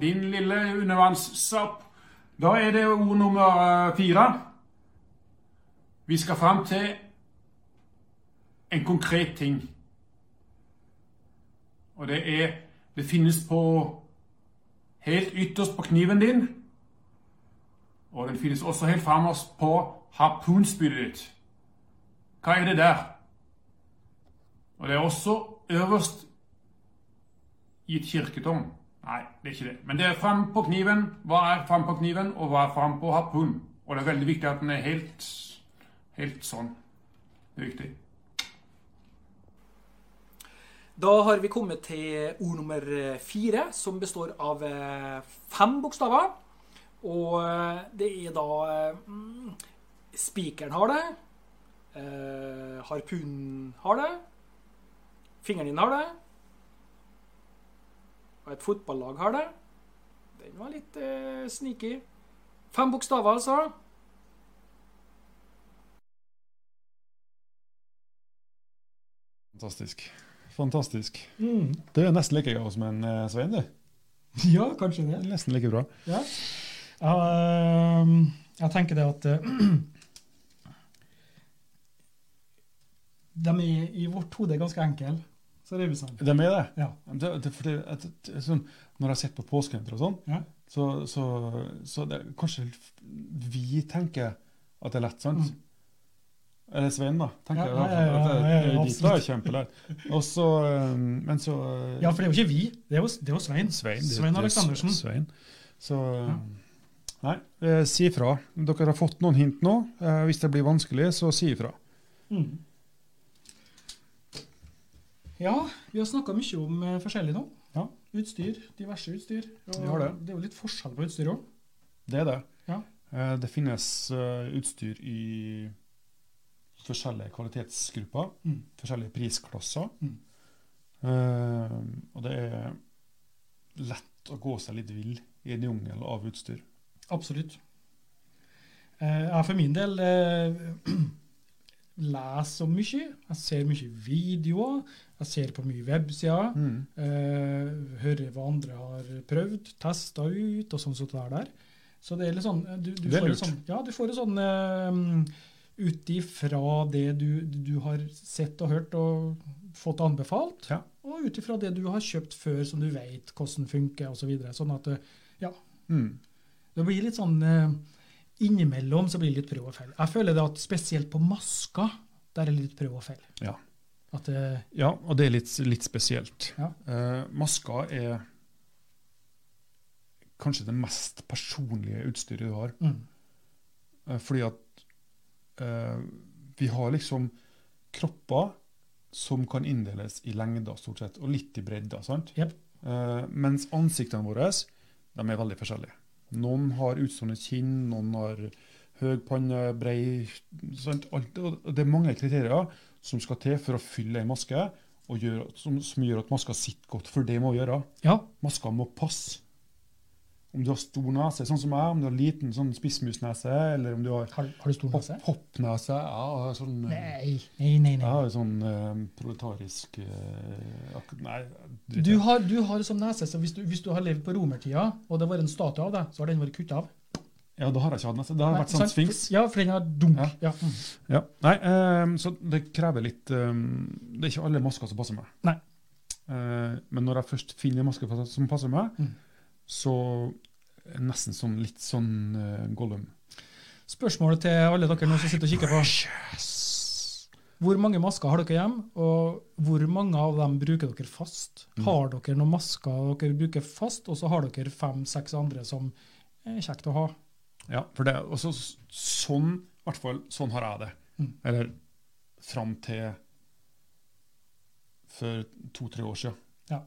Speaker 3: din lille undervannssopp. Da er det ord nummer eh, fire. Vi skal fram til en konkret ting. Og det er Det finnes på helt ytterst på kniven din. Og den finnes også helt fremmest på harpunspydet ditt. Hva er det der? Og det er også øverst i et kirketom. Nei, det er ikke det. Men det er fram på kniven. Hva er fram på kniven, og hva er fram på harpunen? Og det er veldig viktig at den er helt, helt sånn. Det er viktig.
Speaker 4: Da har vi kommet til ord nummer eh, fire, som består av eh, fem bokstaver. Og eh, det er da eh, mm, Spikeren har det. eh, Harpunen har det. Fingeren din har det. Og et fotballag har det. Den var litt eh, sneaky. Fem bokstaver, altså.
Speaker 1: Fantastisk. Fantastisk.
Speaker 2: Mm.
Speaker 1: Det er nesten like gøy som en eh, Svein, det.
Speaker 2: *laughs* Ja, kanskje det.
Speaker 1: Nesten like bra.
Speaker 2: Ja. Ehm, jeg tenker det at eh, *clears throat* De er i vårt hode ganske enkle, så det er vi sånn.
Speaker 1: De er det.
Speaker 2: Ja.
Speaker 1: det, det, for det, at, det er sånn, når jeg har sett på påskehenter og sånn,
Speaker 2: Ja.
Speaker 1: så, så, så det, er kanskje vi tenker at det er lett, sant? Eller Svein, da. tenker
Speaker 2: Mm. Ja,
Speaker 1: jeg i hvert
Speaker 2: ja, ja,
Speaker 1: fall. At
Speaker 2: ja, ja,
Speaker 1: det-
Speaker 2: ja,
Speaker 1: dit da er kjempelett. Og så eh, Men så eh,
Speaker 2: ja, for det er jo ikke vi, det er jo, det er jo Svein.
Speaker 1: Svein. det- det er
Speaker 2: Aleksandersen.
Speaker 1: Svein. Så Nei, eh, si ifra. Dere har fått noen hint nå. Eh, Hvis det blir vanskelig, så si ifra.
Speaker 2: Mm. Ja, vi har snakka mye om eh, forskjellig nå.
Speaker 1: Ja.
Speaker 2: Utstyr, diverse utstyr. Og
Speaker 1: Vi har det.
Speaker 2: er jo litt forskjell på utstyr òg.
Speaker 1: Det er det.
Speaker 2: Ja.
Speaker 1: Eh, Det finnes eh, utstyr i forskjellige kvalitetsgrupper,
Speaker 2: Mm.
Speaker 1: forskjellige prisklasser.
Speaker 2: Mm.
Speaker 1: Eh, og det er lett å gå seg litt vill i en jungel av utstyr.
Speaker 2: Absolutt. Eh, Jeg for min del eh, *clears throat* leser om mye. Jeg ser mye videoer. Jeg ser på mye websider. Eh, hører hva andre har prøvd, testa ut og sånn som det er der. Så det er litt sånn eh, Du, du
Speaker 1: Det er
Speaker 2: får
Speaker 1: lurt.
Speaker 2: en sånn, ja, du får en sånn eh, ut ifra det du, du har sett og hørt og fått anbefalt,
Speaker 1: Ja.
Speaker 2: og ut ifra det du har kjøpt før som du veit hvordan funker osv. Så videre. sånn at eh,
Speaker 1: Mm.
Speaker 2: det blir litt sånn eh, Innimellom så blir det litt prøv og feil. Jeg føler det at spesielt på masker, der er det litt prøv og feil.
Speaker 1: Ja.
Speaker 2: At eh,
Speaker 1: Ja, og det er litt, litt spesielt.
Speaker 2: Ja.
Speaker 1: Eh, maska er kanskje det mest personlige utstyret du har.
Speaker 2: mm,
Speaker 1: Eh, Fordi at eh, vi har liksom kropper som kan inndeles i lengder, stort sett, og litt i bredder. sant?
Speaker 2: Jep.
Speaker 1: Eh, mens ansiktene våre de er veldig forskjellige. Noen har utstående kinn, noen har høy panne, brei sant? Alt, og Det er mange kriterier som skal til for å fylle ei maske, og gjøre, som, som gjør at maska sitter godt. For det må gjøre.
Speaker 2: ja.
Speaker 1: Maska må passe. Om du har stor nese, sånn som meg, om du har liten sånn spissmusnese, eller om du har
Speaker 2: Har, har du stor
Speaker 1: Hopp,
Speaker 2: nese?
Speaker 1: hoppnese. Ja, og jeg er sånn, eh,
Speaker 2: Nei, nei, nei.
Speaker 1: jeg
Speaker 2: nei.
Speaker 1: har jo sånn eh, proletarisk eh, ak Nei, drit
Speaker 2: Du
Speaker 1: i det.
Speaker 2: har, du har sånn nese, så hvis du, hvis du har levd på romertida, og det har vært en statue av deg, så har den vært kutta av.
Speaker 1: Ja, da har jeg ikke hatt nese. Det har
Speaker 2: Nei,
Speaker 1: vært sånn
Speaker 2: sant?
Speaker 1: sfinks.
Speaker 2: Ja, for den har dunk. Ja. Mm.
Speaker 1: Ja. Nei, eh, så det krever litt eh, Det er ikke alle masker som passer meg.
Speaker 2: Nei.
Speaker 1: Eh, men når jeg først finner en maske som passer meg,
Speaker 2: Mm.
Speaker 1: så er det nesten sånn litt sånn eh, Gollum.
Speaker 2: Spørsmålet til alle dere nå som sitter og kikker på. Hvor mange masker har dere hjem, og hvor mange av dem bruker dere fast?
Speaker 1: Mm.
Speaker 2: Har dere noen masker dere bruker fast, og så har dere fem-seks andre som er kjekt å ha?
Speaker 1: Ja, for det Og så s- sånn, i hvert fall, sånn har jeg det.
Speaker 2: Mm.
Speaker 1: Eller fram til for to-tre år siden.
Speaker 2: Ja.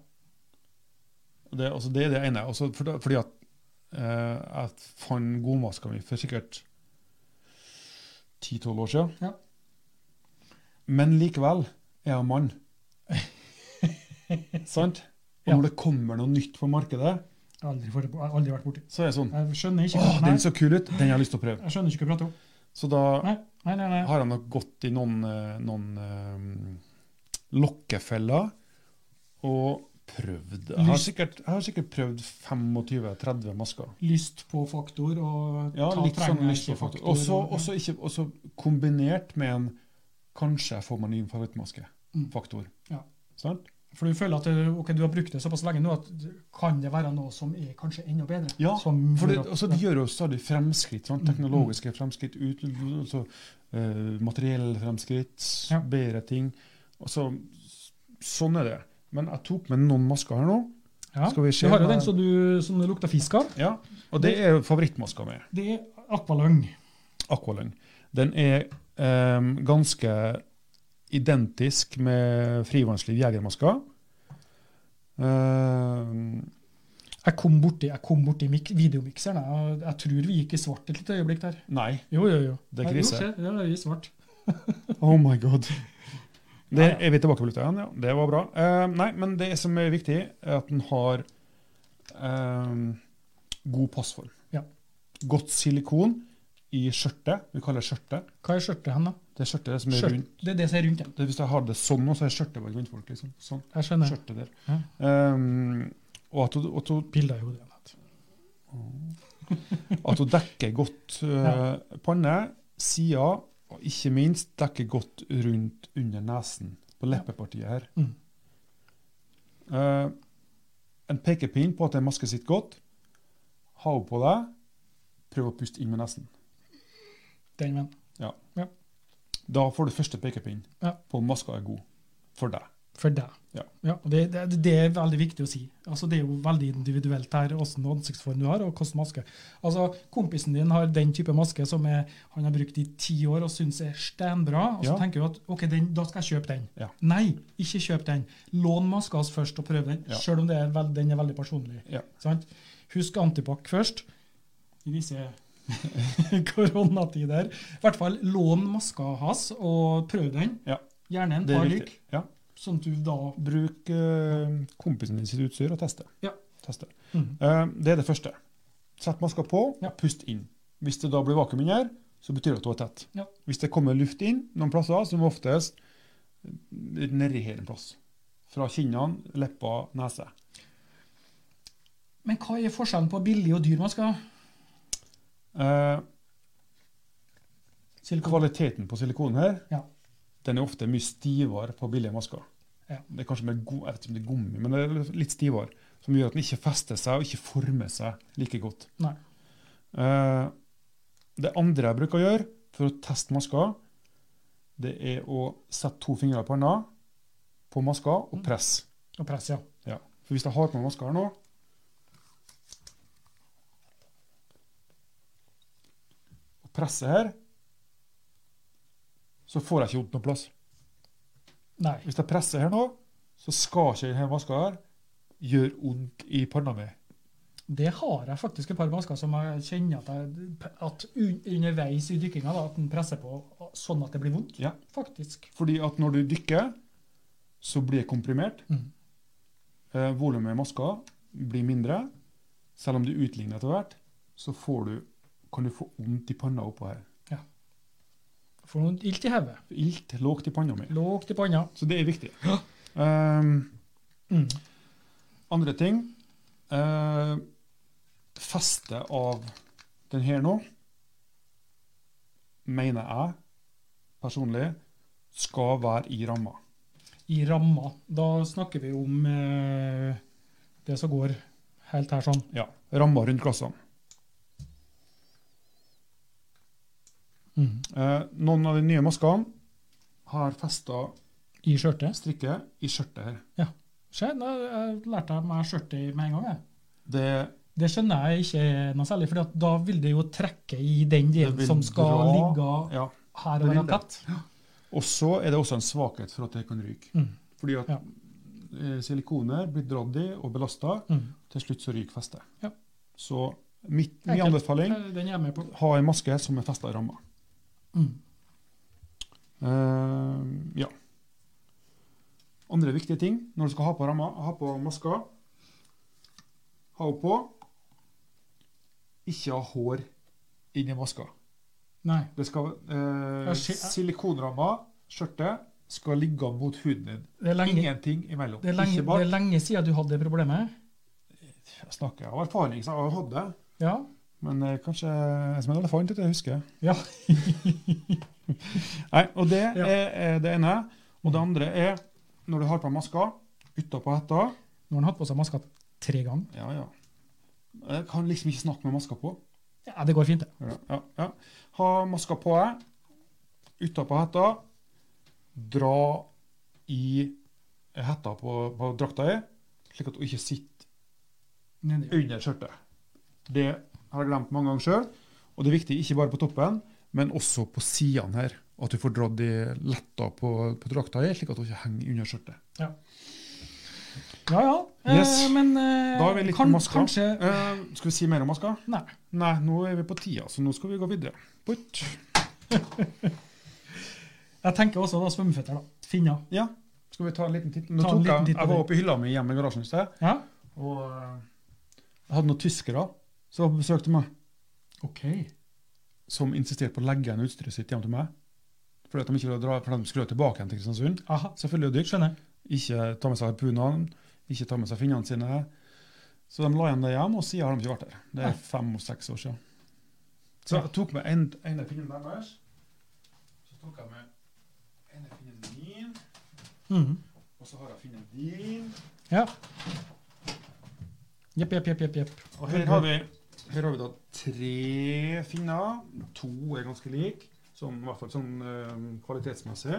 Speaker 1: Og Det, altså, det er det ene. Også for, da- fordi at eh, jeg fant godmaska mi for sikkert 10-12 år siden.
Speaker 2: Ja.
Speaker 1: Men likevel er
Speaker 2: *laughs*
Speaker 1: jeg mann. Sant? Og
Speaker 2: Ja.
Speaker 1: når det kommer noe nytt på markedet,
Speaker 2: Jeg har aldri, vært- jeg har aldri vært borti.
Speaker 1: så er det sånn
Speaker 2: Jeg skjønner ikke
Speaker 1: Åh,
Speaker 2: hva
Speaker 1: den
Speaker 2: nei,
Speaker 1: så kul ut! Den har jeg lyst til å prøve.
Speaker 2: jeg skjønner ikke hva du prater om.
Speaker 1: Så da
Speaker 2: Nei, nei, nei. nei.
Speaker 1: har han nok gått i noen, eh, noen eh, lokkefeller og prøvd. Jeg har
Speaker 2: Lyst-
Speaker 1: sikkert, jeg har sikkert prøvd 25-30 masker.
Speaker 2: Lyst på faktor og
Speaker 1: Ja,
Speaker 2: ta
Speaker 1: litt sånn
Speaker 2: trenger
Speaker 1: lyst på
Speaker 2: ikke
Speaker 1: faktor.
Speaker 2: faktor,
Speaker 1: Også,
Speaker 2: og-
Speaker 1: også, ikke, også kombinert med en kanskje jeg får meg ny
Speaker 2: Mm.
Speaker 1: favorittmaske-faktor.
Speaker 2: Ja.
Speaker 1: Sant?
Speaker 2: For du føler at det, ok, du har brukt det såpass lenge nå at kan det være noe som er kanskje enda bedre?
Speaker 1: Ja,
Speaker 2: som,
Speaker 1: For det,
Speaker 2: gjør at-
Speaker 1: altså, de gjør jo stadig fremskritt. Sant?
Speaker 2: Mm.
Speaker 1: Teknologiske fremskritt, ut, altså, eh, materielle fremskritt,
Speaker 2: Ja.
Speaker 1: bedre ting. Altså, s- sånn er det. Men jeg tok med noen masker her nå.
Speaker 2: ja.
Speaker 1: skal vi se
Speaker 2: Du har jo
Speaker 1: hva-
Speaker 2: den som du, som det lukter fisk av.
Speaker 1: Ja, og det er jo favorittmaska mi,
Speaker 2: Det er akvaløng.
Speaker 1: Aqualung. Den er eh, ganske identisk med frivannsliv jegermaska. Eh,
Speaker 2: Jeg kom borti, jeg kom borti mik videomikseren. Jeg, jeg tror vi gikk i svart et lite øyeblikk der.
Speaker 1: nei.
Speaker 2: Jo, jo, jo.
Speaker 1: Det er
Speaker 2: Nei,
Speaker 1: krise.
Speaker 2: jo, se, Ja, i svart.
Speaker 1: Oh my god. Det er vi tilbake på lufta igjen, ja. Det var bra. Eh, nei, men det som er viktig, er at den har eh, god passform.
Speaker 2: Ja.
Speaker 1: Godt silikon i skjørtet. Vi kaller det skjørtet.
Speaker 2: Hva er skjørtet hen, da?
Speaker 1: Det er skjørtet som er
Speaker 2: Skjørt-
Speaker 1: rundt.
Speaker 2: Det er det som er rundt den.
Speaker 1: Det, er hvis jeg har det sånn nå, så er skjørtet bare kvinnfolk. Liksom. Sånn.
Speaker 2: Jeg skjønner.
Speaker 1: Skjørtet der.
Speaker 2: Ja.
Speaker 1: Eh, og at hun, at, hun,
Speaker 2: Bilder i hodet. igjen.
Speaker 1: at hun dekker godt eh, panne, sider, og ikke minst dekker godt rundt under nesen, på leppepartiet her.
Speaker 2: Mm.
Speaker 1: Eh, en pekepinn på at en maske sitter godt. Ha henne på deg. Prøv å puste inn med nesen.
Speaker 2: Den vennen.
Speaker 1: Da får du første pekepinn
Speaker 2: Ja.
Speaker 1: på om maska er god for deg.
Speaker 2: For deg.
Speaker 1: Ja.
Speaker 2: og det, det, det er veldig viktig å si. Altså, det er jo veldig individuelt her hvilken ansiktsform du har, og hvilken maske. Altså, kompisen din har den type maske som er, han har brukt i ti år og syns er steinbra, og så
Speaker 1: Ja.
Speaker 2: tenker du at ok, den, da skal jeg kjøpe den.
Speaker 1: Ja.
Speaker 2: Nei, ikke kjøp den. Lån maska hans først og prøv den,
Speaker 1: Ja.
Speaker 2: selv om det er veld, den er veldig personlig.
Speaker 1: Ja.
Speaker 2: Sant? Husk antibac først. I *laughs* disse koronatider. I hvert fall lån maska hans og prøv den.
Speaker 1: Ja.
Speaker 2: Gjerne en
Speaker 1: Det
Speaker 2: par
Speaker 1: er
Speaker 2: lykk.
Speaker 1: viktig. Ja.
Speaker 2: Sånn at du da
Speaker 1: Bruk eh, kompisen din sitt utstyr og teste.
Speaker 2: Ja.
Speaker 1: teste.
Speaker 2: Mhm.
Speaker 1: Eh, det er det første. Sett maska på,
Speaker 2: Ja.
Speaker 1: pust inn. Hvis det da blir vakuum inni her, så betyr det at du er tett.
Speaker 2: Ja.
Speaker 1: Hvis det kommer luft inn noen plasser, som oftest litt nedi her en plass. Fra kinnene, leppa, nese.
Speaker 2: Men hva er forskjellen på billig og dyr maske?
Speaker 1: Eh,
Speaker 2: Silikon?
Speaker 1: Kvaliteten på silikonen her,
Speaker 2: Ja.
Speaker 1: den er ofte mye stivere på billige masker.
Speaker 2: Ja.
Speaker 1: Det er kanskje mer go- jeg vet ikke om det er gummi, men det er litt stivere. Som gjør at den ikke fester seg og ikke former seg like godt.
Speaker 2: Nei.
Speaker 1: Eh, det andre jeg bruker å gjøre for å teste masker, det er å sette to fingre i panna på maska
Speaker 2: Mm.
Speaker 1: og presse.
Speaker 2: Og press, ja.
Speaker 1: Ja. For hvis jeg har på meg maska her nå Og presser her, så får jeg ikke vondt noe plass.
Speaker 2: Nei.
Speaker 1: Hvis jeg presser her nå, så skal ikke denne maska her gjøre vondt i panna mi.
Speaker 2: Det har jeg faktisk et par masker som jeg kjenner at, jeg, at un underveis i dykkinga da, at den presser på sånn at det blir vondt.
Speaker 1: Ja.
Speaker 2: Faktisk.
Speaker 1: Fordi at når du dykker, så blir jeg komprimert.
Speaker 2: Mhm.
Speaker 1: Eh, Volumet i maska blir mindre. Selv om du utligner etter hvert, så får du, kan du få vondt i panna oppå her.
Speaker 2: Får noe ilt i hodet.
Speaker 1: Ilt lågt i panna mi.
Speaker 2: Lågt i panna.
Speaker 1: Så det er viktig. Ehm,
Speaker 2: Mm.
Speaker 1: andre ting uh, Feste av den her nå, mener jeg personlig, skal være i ramma.
Speaker 2: I ramma. Da snakker vi om eh, det som går helt her sånn.
Speaker 1: Ja, ramma rundt glassene.
Speaker 2: Mhm.
Speaker 1: Eh, noen av de nye maskene har festa
Speaker 2: I skjørtet.
Speaker 1: strikke i skjørtet her.
Speaker 2: Se, nå eh, lærte jeg meg skjørtet med en gang. jeg.
Speaker 1: Det,
Speaker 2: Det skjønner jeg ikke er noe særlig, for da vil det jo trekke i den delen som skal ligge
Speaker 1: ja,
Speaker 2: her
Speaker 1: det
Speaker 2: og være
Speaker 1: vil det.
Speaker 2: tett.
Speaker 1: Og så er det også en svakhet for at det kan ryke.
Speaker 2: Mm.
Speaker 1: Fordi at
Speaker 2: Ja.
Speaker 1: eh, silikoner blir dratt i og belasta.
Speaker 2: Mm.
Speaker 1: Til slutt så ryker festet.
Speaker 2: Ja.
Speaker 1: Så mitt, min
Speaker 2: Enkelt.
Speaker 1: anbefaling
Speaker 2: Den er jeg med på.
Speaker 1: ha en maske som er festa i ramma.
Speaker 2: Mm.
Speaker 1: Eh, ja. Andre viktige ting når du skal ha på ramma, ha på maska. Ha henne på. Ikke ha hår inni maska.
Speaker 2: Nei.
Speaker 1: Det skal, eh,
Speaker 2: Jeg ser-
Speaker 1: silikonramma, skjørtet, skal ligge mot huden din.
Speaker 2: Det er lenge,
Speaker 1: Ingenting imellom.
Speaker 2: det er lenge,
Speaker 1: Ikke
Speaker 2: det
Speaker 1: bak.
Speaker 2: er lenge siden du hadde det problemet.
Speaker 1: Jeg snakker av erfaring, så jeg har hatt det.
Speaker 2: Ja.
Speaker 1: Men eh, kanskje som en elefant, det husker jeg.
Speaker 2: Ja.
Speaker 1: *laughs* Nei, og det
Speaker 2: Ja.
Speaker 1: er, er det ene. Og det andre er når du har på maska utapå hetta
Speaker 2: Nå har han hatt på seg maska tre ganger.
Speaker 1: Ja, ja. Jeg kan liksom ikke snakke med maska på.
Speaker 2: Ja, det går fint, det.
Speaker 1: Ja, ja, ja. Ha maska på deg, utapå hetta, dra i hetta på, på drakta di, slik at hun ikke sitter
Speaker 2: Nedi.
Speaker 1: under skjørtet. Det har jeg glemt mange ganger sjøl. Og det er viktig ikke bare på toppen, men også på sidene her. at du får dratt i letta på, på drakta, i, slik at hun ikke henger under skjørtet.
Speaker 2: Ja, ja. Eh,
Speaker 1: Yes.
Speaker 2: Men eh,
Speaker 1: Da er vi litt
Speaker 2: kan,
Speaker 1: på maska.
Speaker 2: kanskje
Speaker 1: Eh, skal vi si mer om maska?
Speaker 2: Nei.
Speaker 1: Nei, nå er vi på tida, så nå skal vi gå videre. Putt.
Speaker 2: Jeg tenker også da svømmeføtter, da. Finner.
Speaker 1: Ja, skal vi ta en liten titt? Nå
Speaker 2: Ta en
Speaker 1: tok
Speaker 2: liten
Speaker 1: jeg,
Speaker 2: titt på
Speaker 1: jeg var
Speaker 2: det.
Speaker 1: oppe i hylla mi hjemme i garasjen i sted,
Speaker 2: Ja?
Speaker 1: og eh, jeg hadde noen tyskere som var på besøk til meg,
Speaker 2: OK.
Speaker 1: som insisterte på å legge igjen utstyret sitt hjem til meg. Fordi at de ikke ville dra, for de skulle jo tilbake igjen til Kristiansund.
Speaker 2: Aha.
Speaker 1: Selvfølgelig er det dyrt.
Speaker 2: Skjønner.
Speaker 1: Ikke ta med seg harpunene, ikke ta med seg finnene sine. Så de la igjen det hjem, og siden har de ikke vært der. Det
Speaker 2: Nei.
Speaker 1: er fem og seks år siden. Så jeg tok med en, en av finnene deres. Så tok jeg med en av finnene min,
Speaker 2: Mhm.
Speaker 1: og så har jeg finnen din.
Speaker 2: Ja. Jepp, jepp, jepp, jepp, jepp.
Speaker 1: Og her har vi, her har vi da tre finner. To er ganske like, sånn, i hvert fall sånn eh, kvalitetsmessig.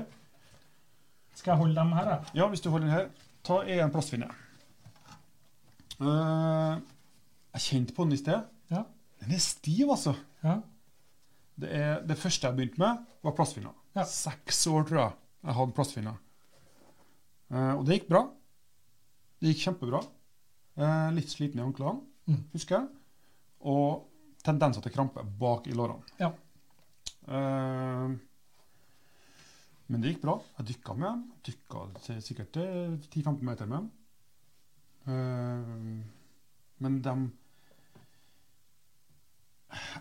Speaker 2: Skal jeg holde dem her, da?
Speaker 1: Ja, hvis du holder den her, ta en plastfinne. Eh, jeg kjente på den i sted.
Speaker 2: Ja.
Speaker 1: Den er stiv, altså.
Speaker 2: Ja.
Speaker 1: Det, er, det første jeg begynte med, var plastfinner.
Speaker 2: Ja.
Speaker 1: Seks år, tror jeg, jeg hadde plastfinner. Eh, og det gikk bra. Det gikk kjempebra. Eh, litt sliten i anklene,
Speaker 2: Mm.
Speaker 1: husker jeg. Og tendenser til krampe bak i lårene.
Speaker 2: Ja.
Speaker 1: Eh, men det gikk bra. Jeg dykka med dem. Dykka til sikkert eh, 10-15 meter med dem. Eh, men de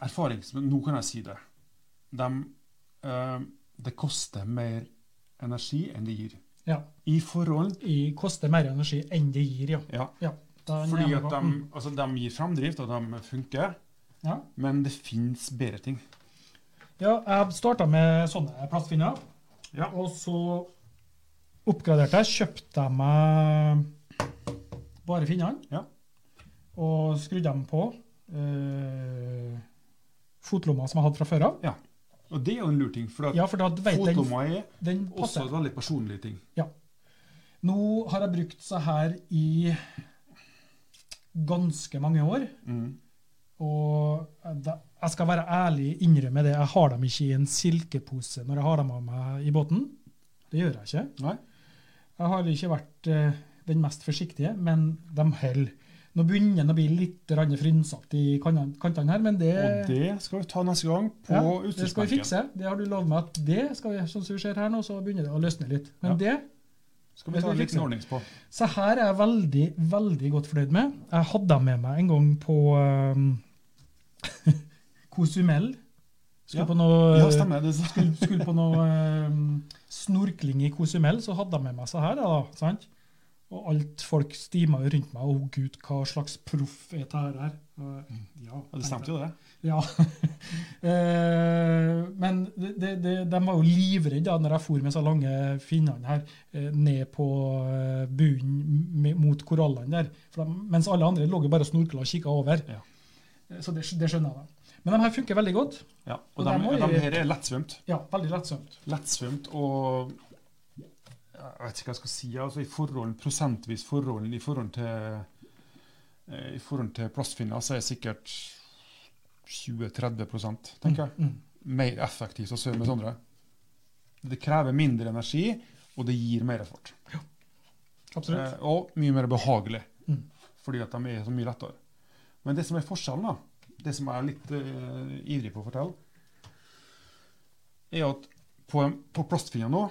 Speaker 1: Erfaringsmessig Nå kan jeg si det. De, eh, det koster mer energi enn det gir.
Speaker 2: ja.
Speaker 1: I forhold
Speaker 2: I koster mer energi enn det gir, ja.
Speaker 1: Ja.
Speaker 2: ja. Da er den
Speaker 1: Fordi
Speaker 2: jævlig
Speaker 1: at
Speaker 2: bra.
Speaker 1: de,
Speaker 2: Mm.
Speaker 1: altså, de gir framdrift, og de funker.
Speaker 2: ja.
Speaker 1: Men det fins bedre ting.
Speaker 2: Ja, jeg starta med sånne plastfinner.
Speaker 1: Ja.
Speaker 2: Og så oppgraderte jeg. Kjøpte jeg meg bare finnene.
Speaker 1: Ja.
Speaker 2: Og skrudde dem på eh, fotlomma som jeg hadde fra før av.
Speaker 1: Og det er jo en lur ting, for at
Speaker 2: Ja, for da vet den,
Speaker 1: fotlomma er
Speaker 2: den
Speaker 1: også
Speaker 2: passer.
Speaker 1: en veldig personlig ting.
Speaker 2: Nå har jeg brukt så her i ganske mange år.
Speaker 1: Mm.
Speaker 2: Og da, jeg skal være ærlig innrømme det. Jeg har dem ikke i en silkepose når jeg har dem av meg i båten. Det gjør jeg ikke.
Speaker 1: Nei?
Speaker 2: Jeg har ikke vært eh, den mest forsiktige, men de holder. Nå begynner den å bli litt grann frynsete i kanan- kantene her, men det,
Speaker 1: Og det skal vi ta neste gang på
Speaker 2: Eh. ja,
Speaker 1: ja,
Speaker 2: det skal vi fikse. Det har du lovet meg at det skal vi, sånn som du ser her nå, så begynner det å løsne litt. Men det
Speaker 1: Skal
Speaker 2: Det
Speaker 1: vi ta
Speaker 2: skal
Speaker 1: en
Speaker 2: vi
Speaker 1: liten
Speaker 2: fikse. Eh.
Speaker 1: ordnings på.
Speaker 2: Så her er jeg veldig, veldig godt fornøyd med. Jeg hadde dem med meg en gang på eh, *laughs* Cozumel. Skulle
Speaker 1: Ja.
Speaker 2: på noe
Speaker 1: Ja, stemmer. Det sa-
Speaker 2: skulle, skulle på noe eh, snorkling i Cozumel, så hadde jeg med meg så her, da, sant? Og alt folk stima jo rundt meg. Å gud, hva slags proff er dette her? Og, ja,
Speaker 1: Mm. Ja, det stemte jo, det.
Speaker 2: Ja. *laughs* Eh, men det, det, det, de var jo livredde da når jeg for med så lange finnene her eh, ned på eh, bunnen med- mot korallene der. For de, mens alle andre lå jo bare og snorkla og kikka over.
Speaker 1: Ja.
Speaker 2: Eh, Så det, det skjønner jeg. da. Men de her funker veldig godt.
Speaker 1: Ja. Og,
Speaker 2: Og
Speaker 1: de,
Speaker 2: dem
Speaker 1: de
Speaker 2: var jo-
Speaker 1: her er lettsvømt.
Speaker 2: Ja, Veldig lettsømt.
Speaker 1: Lettsvømt og Jeg vet ikke hva jeg skal si. altså i forhold, Prosentvis forhold i forhold til eh, i forhold til plastfinner så er det sikkert 20-30 prosent, tenker jeg.
Speaker 2: Mm.
Speaker 1: Mer effektivt å svømme med sånne. Det krever mindre energi, og det gir mer fart.
Speaker 2: Absolutt.
Speaker 1: Eh, Og mye mer behagelig,
Speaker 2: Mm.
Speaker 1: fordi at de er så mye lettere. Men det som er forskjellen, da, det som jeg er litt eh, ivrig på å fortelle, er at på, en- på plastfinnene nå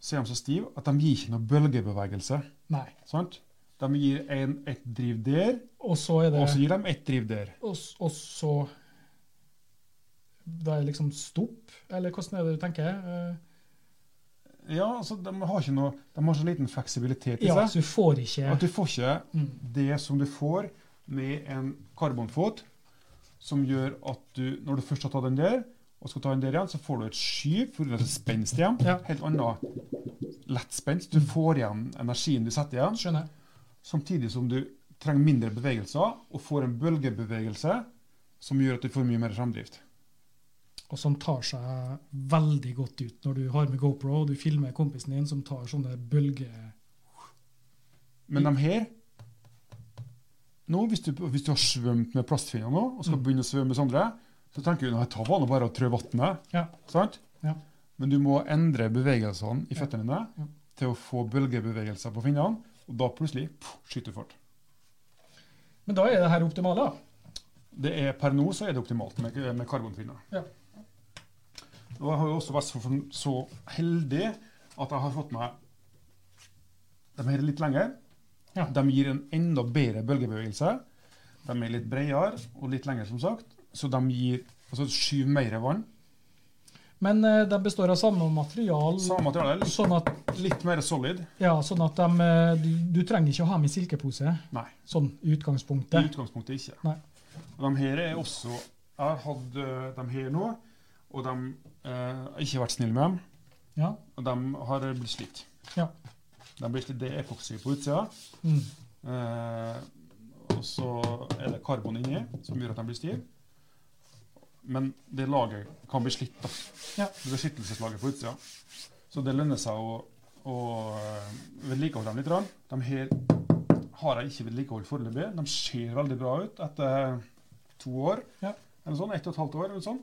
Speaker 1: så er de så stive at de gir ikke noe bølgebevegelse.
Speaker 2: Nei.
Speaker 1: sant? De gir en, et driv der,
Speaker 2: Og så er det
Speaker 1: og så gir de et driv der.
Speaker 2: og, s- og så Da er det liksom stopp? Eller hvordan er det du tenker? Eh,
Speaker 1: Ja, altså, De har ikke noe, de har så liten fleksibilitet i
Speaker 2: Ja,
Speaker 1: seg
Speaker 2: så du får ikke
Speaker 1: at du får ikke
Speaker 2: mm.
Speaker 1: det som du får med en karbonfot, som gjør at du, når du først har tatt den der, og skal ta den der igjen, så får du et skyv pga. spenst igjen.
Speaker 2: Ja.
Speaker 1: Helt annen lettspenst. Du får igjen energien du setter igjen,
Speaker 2: Skjønner.
Speaker 1: samtidig som du trenger mindre bevegelser, og får en bølgebevegelse som gjør at du får mye mer framdrift.
Speaker 2: Og som tar seg veldig godt ut når du har med GoPro og du filmer kompisen din som tar sånne bølger
Speaker 1: Men
Speaker 2: Mm.
Speaker 1: de her nå, hvis, du, hvis du har svømt med plastfinner nå, og skal
Speaker 2: Mm.
Speaker 1: begynne å svømme med Sondre, så tenker du at ta vannet bare og trø vannet.
Speaker 2: Ja.
Speaker 1: Sant?
Speaker 2: Ja.
Speaker 1: Men du må endre bevegelsene i føttene dine
Speaker 2: Ja.
Speaker 1: til å få bølgebevegelser på finnene, og da plutselig pff, skyter du fart.
Speaker 2: Men da er det her optimale, da.
Speaker 1: Det er, per nå så er det optimalt med, med karbonfinner.
Speaker 2: Ja.
Speaker 1: Og jeg har jo også vært så, forn- så heldig at jeg har fått meg De her litt lenger.
Speaker 2: Ja.
Speaker 1: De gir en enda bedre bølgebevegelse. De er litt bredere og litt lengre, som sagt. Så de gir altså skyver mer vann.
Speaker 2: Men eh, de består av samme material,
Speaker 1: Samme materiale, litt-
Speaker 2: sånn at,
Speaker 1: litt mer solid.
Speaker 2: ja, sånn at de, eh, du, du trenger ikke å ha med silkepose,
Speaker 1: Nei, Mm.
Speaker 2: sånn i
Speaker 1: i
Speaker 2: utgangspunktet.
Speaker 1: utgangspunktet ikke.
Speaker 2: Nei.
Speaker 1: Og de her er også Jeg har hatt eh, de her nå, og de eh, har ikke vært snill med dem.
Speaker 2: Ja.
Speaker 1: Og de har blitt slitt.
Speaker 2: Ja.
Speaker 1: De blir slitt, Det er epoksy på utsida,
Speaker 2: Mm.
Speaker 1: eh, og så er det karbon inni som gjør at de blir stive. Men det laget kan bli slitt. da.
Speaker 2: Ja.
Speaker 1: Det beskyttelseslaget på utsida. Så det lønner seg å, å eh, vedlikeholde dem litt. grann. De her har jeg ikke vedlikeholdt foreløpig. De ser veldig bra ut etter to år.
Speaker 2: Ja.
Speaker 1: Eller sånn, Ett og et halvt år. eller sånn.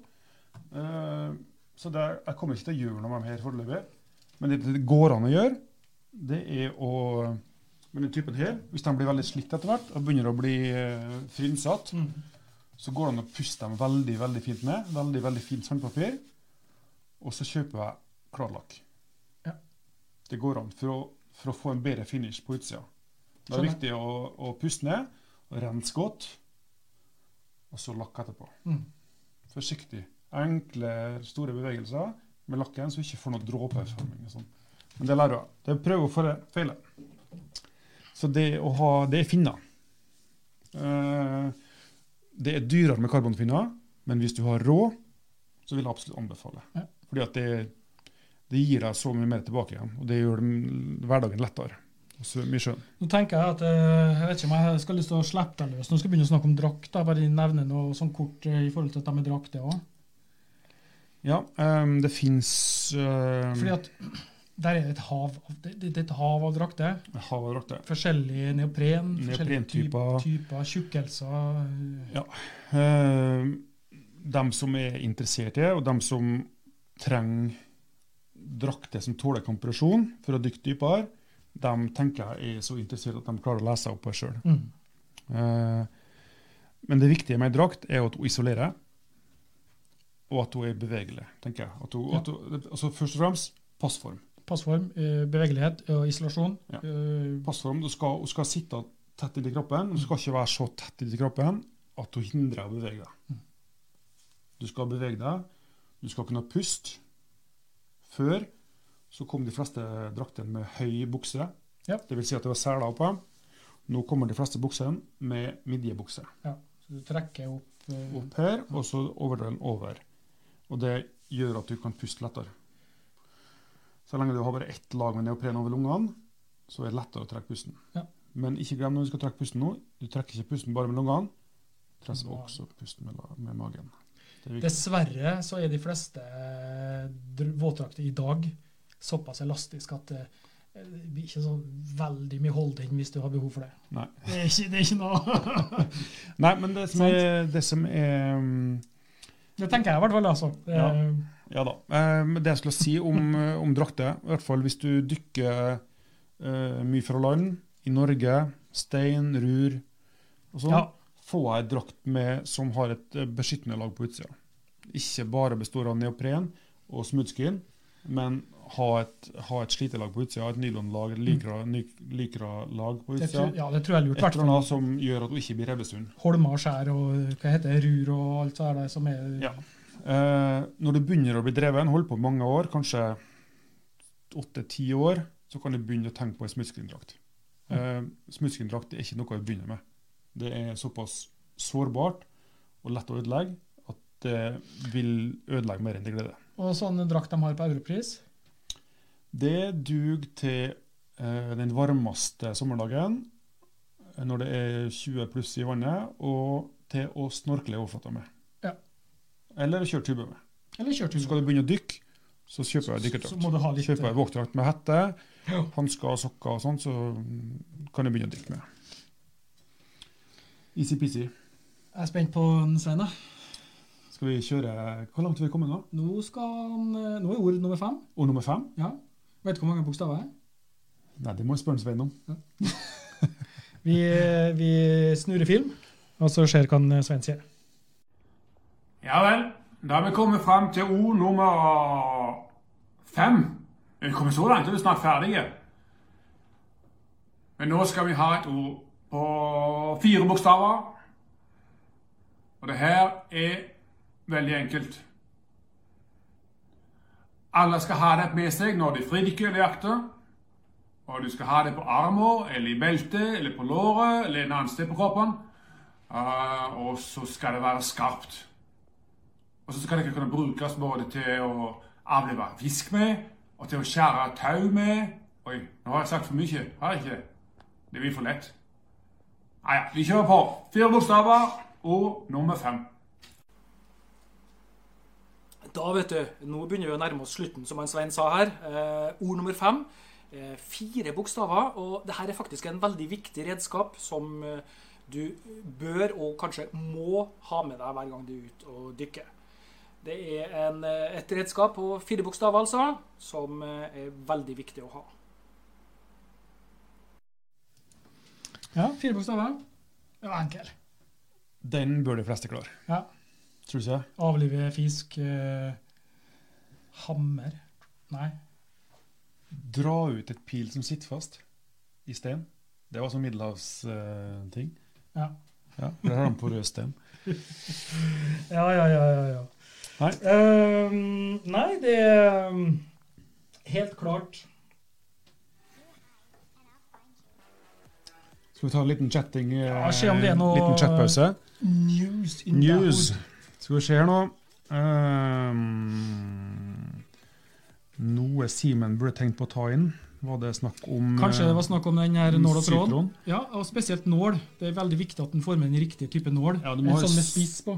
Speaker 1: Eh, så det, er- jeg kommer ikke til å gjøre noe med dem her foreløpig. Men det det går an å gjøre, det er å Med den typen her, hvis de blir veldig slitt etter hvert og begynner å bli eh, frynsete,
Speaker 2: Mm.
Speaker 1: så går det an å pusse dem veldig veldig fint med. Veldig veldig fint sandpapir. Og så kjøper jeg klarlakk.
Speaker 2: Ja.
Speaker 1: Det går an for å, for å få en bedre finish på utsida. Det er
Speaker 2: Skjønner.
Speaker 1: viktig å, å pusse ned, og rense godt, og så lakke etterpå.
Speaker 2: Mm.
Speaker 1: Forsiktig. Enkle, store bevegelser med lakken, så du ikke får noe dråpeforming. og sånn. Men det lærer du av. Det er prøve og feile- feile. Så det å ha Det er finner. Eh, det er dyrere med karbonfinner, men hvis du har råd, så vil jeg absolutt anbefale.
Speaker 2: Ja.
Speaker 1: Fordi at det, det gir deg så mye mer tilbake igjen, og det gjør den- hverdagen lettere. Og så mye skjønn.
Speaker 2: Nå tenker jeg at eh, jeg vet ikke om jeg skal lyst til å slippe deg løs. Nå skal jeg begynne å snakke om drakt. da. Bare nevne noe sånn kort eh, i forhold til at de er drakter òg.
Speaker 1: Ja, ehm, det fins
Speaker 2: Fordi
Speaker 1: um,
Speaker 2: at *clears throat* der er det et hav av, det, det det er et hav av drakter.
Speaker 1: havadrakter.
Speaker 2: Forskjellig neopren, forskjellige
Speaker 1: Neoprentyper.
Speaker 2: typer, typer tjukkelser. eh,
Speaker 1: de Ehm, som er interessert i det, og de som trenger drakter som tåler kompresjon for å dykke dypere, de tenker jeg er så interessert at de klarer å lese seg opp på det sjøl.
Speaker 2: Mm.
Speaker 1: Eh, Men det viktige med en drakt er jo at hun isolerer, og at hun er bevegelig, tenker jeg. At hun,
Speaker 2: Ja.
Speaker 1: at hun, altså først og fremst passform.
Speaker 2: Passform, eh, bevegelighet og isolasjon.
Speaker 1: Ja.
Speaker 2: Eh,
Speaker 1: Passform, du skal, hun skal sitte tett inntil kroppen, men du skal ikke være så tett inntil kroppen at hun hindrer deg å bevege deg.
Speaker 2: Mm.
Speaker 1: Du skal bevege deg, du skal kunne puste. Før så kom de fleste draktene med høy bukse,
Speaker 2: Ja.
Speaker 1: det vil si at det var seler oppå. Nå kommer de fleste buksene med midjebukse.
Speaker 2: Så du trekker opp eh,
Speaker 1: opp her, og så overdelen over. Og det gjør at du kan puste lettere. Så lenge du har bare ett lag med neopren over lungene, så er det lettere å trekke pusten.
Speaker 2: Ja.
Speaker 1: Men ikke glem når du skal trekke pusten nå, du trekker ikke pusten bare med lungene, du trekker
Speaker 2: Magen.
Speaker 1: også pusten med, la- med magen. Det er viktig.
Speaker 2: Dessverre så er de fleste eh, dr- våtdrakter i dag såpass elastiske at eh, det blir ikke så veldig mye holding hvis du har behov for det.
Speaker 1: Nei.
Speaker 2: Det er ikke, det er ikke noe
Speaker 1: *laughs* Nei, men det som
Speaker 2: Sant.
Speaker 1: er, det som er mm,
Speaker 2: Det tenker jeg i hvert fall, altså.
Speaker 1: Ja.
Speaker 2: Eh,
Speaker 1: Ja da. Eh, men det jeg skulle si om, eh, om drakter, i hvert fall hvis du dykker eh, mye fra land, i Norge, stein, rur og sånn,
Speaker 2: Ja.
Speaker 1: få ei drakt med, som har et eh, beskyttende lag på utsida. Ikke bare består av neopren og smoothskin, men ha et, ha et slitelag på utsida, et nylonlag, et lykra- ny- lykralag på
Speaker 2: Mm. det, tror-
Speaker 1: utsida.
Speaker 2: ja, det tror jeg er
Speaker 1: Et
Speaker 2: lurt.
Speaker 1: eller
Speaker 2: Hvertfall
Speaker 1: annet som gjør at hun ikke blir rebbestund.
Speaker 2: holmer og skjær og eh, hva heter det, rur og alt det der som er
Speaker 1: Ja. Eh, når du begynner å bli dreven, hold på mange år, kanskje åtte-ti år, så kan du begynne å tenke på en smutskrindrakt. Eh, smutskrindrakt er ikke noe å begynne med. Det er såpass sårbart og lett å ødelegge at det vil ødelegge mer enn det gleder.
Speaker 2: Og sånn drakt de har på Europris.
Speaker 1: Det duger til eh, den varmeste sommerdagen, eh, når det er 20 pluss i vannet, og til å snorkle i overflata med.
Speaker 2: Ja.
Speaker 1: Eller kjøre tube med.
Speaker 2: Eller
Speaker 1: Så
Speaker 2: kjørtur.
Speaker 1: skal du begynne å dykke, så kjøper jeg
Speaker 2: Så- så må du ha
Speaker 1: dykkerdrakt.
Speaker 2: litt-
Speaker 1: Kjøper jeg våtdrakt med hette,
Speaker 2: Ja.
Speaker 1: hansker og sokker og sånn, så mm, kan jeg begynne å dykke med. Easy-peasy.
Speaker 2: Jeg er spent på den, Svein. da.
Speaker 1: Skal vi kjøre Hvor langt har vi kommet nå?
Speaker 2: Nå, skal han, eh, nå er ord nummer fem.
Speaker 1: Ord nummer fem?
Speaker 2: Ja. Vet du hvor mange bokstaver det er?
Speaker 1: Nei, det må jeg spørre Svein om.
Speaker 2: Vi, vi snurrer film, og så ser hva han eh, Svein sier.
Speaker 3: Ja vel. Da har vi kommet frem til ord nummer fem. Vi kommer så langt, og vi er snart ferdige. Men nå skal vi ha et ord på fire bokstaver. Og det her er veldig enkelt. Alle skal ha det med seg når de fridykker eller jakter. Og du skal ha det på armen eller i beltet eller på låret eller en annen sted på kroppen. Ah, og så skal det være skarpt. Og så skal det kunne brukes både til å avlive fisk med, og til å skjære tau med. Oi, nå har jeg sagt for mye. Har jeg ikke? Det blir for lett. Nei, ja, vi kjører på. Fire bokstaver og nummer fem.
Speaker 4: Da, vet du, nå begynner vi å nærme oss slutten, som han Svein sa her. Eh, ord nummer fem. Eh, fire bokstaver. Og det her er faktisk en veldig viktig redskap som eh, du bør og kanskje må ha med deg hver gang du er ute og dykker. Det er en, eh, et redskap på fire bokstaver, altså, som eh, er veldig viktig å ha.
Speaker 2: Ja, fire bokstaver. Det var enkel.
Speaker 1: Den bør de fleste klare.
Speaker 2: Ja.
Speaker 1: Tror du ikke? det?
Speaker 2: Avlive fisk. eh, hammer. Nei.
Speaker 1: Dra ut et pil som sitter fast i sten. Det var sånn middelhavsting.
Speaker 2: Ja.
Speaker 1: ja, for der har de porøs sten.
Speaker 2: Ja, ja, ja. ja, ja.
Speaker 1: Nei.
Speaker 2: Ehm, nei, det er ehm, helt klart
Speaker 1: Skal vi ta en liten chatting? eh,
Speaker 2: Ja, se om det er noe-
Speaker 1: Liten chatpause.
Speaker 2: news. in the
Speaker 1: News.
Speaker 2: hood.
Speaker 1: Skal vi se her nå. Ehm, noe Simen burde tenkt på å ta inn. Var det snakk om
Speaker 2: Kanskje det var snakk om den her
Speaker 1: eh,
Speaker 2: nål og tråd.
Speaker 1: sitron?
Speaker 2: Ja, og spesielt nål. Det er veldig viktig at den får med den riktige type nål.
Speaker 1: Ja, du må
Speaker 2: en
Speaker 1: ha
Speaker 2: sånn med
Speaker 1: s-
Speaker 2: spiss *laughs* på.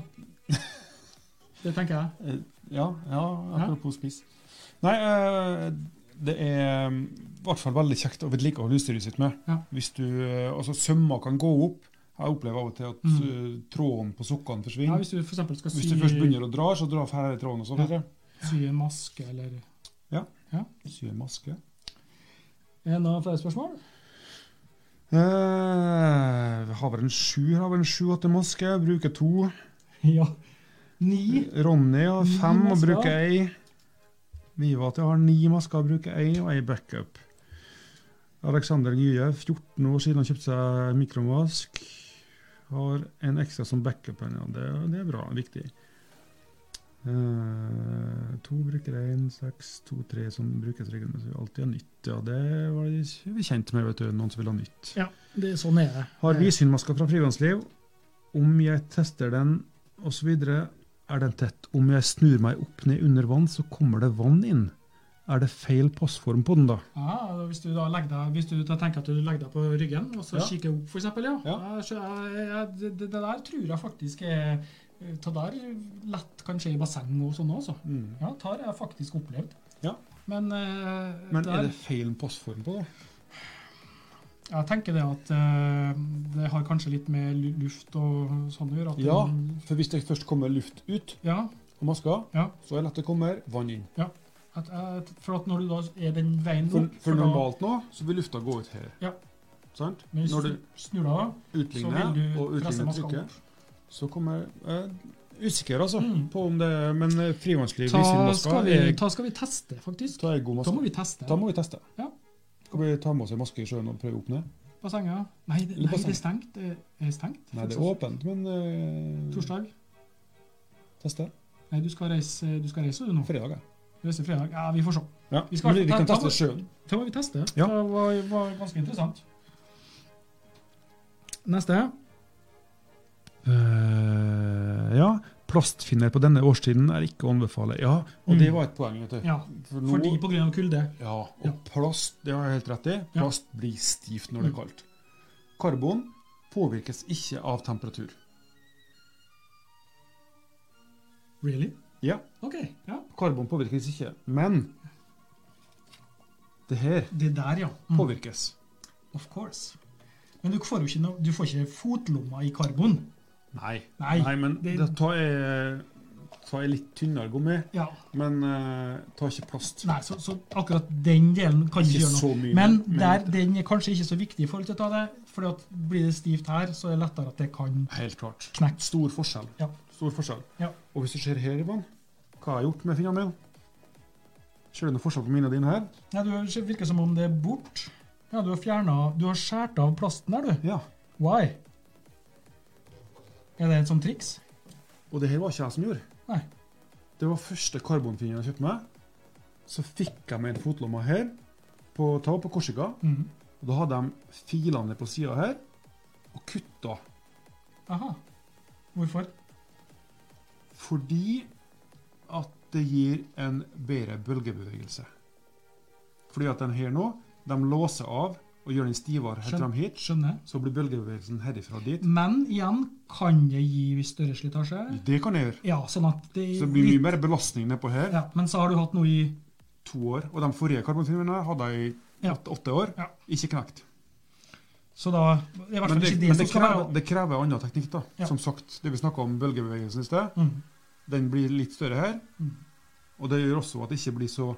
Speaker 2: Det tenker jeg.
Speaker 1: Eh, Ja, ja apropos spiss. Nei, eh, det er mm, i hvert fall veldig kjekt å vedlikeholde husdyret sitt med.
Speaker 2: Ja.
Speaker 1: Hvis du, eh, altså Sømmer kan gå opp. Jeg opplever av og til at eh, tråden på sokkene
Speaker 2: Mm. Ja,
Speaker 1: forsvinner.
Speaker 2: hvis du for eksempel skal
Speaker 1: hvis,
Speaker 2: sy,
Speaker 1: du først begynner å dra, så drar ferdig tråden. og så
Speaker 2: Ja.
Speaker 1: videre.
Speaker 2: sy en maske eller
Speaker 1: Sy en maske.
Speaker 2: Er det noen flere spørsmål?
Speaker 1: Eh, vi har vel en sju har vel en sju-åtte maske. Bruker to.
Speaker 2: *laughs* Ja. Ni.
Speaker 1: Ronny har
Speaker 2: Ni
Speaker 1: fem og
Speaker 2: masker.
Speaker 1: bruker ei. Vivati har ni masker og bruker ei, og ei backup. Alexander Gye, 14 år siden han kjøpte seg mikromask, har en ekstra som backup. Ja, det, det er bra. Viktig. Eh, to bruker én, seks, to, tre som brukes regelmessig. Alltid har nytt. Ja, det var vi kjent med, vet du. Noen som vil ha nytt.
Speaker 2: Ja, det, sånn er det.
Speaker 1: Har vidsynmaska fra frivannsliv. Om jeg tester den osv., er den tett. Om jeg snur meg opp ned under vann, så kommer det vann inn. Er det feil passform på den, da?
Speaker 2: Ja, og hvis du da legger deg, hvis du da tenker at du legger deg på ryggen og så
Speaker 1: Ja.
Speaker 2: kikker opp, for eksempel, ja.
Speaker 1: Ja.
Speaker 2: Jeg skjø- jeg, jeg, det, det der tror jeg faktisk er Det der lett kan skje i basseng og sånn også. Ja, det har jeg faktisk opplevd.
Speaker 1: Ja.
Speaker 2: Men, eh,
Speaker 1: Men
Speaker 2: der,
Speaker 1: er det feil passform på, da?
Speaker 2: jeg tenker det at eh, det har kanskje litt med lu- luft og sånn å gjøre. At
Speaker 1: Ja.
Speaker 2: den-
Speaker 1: For hvis det først kommer luft ut
Speaker 2: ja,
Speaker 1: av maska,
Speaker 2: Ja.
Speaker 1: så er det lett det kommer vann inn.
Speaker 2: at, eh, for at når du da er den veien
Speaker 1: For,
Speaker 2: opp
Speaker 1: for
Speaker 2: da-
Speaker 1: normalt nå, så vil lufta gå ut her.
Speaker 2: Ja.
Speaker 1: Sant?
Speaker 2: men hvis
Speaker 1: Når du
Speaker 2: du snur deg, av, så
Speaker 1: utligner
Speaker 2: vil du
Speaker 1: og
Speaker 2: presse
Speaker 1: utligner
Speaker 2: maska
Speaker 1: trykket,
Speaker 2: opp.
Speaker 1: så kommer eh, Usikker, altså,
Speaker 2: Mm.
Speaker 1: på om det Men eh, frivannsliv,
Speaker 2: Ta
Speaker 1: vidsynmaska
Speaker 2: skal,
Speaker 1: er,
Speaker 2: vi, ta skal vi teste, faktisk.
Speaker 1: ta er god maske.
Speaker 2: Da må vi teste.
Speaker 1: Da må vi teste.
Speaker 2: Ja.
Speaker 1: Skal vi ta med oss en maske i sjøen og prøve opp ned?
Speaker 2: Bassenget. Nei, det, nei,
Speaker 1: Eller
Speaker 2: det
Speaker 1: basseng.
Speaker 2: er stengt. Det er stengt.
Speaker 1: Nei, det er
Speaker 2: Faktisk.
Speaker 1: åpent, men eh,
Speaker 2: Torsdag.
Speaker 1: Teste.
Speaker 2: Nei, du skal reise, du skal reise du nå.
Speaker 1: Fredag, ja.
Speaker 2: Du reiser fredag. Ja, vi får se.
Speaker 1: ja.
Speaker 2: Vi skal-
Speaker 1: men vi, vi kan
Speaker 2: da- da-
Speaker 1: teste sjøen.
Speaker 2: Det må vi teste.
Speaker 1: Ja.
Speaker 2: Det var, var ganske interessant. Neste.
Speaker 1: Eh, ja. Plastfinner på denne årstiden er ikke å anbefale. Ja, og
Speaker 2: Mm.
Speaker 1: det var et poeng, vet du.
Speaker 2: Ja,
Speaker 1: For nå,
Speaker 2: fordi på grunn av kulde.
Speaker 1: ja, og
Speaker 2: Ja.
Speaker 1: plast, det har jeg helt rett i,
Speaker 2: Ja. Mm.
Speaker 1: plast blir stivt når det er kaldt. Karbon påvirkes ikke av temperatur.
Speaker 2: Really?
Speaker 1: Ja,
Speaker 2: Ok, ja.
Speaker 1: karbon påvirkes ikke, men det her
Speaker 2: Det der, ja. Mm.
Speaker 1: påvirkes.
Speaker 2: Of course. Men du får jo ikke, noe- du får ikke fotlomma i karbon.
Speaker 1: Nei.
Speaker 2: Nei,
Speaker 1: men
Speaker 2: det-
Speaker 1: dette er ta ei litt tynnere gummi,
Speaker 2: Ja.
Speaker 1: men eh, ta ikke plast.
Speaker 2: Nei, så, så akkurat den delen kan ikke
Speaker 1: Ikke
Speaker 2: gjøre noe.
Speaker 1: så mye,
Speaker 2: Men
Speaker 1: men-
Speaker 2: der, den er kanskje ikke så viktig i forhold til å ta det, for blir det stivt her, så er det lettere at det kan
Speaker 1: Helt klart.
Speaker 2: knekke.
Speaker 1: Stor forskjell.
Speaker 2: Ja.
Speaker 1: Stor forskjell.
Speaker 2: Ja.
Speaker 1: Og hvis du ser her, Ivan, hva har jeg gjort med fingrene mine? Ser du noe forskjell på mine og dine her?
Speaker 2: Nei, det virker som om det er bort. Ja, du har fjernet, du har skjært av plasten der, du.
Speaker 1: Ja.
Speaker 2: Why? Er det et sånt triks?
Speaker 1: Og det her var ikke jeg som gjorde.
Speaker 2: Nei.
Speaker 1: Det var første karbonfingeren jeg kjøpte meg. Så fikk jeg meg en fotlomme her, på ta på Korsika.
Speaker 2: Mhm.
Speaker 1: Og da hadde de filene på sida her, og kutta.
Speaker 2: Aha. Hvorfor?
Speaker 1: Fordi at det gir en bedre bølgebevegelse. Fordi at den her nå, de låser av og gjør den stivere helt
Speaker 2: Skjønn-
Speaker 1: fram hit.
Speaker 2: Skjønner.
Speaker 1: Så blir bølgebevegelsen herifra dit.
Speaker 2: Men igjen, kan det gi større slitasje?
Speaker 1: Det kan jeg gjøre.
Speaker 2: Ja, sånn at det
Speaker 1: Så det blir mye mer belastning nedpå her.
Speaker 2: Ja, men så har du hatt noe i
Speaker 1: To år. Og de forrige karbonfilmene hadde jeg i
Speaker 2: Ja.
Speaker 1: åtte, åtte år.
Speaker 2: Ja.
Speaker 1: Ikke knekt.
Speaker 2: Så da Det er i hvert
Speaker 1: Men
Speaker 2: fall
Speaker 1: det,
Speaker 2: ikke det
Speaker 1: men
Speaker 2: som
Speaker 1: det,
Speaker 2: skal
Speaker 1: krever,
Speaker 2: være
Speaker 1: det krever en annen teknikk, da.
Speaker 2: Ja.
Speaker 1: Som sagt, det vi snakka om bølgebevegelsen i sted,
Speaker 2: mm.
Speaker 1: den blir litt større her.
Speaker 2: Mm.
Speaker 1: Og det gjør også at det ikke blir så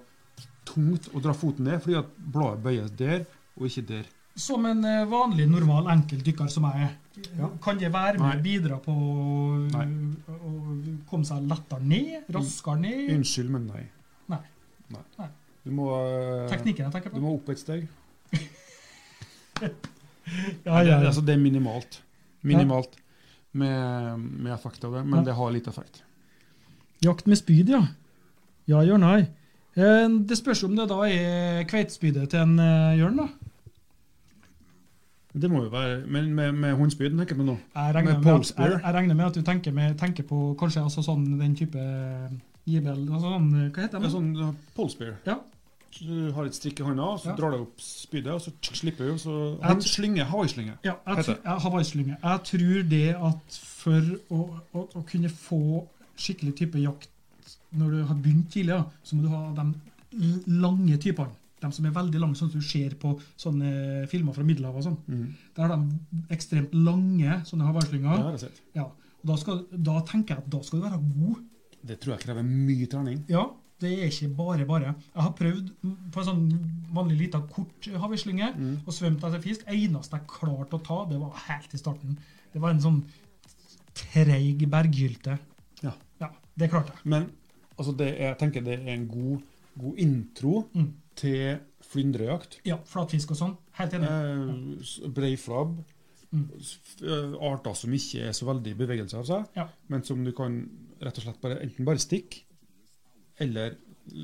Speaker 1: tungt å dra foten ned, fordi at bladet bøyes der og ikke der.
Speaker 2: Som en eh, vanlig, normal, enkel dykker som jeg er,
Speaker 1: Ja.
Speaker 2: kan det være med
Speaker 1: Nei.
Speaker 2: og bidra på å, å komme seg lettere ned, raskere ned?
Speaker 1: Unnskyld, men nei.
Speaker 2: Nei.
Speaker 1: Nei.
Speaker 2: Nei.
Speaker 1: Du må, eh,
Speaker 2: Teknikken jeg tenker
Speaker 1: du
Speaker 2: på.
Speaker 1: må opp et steg.
Speaker 2: Ja, ja,
Speaker 1: Det,
Speaker 2: ja.
Speaker 1: altså, det er minimalt. Minimalt med, med effekt av det, men
Speaker 2: Ja.
Speaker 1: det har litt effekt.
Speaker 2: Jakt med spyd, ja. Ja, Jørn her. Eh, Det spørs om det da er kveitespydet til en eh, Jørn, da.
Speaker 1: Det må jo være Men med, med håndspyd, tenker jeg på nå.
Speaker 2: Jeg regner,
Speaker 1: Med
Speaker 2: med at,
Speaker 1: pole spear.
Speaker 2: jeg, jeg regner med at du tenker, med, tenker på kanskje altså sånn den type gibel altså sånn, Hva heter
Speaker 1: Det
Speaker 2: det?
Speaker 1: er sånn eh, pole spear.
Speaker 2: Ja.
Speaker 1: Så Du har et strikk i hånda, og så
Speaker 2: Ja.
Speaker 1: drar du opp spydet, og så tsk, slipper du, og så
Speaker 2: Jeg
Speaker 1: Han
Speaker 2: tr-
Speaker 1: slynger, hawaiislynge.
Speaker 2: Ja, jeg,
Speaker 1: Heter
Speaker 2: tr- ja, Hawaii-slynge. Jeg tror det at for å, å, å kunne få skikkelig type jakt når du har begynt tidlig, da, så må du ha de l- lange typene. De som er veldig lange, sånn som du ser på sånne filmer fra Middelhavet og sånn.
Speaker 1: Mhm.
Speaker 2: Der har de ekstremt lange sånne
Speaker 1: Det
Speaker 2: hawaiislynger.
Speaker 1: har jeg sett.
Speaker 2: Ja. Og Da, skal, da tenker jeg at da skal du være god.
Speaker 1: Det tror jeg krever mye trening.
Speaker 2: Ja, det er ikke bare bare. Jeg har prøvd på en sånn vanlig lita kort havreslynge og svømt etter fisk. Eneste jeg klarte å ta, det var helt i starten. Det var en sånn treig berggylte.
Speaker 1: Ja.
Speaker 2: Ja, det klarte jeg.
Speaker 1: Men altså, det er, jeg tenker det er en god, god intro
Speaker 2: Mm.
Speaker 1: til flyndrejakt.
Speaker 2: Ja, flatfisk og sånn. Helt enig.
Speaker 1: Eh, s- Breiflabb.
Speaker 2: Mm.
Speaker 1: s- f- eh, Arter som ikke er så veldig i bevegelse av seg,
Speaker 2: Ja.
Speaker 1: men som du kan rett og slett bare, enten bare stikke, eller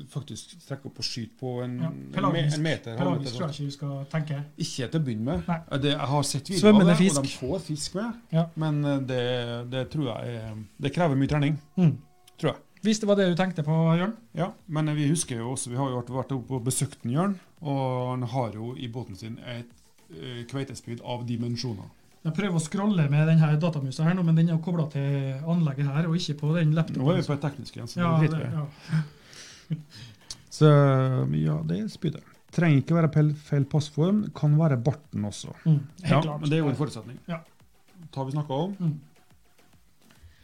Speaker 1: faktisk trekke opp og skyte på en,
Speaker 2: Ja,
Speaker 1: en, me,
Speaker 2: pelagisk,
Speaker 1: en meter. halv meter,
Speaker 2: pelagisk tror jeg ikke vi skal tenke.
Speaker 1: Ikke til å begynne med.
Speaker 2: Nei.
Speaker 1: Det, jeg har sett videoer av
Speaker 2: Svømmende
Speaker 1: det, og de
Speaker 2: fisk.
Speaker 1: får fisk med.
Speaker 2: Ja.
Speaker 1: Men eh, det, det tror jeg er, Det krever mye trening,
Speaker 2: Mm.
Speaker 1: tror jeg.
Speaker 2: Hvis det var det du tenkte på, Jørn?
Speaker 1: Ja, Men vi husker jo også, vi har jo vært- vært oppe og besøkt en Jørn, og han har jo i båten sin et eh, kveitespyd av dimensjoner.
Speaker 2: Jeg prøver å scrolle med denne datamusa her nå, men den er kobla til anlegget her, og ikke på den
Speaker 1: Nå er
Speaker 2: laptopen.
Speaker 1: vi på et teknisk igjen, så
Speaker 2: Ja,
Speaker 1: det
Speaker 2: det,
Speaker 1: driter vi i.
Speaker 2: ja.
Speaker 1: Så ja, det er spydet. Trenger ikke være pel- feil passform, kan være barten også.
Speaker 2: Mm, helt
Speaker 1: Ja,
Speaker 2: klart.
Speaker 1: men det er jo en forutsetning.
Speaker 2: Ja.
Speaker 1: Ta vi snakka om.
Speaker 2: Mm.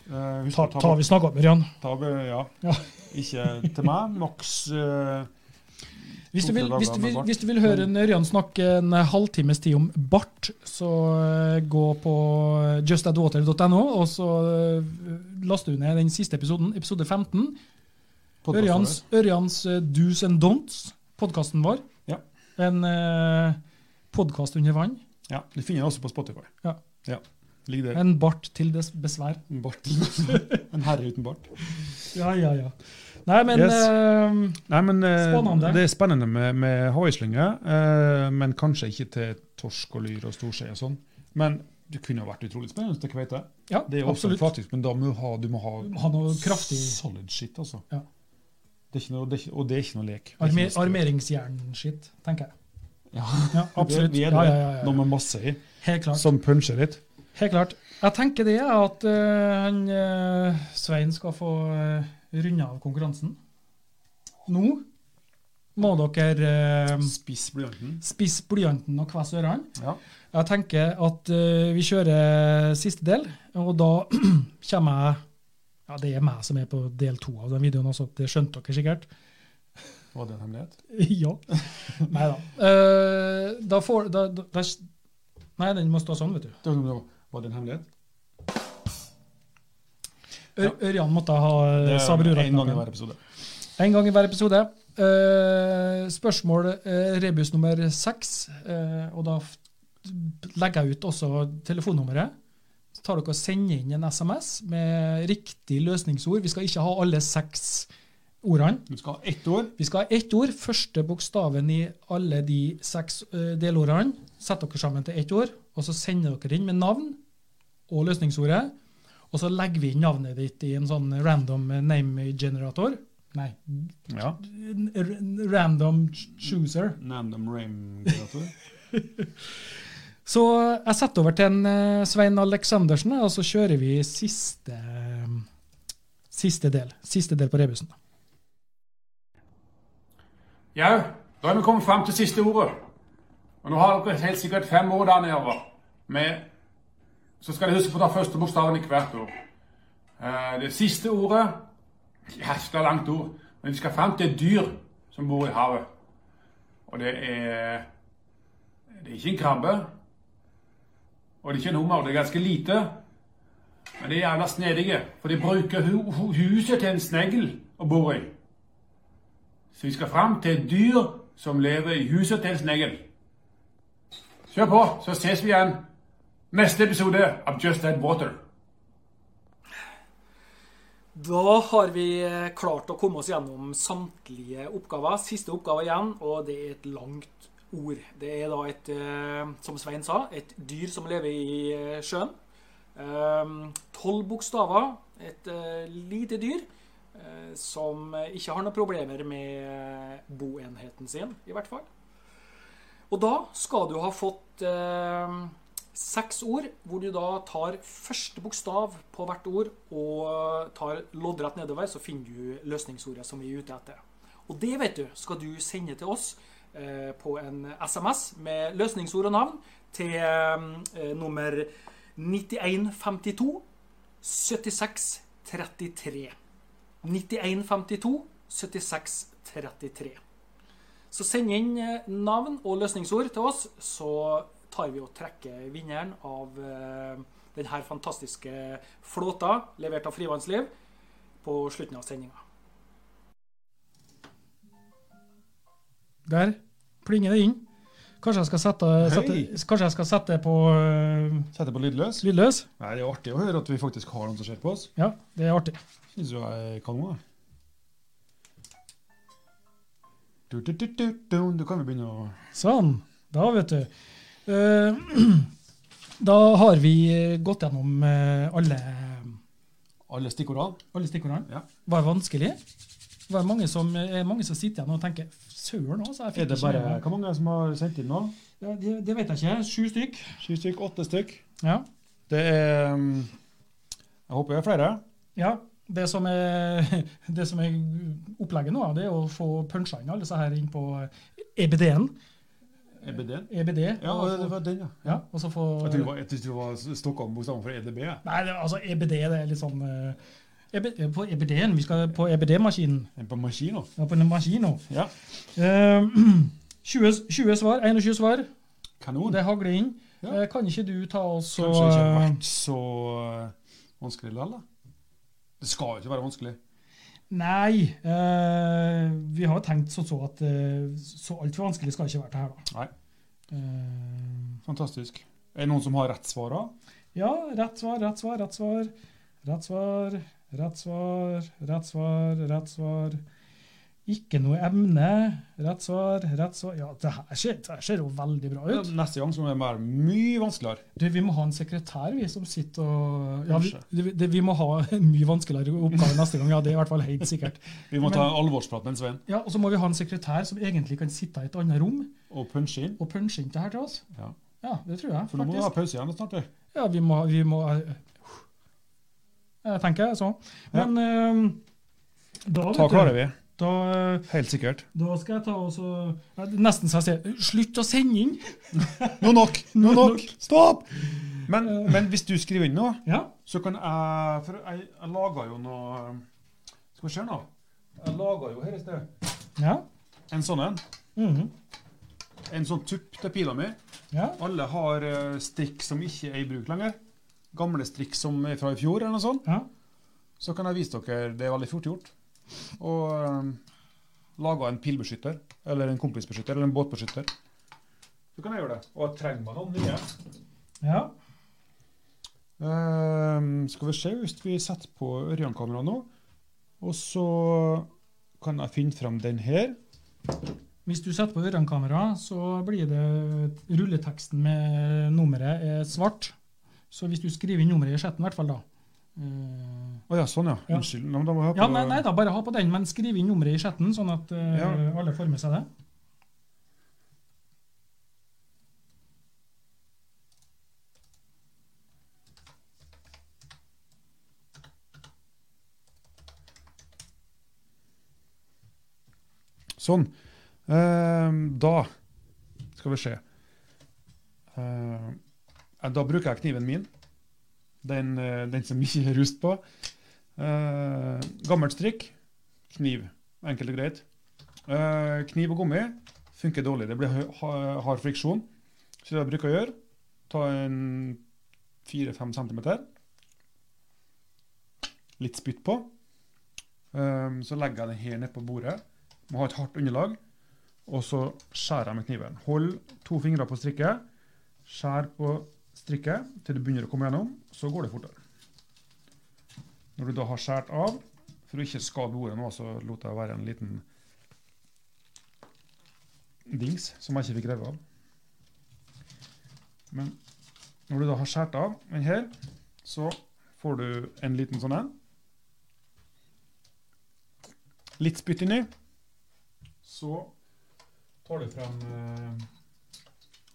Speaker 1: Eh, husk
Speaker 2: Ta,
Speaker 1: å ta
Speaker 2: ta vi snakka om, Ørjan.
Speaker 1: Ta, be- ja.
Speaker 2: Ja.
Speaker 1: Ikke til
Speaker 2: *laughs*
Speaker 1: meg. Maks eh,
Speaker 2: Hvis du, vil,
Speaker 1: To-tre
Speaker 2: hvis, du vil,
Speaker 1: dager med bart.
Speaker 2: hvis du vil høre en Ørjan snakke en eh, halvtimes tid om bart, så eh, gå på eh, justadwater.no, og så eh, last du ned den siste episoden, episode 15.
Speaker 1: podcasten
Speaker 2: Ørjans, Ørjans eh, Do's and Don'ts, podkasten vår.
Speaker 1: Ja.
Speaker 2: En eh, podkast under vann.
Speaker 1: vår. Ja, Det finner jeg også på Spotify.
Speaker 2: Ja.
Speaker 1: Ligger der.
Speaker 2: En bart til des besvær.
Speaker 1: En,
Speaker 2: *laughs*
Speaker 1: bart. en herre uten bart.
Speaker 2: Ja, ja, ja. Nei, men
Speaker 1: Yes.
Speaker 2: eh,
Speaker 1: Nei, men eh,
Speaker 2: Spennende.
Speaker 1: Det er spennende med, med hawaiislynge, eh, men kanskje ikke til torsk og lyr og storskje og sånn. Men det kunne ha vært utrolig spennende til kveite.
Speaker 2: ja,
Speaker 1: Det er jo også
Speaker 2: absolutt.
Speaker 1: faktisk, men da må du ha, du må ha,
Speaker 2: Ha noe kraftig
Speaker 1: solid shit, altså.
Speaker 2: Ja.
Speaker 1: Det er ikke noe, det er ikke, og det er ikke noe lek. Det er ikke
Speaker 2: arme,
Speaker 1: noe sprø.
Speaker 2: armeringsjernskitt, tenker jeg.
Speaker 1: Ja.
Speaker 2: Ja, absolutt.
Speaker 1: *laughs* Vi
Speaker 2: Ja,
Speaker 1: er
Speaker 2: ja,
Speaker 1: det.
Speaker 2: ja, ja.
Speaker 1: Noe med masse i,
Speaker 2: Helt klart.
Speaker 1: som puncher litt.
Speaker 2: Helt klart. Jeg tenker det at eh, han eh, Svein skal få uh, runde av konkurransen. Nå må dere eh,
Speaker 1: Spiss blyanten.
Speaker 2: spisse blyanten og kvesse ørene.
Speaker 1: Ja.
Speaker 2: Jeg eh, tenker at eh, vi kjører siste del, og da *clears throat* kommer jeg ja, Ja, det er meg som er på del to av den videoen også, det skjønte dere sikkert. *laughs*
Speaker 1: Var det en hemmelighet?
Speaker 2: ja. Nei da. da får da, da, da, Nei, den må stå sånn, vet du.
Speaker 1: Det var- det var- Var det en hemmelighet?
Speaker 2: Ør, Ørjan måtte ha
Speaker 1: Det
Speaker 2: eh,
Speaker 1: er
Speaker 2: Sabrura.
Speaker 1: en gang i hver episode.
Speaker 2: En gang i hver episode. Eh, spørsmål eh, rebus nummer seks. eh, og da f- legger jeg ut også telefonnummeret. Så tar dere og sender inn en SMS med riktig løsningsord. Vi skal ikke ha alle seks ordene.
Speaker 1: Du skal ha ett ord.
Speaker 2: Vi skal ha ett ord. Første bokstaven i alle de seks eh, delordene. Sett dere sammen til ett ord, og så sender dere inn med navn og løsningsordet. Og så legger vi inn navnet ditt i en sånn random eh, name generator. Nei,
Speaker 1: Ja.
Speaker 2: n- r- random chooser.
Speaker 1: Nandom Rame-generator.
Speaker 2: Så jeg setter over til en eh, Svein Aleksandersen, og så kjører vi siste, eh, siste del. Siste del på rebusen.
Speaker 3: Ja, da er vi kommet fram til siste ordet. Og nå har dere helt sikkert fem ord der nede. Med, så skal dere huske på å ta første bokstaven i hvert ord. Eh, Det siste ordet Jæskla langt ord. Men vi skal fram til et dyr som bor i havet. Og det er Det er ikke en krabbe. Og det er ikke en hummer. Det er ganske lite. Men de er gjerne snedige, for de bruker hu hu huset til en snegl å bo i. Så vi skal fram til et dyr som lever i huset til sneglen. Kjør på, så ses vi igjen neste episode av Just That Water.
Speaker 4: Da har vi eh, klart å komme oss gjennom samtlige oppgaver. Siste oppgave igjen, og det er et langt ord. Det er da et, eh, som Svein sa, et dyr som lever i eh, sjøen. Ehm, Tolv bokstaver. Et eh, lite dyr eh, som ikke har noen problemer med eh, boenheten sin, i hvert fall. Og da skal du ha fått eh, seks ord, hvor du da tar første bokstav på hvert ord og tar loddrett nedover, så finner du løsningsordet som vi er ute etter. Og det vet du, skal du sende til oss eh, på en SMS med løsningsord og navn til eh, nummer 9152 7633. 9152 7633. Så send inn eh, navn og løsningsord til oss, så tar vi og trekker vinneren av eh, denne fantastiske flåta levert av Frivannsliv på slutten av sendinga.
Speaker 2: Der plinger det inn. Kanskje jeg skal sette, sette,
Speaker 1: Hei!
Speaker 2: Eh, kanskje jeg skal sette på øh,
Speaker 1: Sette på lydløs.
Speaker 2: lydløs?
Speaker 1: Nei, Det er artig å høre at vi faktisk har noen som ser på oss.
Speaker 2: Ja, det er artig.
Speaker 1: Syns jo jeg er kanon, da. Du, du, du, du, du. du kan jo begynne å
Speaker 2: Sånn. Da, vet du. Eh, *clears throat* da har vi gått gjennom eh, alle,
Speaker 1: Alle stikkordene.
Speaker 2: alle stikkordene.
Speaker 1: Ja.
Speaker 2: Var det vanskelig? Var det mange som, er det mange som sitter igjen og tenker Søren òg, jeg
Speaker 1: Er
Speaker 2: fikk
Speaker 1: det
Speaker 2: ikke
Speaker 1: bare Hvor mange som har sendt inn nå?
Speaker 2: Ja, det, det vet jeg ikke. Sju stykk.
Speaker 1: Sju stykk? Åtte stykk?
Speaker 2: Ja.
Speaker 1: Det er um, Jeg håper det er flere.
Speaker 2: Ja, det som er, *laughs* det som er opplegget nå, det er å få puncha inn alle disse her inn på eh, E EBD-en.
Speaker 1: EBD-en?
Speaker 2: EBD.
Speaker 1: E
Speaker 2: E
Speaker 1: Ja,
Speaker 2: og,
Speaker 1: det
Speaker 2: få,
Speaker 1: var den, ja.
Speaker 2: ja, og så få
Speaker 1: Jeg trodde det var, jeg trodde det var Stockholm-bokstaven for EDB. jeg.
Speaker 2: Nei, det, altså EBD, det er litt sånn eh, EB, På EBD-en. Vi skal på E EBD-maskinen.
Speaker 1: En på maskin nå.
Speaker 2: Ja, på en maskin nå.
Speaker 1: Ja.
Speaker 2: Eh, *clears throat* 20, s- 20 svar. 21 svar.
Speaker 1: Kanon. eh,
Speaker 2: Det hagler inn.
Speaker 1: Ja.
Speaker 2: Eh, Kan ikke du ta oss og
Speaker 1: Kanskje det ikke har vært så uh, vanskelig likevel, da. Det skal jo ikke være vanskelig.
Speaker 2: Nei. eh, vi har tenkt sånn så at eh, så altfor vanskelig skal det ikke være det her, da.
Speaker 1: Nei.
Speaker 2: Eh,
Speaker 1: Fantastisk. Er det noen som har rett svar, da?
Speaker 2: Ja, rett svar, rett svar, rett svar. Rett svar, rett svar, rett svar, rett svar. Ikke noe emne. Rett svar, rett svar. Ja, det her ser, det her ser jo veldig bra ut.
Speaker 1: Neste gang så må det være mye vanskeligere.
Speaker 2: Du, vi må ha en sekretær, vi, som sitter og Ja, vi, det, vi må ha en mye vanskeligere oppgave neste gang. Ja, det er i hvert fall helt sikkert.
Speaker 1: Vi må ta en alvorsprat med en Svein
Speaker 2: Ja, Og så må vi ha en sekretær som egentlig kan sitte i et annet rom
Speaker 1: og punche inn.
Speaker 2: og punche inn det her til oss.
Speaker 1: Ja.
Speaker 2: Ja, det tror jeg.
Speaker 1: For nå må vi ha
Speaker 2: faktisk.
Speaker 1: pause igjen snart. du.
Speaker 2: Ja, vi må, vi må Jeg tenker jeg sånn. Men eh, da,
Speaker 1: Ta
Speaker 2: vet du,
Speaker 1: klarer vi.
Speaker 2: Da,
Speaker 1: Helt sikkert.
Speaker 2: da skal jeg ta og så ja, Nesten så jeg sier Slutt å sende inn!
Speaker 1: Nå nok! Nå nok! Stopp! Men, men hvis du skriver inn noe,
Speaker 2: Ja.
Speaker 1: så kan jeg For jeg, jeg laga jo noe Skal vi se nå. Jeg laga jo her i sted
Speaker 2: Ja.
Speaker 1: en sånn en.
Speaker 2: Mhm.
Speaker 1: En sånn tupp til pila mi.
Speaker 2: ja.
Speaker 1: Alle har eh, strikk som ikke er i bruk lenger. Gamle strikk som er fra i fjor, eller noe sånt.
Speaker 2: ja.
Speaker 1: Så kan jeg vise dere Det er veldig fort gjort. Og eh, laga en pilbeskytter. Eller en kompisbeskytter. Eller en båtbeskytter. Så kan jeg gjøre det. Og trenger man noen nye
Speaker 2: ja.
Speaker 1: Ehm, skal vi se hvis vi setter på Ørjan-kameraet nå. Og så kan jeg finne frem den her.
Speaker 2: Hvis du setter på ørenkamera, så blir det rulleteksten med nummeret er svart. Så hvis du skriver inn nummeret i chatten, i hvert fall, da eh,
Speaker 1: Å ja, sånn ja.
Speaker 2: Ja.
Speaker 1: Unnskyld. Nei, men da må jeg ha på
Speaker 2: Ja, nei, nei da, bare ha på den, men skriv inn nummeret i chatten, sånn at eh,
Speaker 1: Ja.
Speaker 2: alle får med seg det.
Speaker 1: Sånn. Ehm, da skal vi se. Ehm, ja, da bruker jeg kniven min. Den, eh, den som ikke er rust på. Ehm, gammelt strikk. Kniv. Enkelt og greit. Ehm, kniv og gummi funker dårlig. Det blir hø- ha- hard friksjon. Så det jeg bruker å gjøre, ta en 4-5 cm. Litt spytt på. Ehm, så legger jeg den her nede på bordet må ha et hardt underlag, og så skjærer jeg med kniven. Hold to fingre på strikket, skjær på strikket til det begynner å komme gjennom, så går det fortere. Når du da har skjært av, for å ikke skade bordet nå, så lot jeg være en liten dings som jeg ikke fikk revet av. Men når du da har skjært av den her, så får du en liten sånn en. Litt spytt inni. Så tar du frem eh,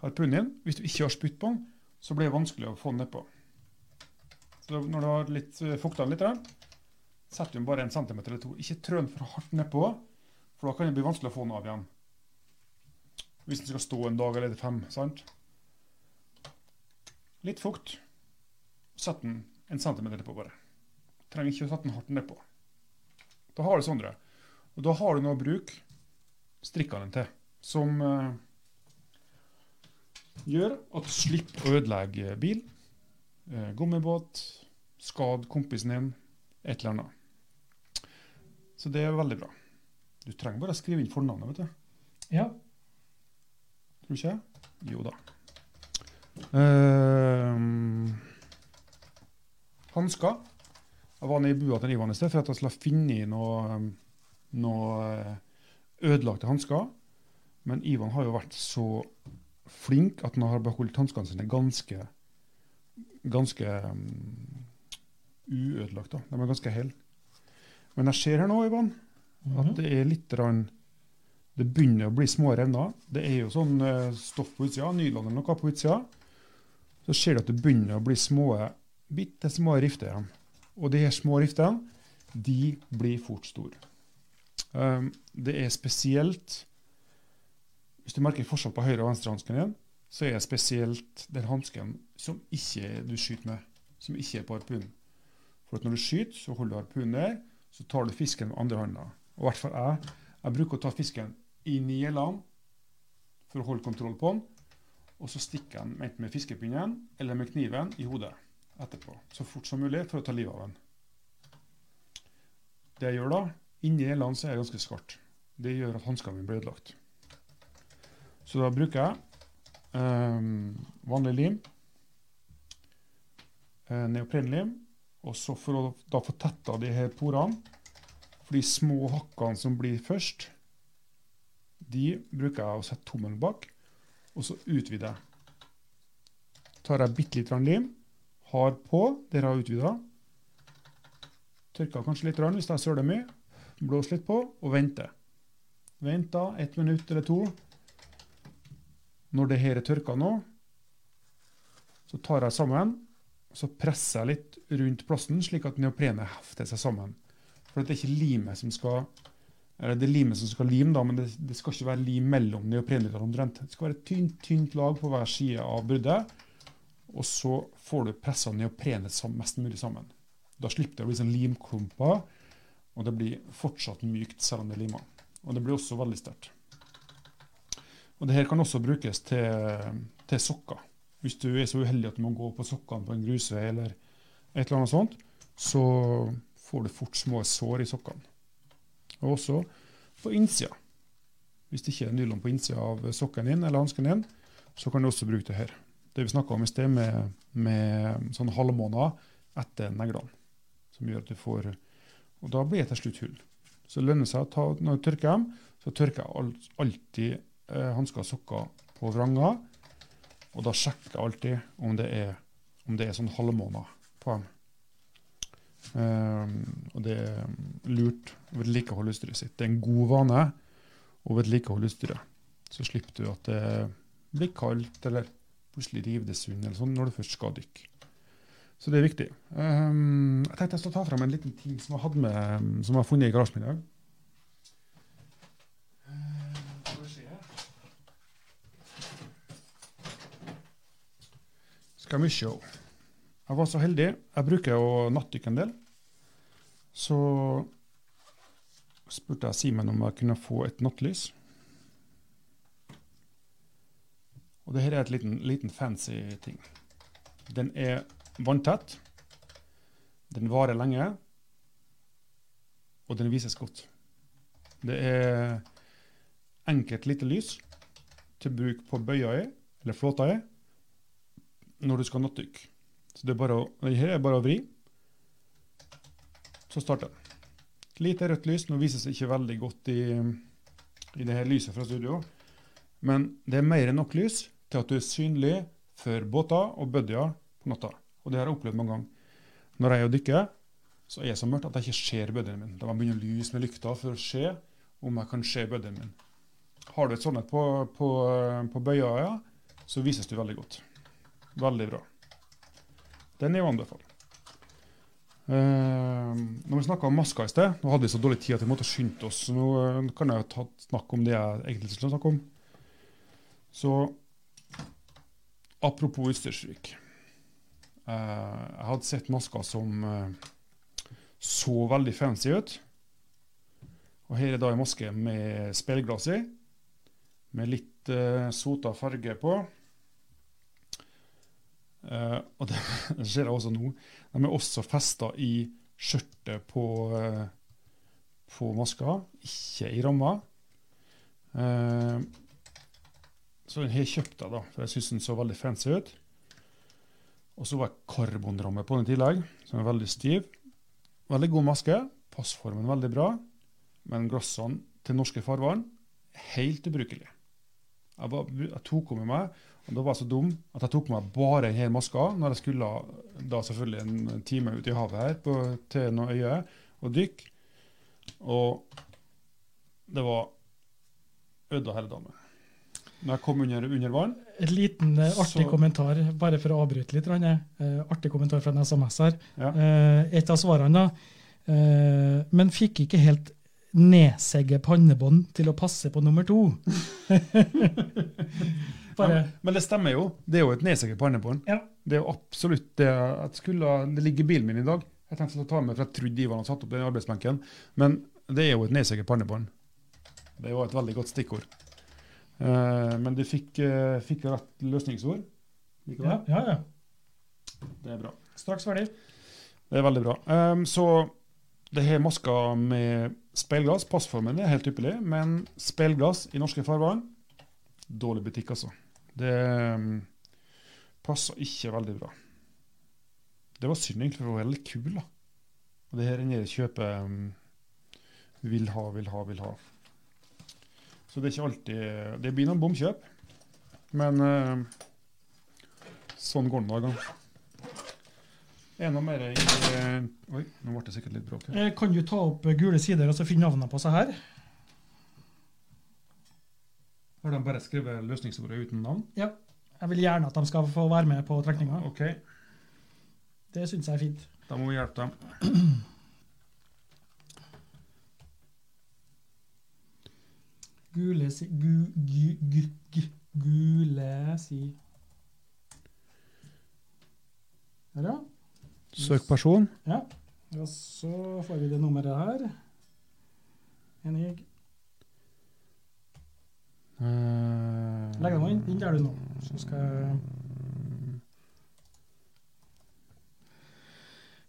Speaker 1: harpunen din. Hvis du ikke har spytt på den, så blir det vanskelig å få den nedpå. Så da, når du har litt, eh, fukta den litt, da, setter du den bare en centimeter eller to. Ikke trø den for hardt nedpå, for da kan det bli vanskelig å få den av igjen. Hvis den skal stå en dag eller fem. sant? Litt fukt. Sett den en centimeter nedpå, bare. Trenger ikke å sette den hardt nedpå. Da har du Sondre. Og da har du noe å bruke strikka den til. Som eh, gjør at du slipper å ødelegge bil, eh, gummibåt, skade kompisen din, et eller annet. Så det er veldig bra. Du trenger bare å skrive inn fornavnet, vet du.
Speaker 2: Ja.
Speaker 1: Tror du ikke? det? Jo da. Uh, Hansker. Jeg var nede i bua til Ivan i sted for at jeg skulle ha funnet noe, eh, noe eh, ødelagte hansker. Men Ivan har jo vært så flink at han har beholdt hanskene sine ganske ganske um, uødelagt. da. De er ganske hele. Men jeg ser her nå, Ivan,
Speaker 2: Mhm.
Speaker 1: at det er litt rann, Det begynner å bli små revner. Det er jo sånn eh, stoff på utsida, nylon eller noe på utsida. Så ser du at det begynner å bli små, bitte små rifter igjen. Og de her små riftene, de blir fort store. Um, det er spesielt Hvis du merker forskjell på høyre- og venstrehansken igjen, så er det spesielt den hansken som ikke du skyter med, som ikke er på harpunen. For at når du skyter, så holder du harpunen der, så tar du fisken med andre hånda. Og i hvert fall jeg. Jeg bruker å ta fisken inn i gjellene for å holde kontroll på den, og så stikker jeg den enten med fiskepinnen eller med kniven i hodet etterpå, så fort som mulig, for å ta livet av den. Det jeg gjør da, inni gjellene så er jeg ganske skarpt. Det gjør at hanskene mine blir ødelagt. Så da bruker jeg Ehm, vanlig lim, eh, neoprenlim, og så for å da få tetta de her porene, for de små hakkene som blir først, de bruker jeg å sette tommelen bak, og så utvider jeg. Tar jeg bitte litt grann lim, har på, der jeg har utvida, tørker kanskje litt grann hvis jeg søler mye, blåser litt på og venter. Venter ett minutt eller to, når det her er tørka nå, så tar jeg sammen, så presser jeg litt rundt plassen, slik at neoprenet hefter seg sammen. For det er ikke limet som skal eller det er limet som skal lime, da, men det, det skal ikke være lim mellom neoprenene. omtrent. Det skal være et tynt, tynt lag på hver side av bruddet. Og så får du pressa neoprenet sam- mest mulig sammen. Da slipper det å bli sånn limklumper, og det blir fortsatt mykt selv om det er lima. Og det blir også veldig sterkt. Og det her kan også brukes til, til sokker. Hvis du er så uheldig at du må gå på sokkene på en grusvei eller et eller annet sånt, så får du fort små sår i sokkene. Og også på innsida. Hvis det ikke er nylon på innsida av sokken din eller hansken din, så kan du også bruke det her. Det vi snakka om i sted, med, med sånn halvmåneder etter neglene, som gjør at du får Og da blir det til slutt hull. Så det lønner seg å ta Når jeg tørker dem, så tørker jeg al- alltid eh, hansker og sokker på vranger. Og da sjekker jeg alltid om det er, om det er sånn halvmåneder på dem. Eh, og det er lurt å vedlikeholde utstyret sitt. Det er en god vane å vedlikeholde utstyret. Så slipper du at det blir kaldt, eller plutselig river det sund, eller sånn, når du først skal dykke. Så det er viktig. Eh, jeg tenkte jeg skulle ta fram en liten ting som jeg hadde med, som jeg har funnet i garasjen min i dag. Eh, skal vi se her. Skal vi sjå. Jeg var så heldig. Jeg bruker å nattdykke en del. Så spurte jeg Simen om jeg kunne få et nattlys. Og det her er et liten, liten fancy ting. Den er vanntett. Den varer lenge. Og den vises godt. Det er enkelt lite lys til bruk på bøya i, eller flåta i, når du skal nattdykke. Så det er bare å, det her er bare å vri. Så starter den. Lite rødt lys. Nå vises det ikke veldig godt i, i det her lyset fra studio. Men det er mer enn nok lys til at du er synlig for båter og buddier på natta. Og det har jeg opplevd mange ganger. Når jeg er og dykker, så er det så mørkt at jeg ikke ser buddien min. Da må jeg begynne å lyse med lykta for å se om jeg kan se buddien min. Har du et sånt på, på, på bøya, ja, så vises du veldig godt. Veldig bra. Den er jo anbefalt. Uh, når vi snakka om masker i sted, nå hadde vi så dårlig tid at vi måtte skynde oss. så Nå eh, kan jeg jo ta snakke om det jeg egentlig skulle snakke om. Så apropos utstyrsvik. Eh, jeg hadde sett masker som eh, så veldig fancy ut. Og her er da en maske med speilglass i, med litt eh, sota farge på. Eh, og det *laughs* det ser jeg også nå. De er også festa i skjørtet på, eh, på maska, ikke i ramma. Eh, så den her kjøpte jeg, da, for jeg syns den så veldig fancy ut. Og så var det karbonramme på den i tillegg, som er veldig stiv. Veldig god maske. Passformen veldig bra. Men glassene til norske farvann helt ubrukelige. Jeg, var, jeg tok henne med meg og da var jeg så dum at jeg tok på meg bare denne maska når jeg skulle da selvfølgelig en time ut i havet her på, til noen øyer og dykke. Og det var ødda hele dagen. Når jeg kom under, under vann
Speaker 2: Et liten eh, artig
Speaker 1: Så-
Speaker 2: kommentar, bare for å avbryte litt. Ranne. Eh, artig kommentar fra en SMS her.
Speaker 1: ja.
Speaker 2: Eh, et av svarene, da. Eh, men fikk ikke helt nedsegge pannebånd til å passe på nummer to.
Speaker 1: *laughs* Nei,
Speaker 2: bare
Speaker 1: men- Men det stemmer jo. Det er jo et nedsegg på andebånd.
Speaker 2: Ja.
Speaker 1: Det er jo absolutt det jeg skulle Det ligger i bilen min i dag. Jeg tenkte å ta med, for jeg trodde Ivan hadde satt opp den arbeidsbenken. Men det er jo et nedsegg på andebånd. Det var et veldig godt stikkord. Eh, men du fikk, eh, fikk jo rett løsningsord.
Speaker 2: Ja,
Speaker 1: Likevel.
Speaker 2: ja, ja.
Speaker 1: Det er bra.
Speaker 2: Straks ferdig.
Speaker 1: Det er veldig bra. Ehm, så det her maska med speilglass, passformen er helt ypperlig, men speilglass i norske farvann, dårlig butikk, altså. Det ehm, passer ikke veldig bra. Det var synd, egentlig, for det var veldig kul, da. Og det her er nede kjøpet ehm, vil ha, vil ha, vil ha. Så det er ikke alltid Det blir noen bomkjøp, men ehm, sånn går det nå en gang. Er det noe mer i eh, Oi, nå ble det sikkert litt bråk her.
Speaker 2: Eh, Kan du ta opp eh, gule sider og så finne navnene på seg her?
Speaker 1: Har de bare skrevet løsningsordet uten navn?
Speaker 2: Ja. Jeg vil gjerne at de skal få være med på trekninga.
Speaker 1: OK,
Speaker 2: Det syns jeg er fint.
Speaker 1: da må vi hjelpe dem.
Speaker 2: Gule si... Gu, gu, gu, gu, gule si... Her, ja.
Speaker 1: Søk person.
Speaker 2: Ja. Og så får vi det nummeret her. Enig.
Speaker 1: Eh,
Speaker 2: Legg dem inn. Inn der du nå. Så skal jeg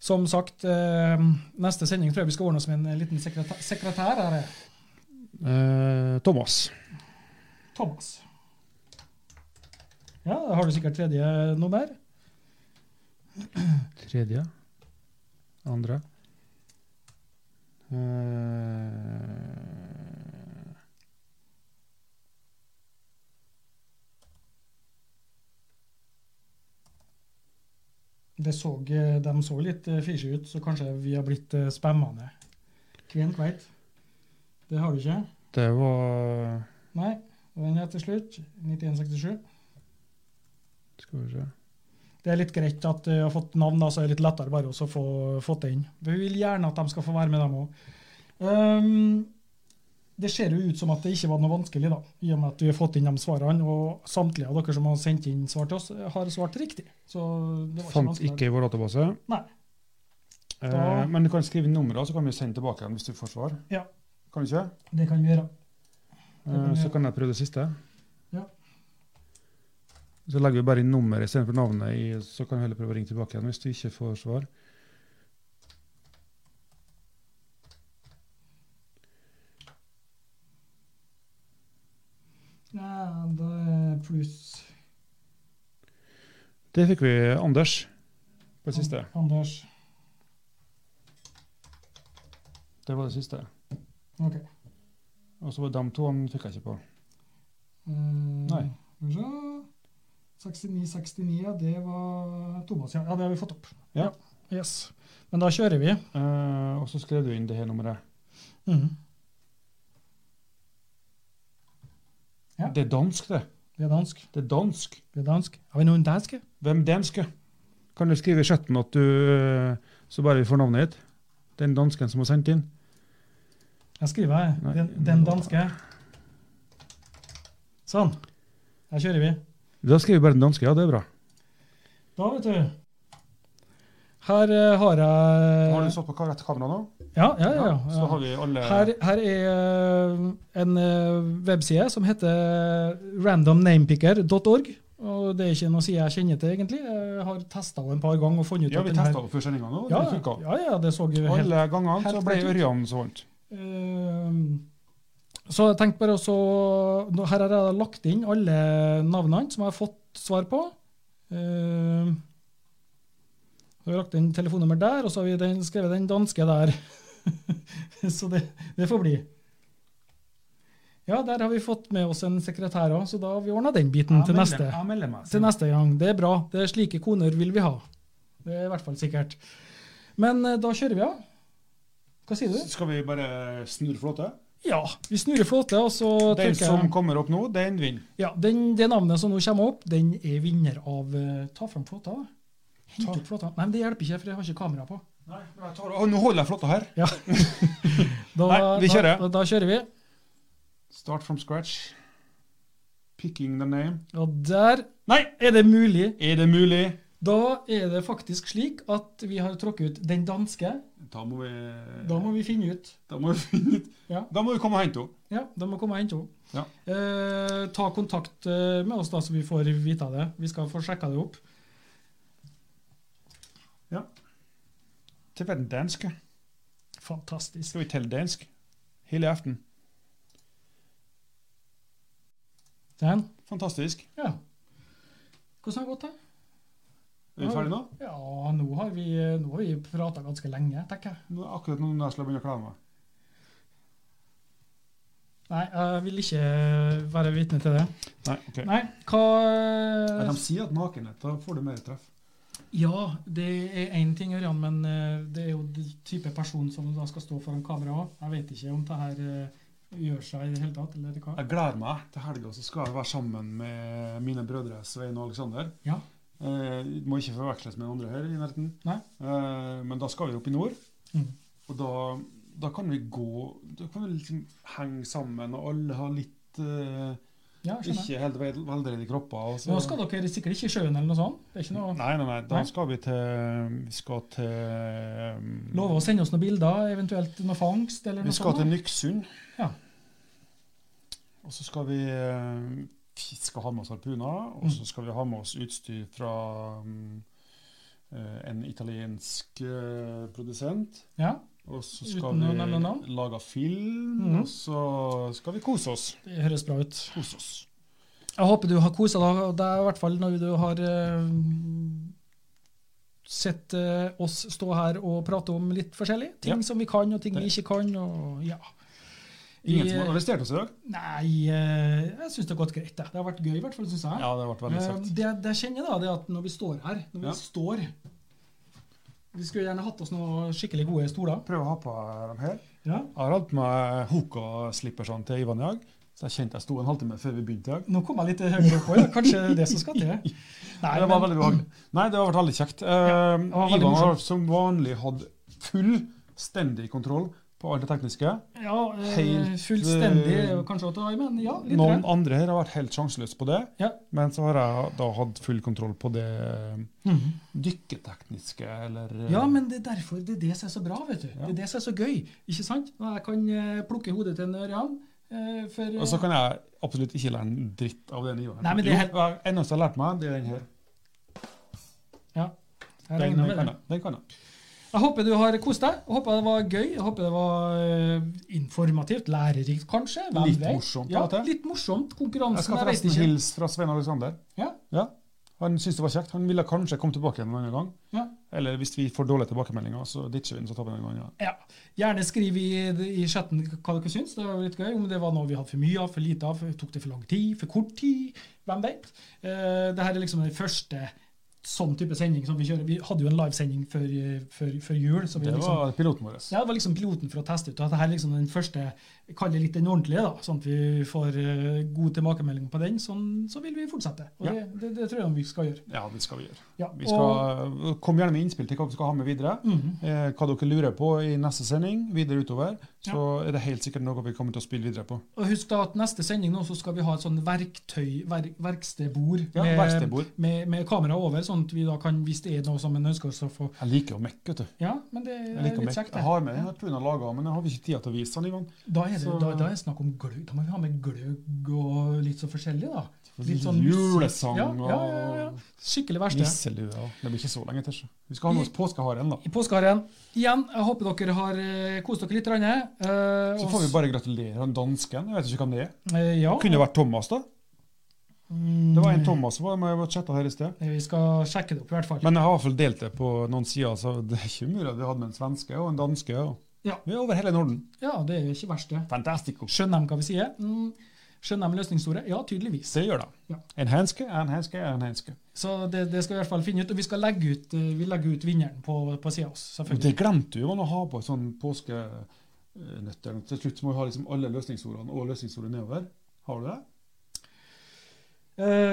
Speaker 2: Som sagt, eh, neste sending tror jeg vi skal ordne oss med en liten sekretær, sekretær her. er
Speaker 1: eh, Thomas.
Speaker 2: Thomas. Ja, da har du sikkert tredje nummer.
Speaker 1: Tredje. Andre. Eh,
Speaker 2: Det så, de så litt eh, fishy ut, så kanskje vi har blitt eh, spammende. Hvem veit? Det har du ikke?
Speaker 1: det var
Speaker 2: Nei. Og den er til slutt 9167.
Speaker 1: Skal vi se.
Speaker 2: Det er litt greit at de har fått navn, da, så er det litt lettere bare også å få fått det inn. Vi vil gjerne at de skal få være med, dem òg. det ser jo ut som at det ikke var noe vanskelig, da, i og med at vi har fått inn de svarene. Og samtlige av dere som har sendt inn svar til oss, eh, har svart riktig. Så det var ikke
Speaker 1: Fant
Speaker 2: vanskelig.
Speaker 1: ikke i vår database.
Speaker 2: Nei.
Speaker 1: Eh,
Speaker 2: Da-
Speaker 1: men du kan skrive inn nummeret, så kan vi sende tilbake igjen hvis du får svar.
Speaker 2: Ja.
Speaker 1: Kan du ikke?
Speaker 2: Det kan vi gjøre. Det kan
Speaker 1: Eh,
Speaker 2: vi
Speaker 1: så
Speaker 2: gjøre.
Speaker 1: kan jeg prøve det siste.
Speaker 2: Ja.
Speaker 1: Så legger vi bare inn nummeret istedenfor navnet, i, så kan vi heller prøve å ringe tilbake igjen hvis du ikke får svar.
Speaker 2: Ja, da er pluss
Speaker 1: Det fikk vi Anders på det siste.
Speaker 2: Anders.
Speaker 1: Det var det siste.
Speaker 2: Ok.
Speaker 1: Og så var det de to han fikk jeg ikke på.
Speaker 2: Nei. 69-69, ja, det var Thomas, ja. ja. Det har vi fått opp.
Speaker 1: Ja.
Speaker 2: Ja. Yes. Men da kjører vi. Mhm.
Speaker 1: Eh, og så skrev du inn det her nummeret.
Speaker 2: Ja.
Speaker 1: Det er dansk, det.
Speaker 2: Vi er dansk.
Speaker 1: Det er dansk.
Speaker 2: Vi er dansk. Har vi noen danske?
Speaker 1: Hvem danske? Kan du skrive i chatten at du eh, Så bare vi får navnet ditt? Den dansken som har sendt inn?
Speaker 2: Jeg skriver jeg.
Speaker 1: Nei.
Speaker 2: Den, den danske. Sånn. Da kjører vi.
Speaker 1: Da skriver vi bare den danske. Ja, det er bra.
Speaker 2: Da, vet du. Her eh, har jeg
Speaker 1: Har du satt på ka- rett kamera nå?
Speaker 2: Ja, ja, ja. ja.
Speaker 1: Så har vi alle
Speaker 2: Her, her er eh, en eh, webside som heter randomnamepicker.org. Og det er ikke noe side jeg kjenner til, egentlig. Jeg har testa henne en par ganger og funnet ut
Speaker 1: Ja,
Speaker 2: at
Speaker 1: vi
Speaker 2: den her-
Speaker 1: testa det før sendinga nå.
Speaker 2: Ja,
Speaker 1: det funka.
Speaker 2: ja, ja, det så jo helt
Speaker 1: Alle gangene så
Speaker 2: helt
Speaker 1: ble
Speaker 2: rett ut.
Speaker 1: Ørjan så vondt.
Speaker 2: Ehm, Så jeg tenkte bare også nå- Her har jeg lagt inn alle navnene som jeg har fått svar på. Ehm, Så har vi lagt inn telefonnummer der, og så har vi den, skrevet den danske der. *laughs* så det, det får bli. Ja, der har vi fått med oss en sekretær òg, så da har vi ordna den biten Mm, til neste. Til neste gang. Det er bra. Det er slike koner vil vi ha. Det er i hvert fall sikkert. Men eh, da kjører vi av. Hva sier du?
Speaker 1: Skal vi bare snurre flåte?
Speaker 2: Ja, vi snurrer flåte, og så
Speaker 1: Den
Speaker 2: trykker
Speaker 1: som
Speaker 2: jeg
Speaker 1: kommer opp nå, den vinner.
Speaker 2: ja, den, Det navnet som nå kommer opp, den er vinner av eh, Ta fram flåta. da. Hent
Speaker 1: Ta-
Speaker 2: opp flåta. Nei, men det hjelper ikke, for jeg har ikke kamera på.
Speaker 1: Å, nå holder jeg flåtta her.
Speaker 2: Da,
Speaker 1: Nei, vi kjører.
Speaker 2: Da, da, da kjører vi.
Speaker 1: Start from scratch. Picking the name.
Speaker 2: Og der
Speaker 1: Nei!
Speaker 2: er det mulig.
Speaker 1: Er det mulig?
Speaker 2: Da er det faktisk slik at vi har tråkket ut den danske.
Speaker 1: Da må vi
Speaker 2: Da må vi finne ut.
Speaker 1: Da må vi finne ut
Speaker 2: Ja.
Speaker 1: Da må vi komme og hente henne.
Speaker 2: Ja, de må komme og hente henne.
Speaker 1: Ja.
Speaker 2: Eh, ta kontakt eh, med oss, da, så vi får vite det. Vi skal få sjekka det opp.
Speaker 1: Til verden dansk.
Speaker 2: Fantastisk.
Speaker 1: Skal vi telle dansk hele aften?
Speaker 2: Den?
Speaker 1: Fantastisk.
Speaker 2: Ja. Hvordan har det gått, da?
Speaker 1: Er vi ferdige nå?
Speaker 2: Ja, nå har vi, nå har vi prata ganske lenge, tenker jeg.
Speaker 1: Nå er akkurat nå når jeg skal begynne å klare meg.
Speaker 2: Nei, jeg vil ikke være vitne til det.
Speaker 1: Nei, ok.
Speaker 2: Nei,
Speaker 1: Ja,
Speaker 2: hva
Speaker 1: De sier at nakenhet, da får du mer treff.
Speaker 2: Ja, det er én ting, Ørjan, men eh, det er jo den type person som da skal stå foran kamera òg. Jeg vet ikke om det her eh, gjør seg i det hele tatt, eller hva.
Speaker 1: Jeg gleder meg til helga, så skal jeg være sammen med mine brødre Svein og Aleksander.
Speaker 2: Ja.
Speaker 1: Eh, må ikke forveksles med andre her i nærheten.
Speaker 2: Nei.
Speaker 1: Eh, men da skal vi opp i nord.
Speaker 2: Mhm.
Speaker 1: Og da, da kan vi gå Da kan vi liksom henge sammen, og alle har litt eh,
Speaker 2: Ja, jeg skjønner.
Speaker 1: Ikke helt vel- veldreide kropper. og så-
Speaker 2: Nå skal dere sikkert ikke i sjøen eller noe sånt. Det er ikke noe...
Speaker 1: Nei, nei, nei. Da
Speaker 2: Nei.
Speaker 1: skal vi til Vi skal til um,
Speaker 2: Love å sende oss noen bilder, eventuelt noe fangst eller
Speaker 1: Vi
Speaker 2: noe
Speaker 1: skal
Speaker 2: sånt.
Speaker 1: til Nyksund.
Speaker 2: Ja.
Speaker 1: Og så skal vi eh, Vi skal ha med oss harpuner,
Speaker 2: Mm.
Speaker 1: og så skal vi ha med oss utstyr fra mm, eh, en italiensk eh, produsent.
Speaker 2: Ja,
Speaker 1: Og så
Speaker 2: Uten
Speaker 1: skal
Speaker 2: å
Speaker 1: vi
Speaker 2: nevne navn.
Speaker 1: lage film,
Speaker 2: Mhm.
Speaker 1: og så skal vi kose oss.
Speaker 2: det høres bra ut.
Speaker 1: Kose oss.
Speaker 2: Jeg håper du har kosa deg, og det er i hvert fall når du har eh, sett eh, oss stå her og prate om litt forskjellig. Ting
Speaker 1: Ja.
Speaker 2: som vi kan, og ting vi ikke kan. og ja.
Speaker 1: Ingen
Speaker 2: Vi-
Speaker 1: som har arrestert oss i dag?
Speaker 2: Nei, eh, jeg syns det har gått greit. Det. det har vært gøy, i hvert fall, syns jeg.
Speaker 1: Ja, det ble veldig
Speaker 2: Eh,
Speaker 1: kjekt.
Speaker 2: det, det jeg kjenner, da, det er at når vi står her Når vi
Speaker 1: Ja.
Speaker 2: står Vi skulle gjerne hatt oss noen skikkelig gode stoler.
Speaker 1: Prøv å ha på dem her.
Speaker 2: Ja.
Speaker 1: Jeg har hatt på meg hoka-slippersene til Ivan i dag, så jeg kjente jeg sto en halvtime før vi begynte i dag.
Speaker 2: Nå kom jeg litt høyere opp òg, kanskje det som skal til.
Speaker 1: *laughs*
Speaker 2: Nei,
Speaker 1: det var veldig behagelig. Nei, det har vært veldig kjekt. Eh,
Speaker 2: det var veldig
Speaker 1: Ivan har
Speaker 2: morsomt.
Speaker 1: som vanlig hatt fullstendig kontroll på alt det tekniske.
Speaker 2: ja, eh,
Speaker 1: Helt,
Speaker 2: fullstendig
Speaker 1: eh,
Speaker 2: er jo kanskje å ta i, men ja, litt.
Speaker 1: Noen
Speaker 2: grann.
Speaker 1: andre her har vært helt sjanseløse på det,
Speaker 2: Ja.
Speaker 1: men så har jeg da hatt full kontroll på det
Speaker 2: Mhm.
Speaker 1: dykketekniske, eller eh,
Speaker 2: Ja, men det er derfor det er det som er så bra, vet du. Det er det som er så gøy, ikke sant? Og jeg kan eh, plukke hodet til en ørjan. eh, for, eh,
Speaker 1: Og så kan jeg absolutt ikke lære en dritt av den Ivan.
Speaker 2: Nei, men det er helt-
Speaker 1: jo, det eneste jeg har lært meg, det er den her.
Speaker 2: ja, jeg
Speaker 1: Den,
Speaker 2: regner med
Speaker 1: den kan
Speaker 2: det. Sånn
Speaker 1: jeg. Den kan jeg.
Speaker 2: Jeg håper du har kost deg. Jeg håper det var gøy. Jeg håper det var eh, informativt, lærerikt kanskje. hvem
Speaker 1: Litt
Speaker 2: vet?
Speaker 1: morsomt,
Speaker 2: Ja,
Speaker 1: av og til.
Speaker 2: litt morsomt.
Speaker 1: Jeg
Speaker 2: Konkurransen,
Speaker 1: skal
Speaker 2: jeg, vet
Speaker 1: forresten
Speaker 2: ikke.
Speaker 1: hilse fra Svein Alexander.
Speaker 2: Ja,
Speaker 1: Ja, han syntes det var kjekt. Han ville kanskje komme tilbake igjen en annen gang.
Speaker 2: ja.
Speaker 1: Eller hvis vi får dårlige tilbakemeldinger, så ditcher vi den, så tar vi den en annen gang.
Speaker 2: Ja. Gjerne skriv i, i chatten hva dere syns. Det var jo litt gøy. Om det var noe vi hadde for mye av, for lite av, tok det for lang tid, for kort tid? Hvem vet? Eh, det her er liksom den første sånn type sending som vi kjører. Vi hadde jo en livesending før, eh, før, før jul. Så vi
Speaker 1: Det
Speaker 2: liksom,
Speaker 1: var piloten vår.
Speaker 2: ja, det var liksom piloten for å teste ut. At det her er liksom den første, jeg kaller det litt den ordentlige, da, sånn at vi får eh, god tilbakemelding på den. Sånn, så vil vi fortsette. Og
Speaker 1: Ja.
Speaker 2: det, det, det tror jeg vi skal gjøre.
Speaker 1: Ja, det skal vi gjøre.
Speaker 2: Ja,
Speaker 1: Vi skal, eh, kom gjerne med innspill til hva vi skal ha med videre.
Speaker 2: Mhm.
Speaker 1: Eh, hva dere lurer på i neste sending, videre utover. Så
Speaker 2: Ja.
Speaker 1: er det helt sikkert noe vi kommer til å spille videre på.
Speaker 2: Og husk da at neste sending nå så skal vi ha et sånn verktøy, verk, verkstedbord
Speaker 1: Ja, verkstedbord.
Speaker 2: med, med kamera over, sånn at vi da kan, hvis det er noe som en ønsker oss å få
Speaker 1: Jeg liker jo Mac, vet du.
Speaker 2: Ja, men det
Speaker 1: Jeg
Speaker 2: er
Speaker 1: liker
Speaker 2: litt
Speaker 1: Mac.
Speaker 2: kjekt,
Speaker 1: Jeg
Speaker 2: det.
Speaker 1: har med den her Puna laga, men jeg har ikke tid til å vise den, Ivan.
Speaker 2: Da er det
Speaker 1: Så-
Speaker 2: da, da er det snakk om gløgg. Da må vi ha med gløgg og litt så forskjellig, da. Litt sånn
Speaker 1: Julesang
Speaker 2: ja, ja, ja, ja.
Speaker 1: og
Speaker 2: Skikkelig verksted.
Speaker 1: nisselue. og- Det blir ikke så lenge til. så. Vi skal ha med oss påskeharen, da.
Speaker 2: I påskeharen. Igjen, jeg håper dere har eh, kost dere litt. grann, eh,
Speaker 1: Så
Speaker 2: og
Speaker 1: får vi
Speaker 2: s-
Speaker 1: bare gratulere han dansken. Jeg vet ikke hvem det er.
Speaker 2: eh, ja.
Speaker 1: Kunne det vært Thomas, da?
Speaker 2: Mm,
Speaker 1: Det var en Thomas som var med og chatta her i sted.
Speaker 2: Eh, Vi skal sjekke det opp, i hvert fall.
Speaker 1: Men jeg har i hvert fall delt det på noen sider, så det er ikke umulig at vi hadde med en svenske og en danske. Og
Speaker 2: Ja.
Speaker 1: Vi er over hele Norden.
Speaker 2: Ja, det er ikke verst, det.
Speaker 1: Fantastico.
Speaker 2: Skjønner de hva vi sier? Mm. Skjønner de løsningsordet? Ja, tydeligvis.
Speaker 1: Det gjør det.
Speaker 2: Ja.
Speaker 1: En henske, en henske, en henske.
Speaker 2: Så det, det skal vi i hvert fall finne ut. Og vi skal legge ut, eh, vi legger ut vinneren på, på sida oss,
Speaker 1: Og
Speaker 2: selvfølgelig.
Speaker 1: det glemte vi jo, man, å ha på sånn eh, påskenøtter. Til slutt så må vi ha liksom alle løsningsordene og løsningsordet nedover. Har du det?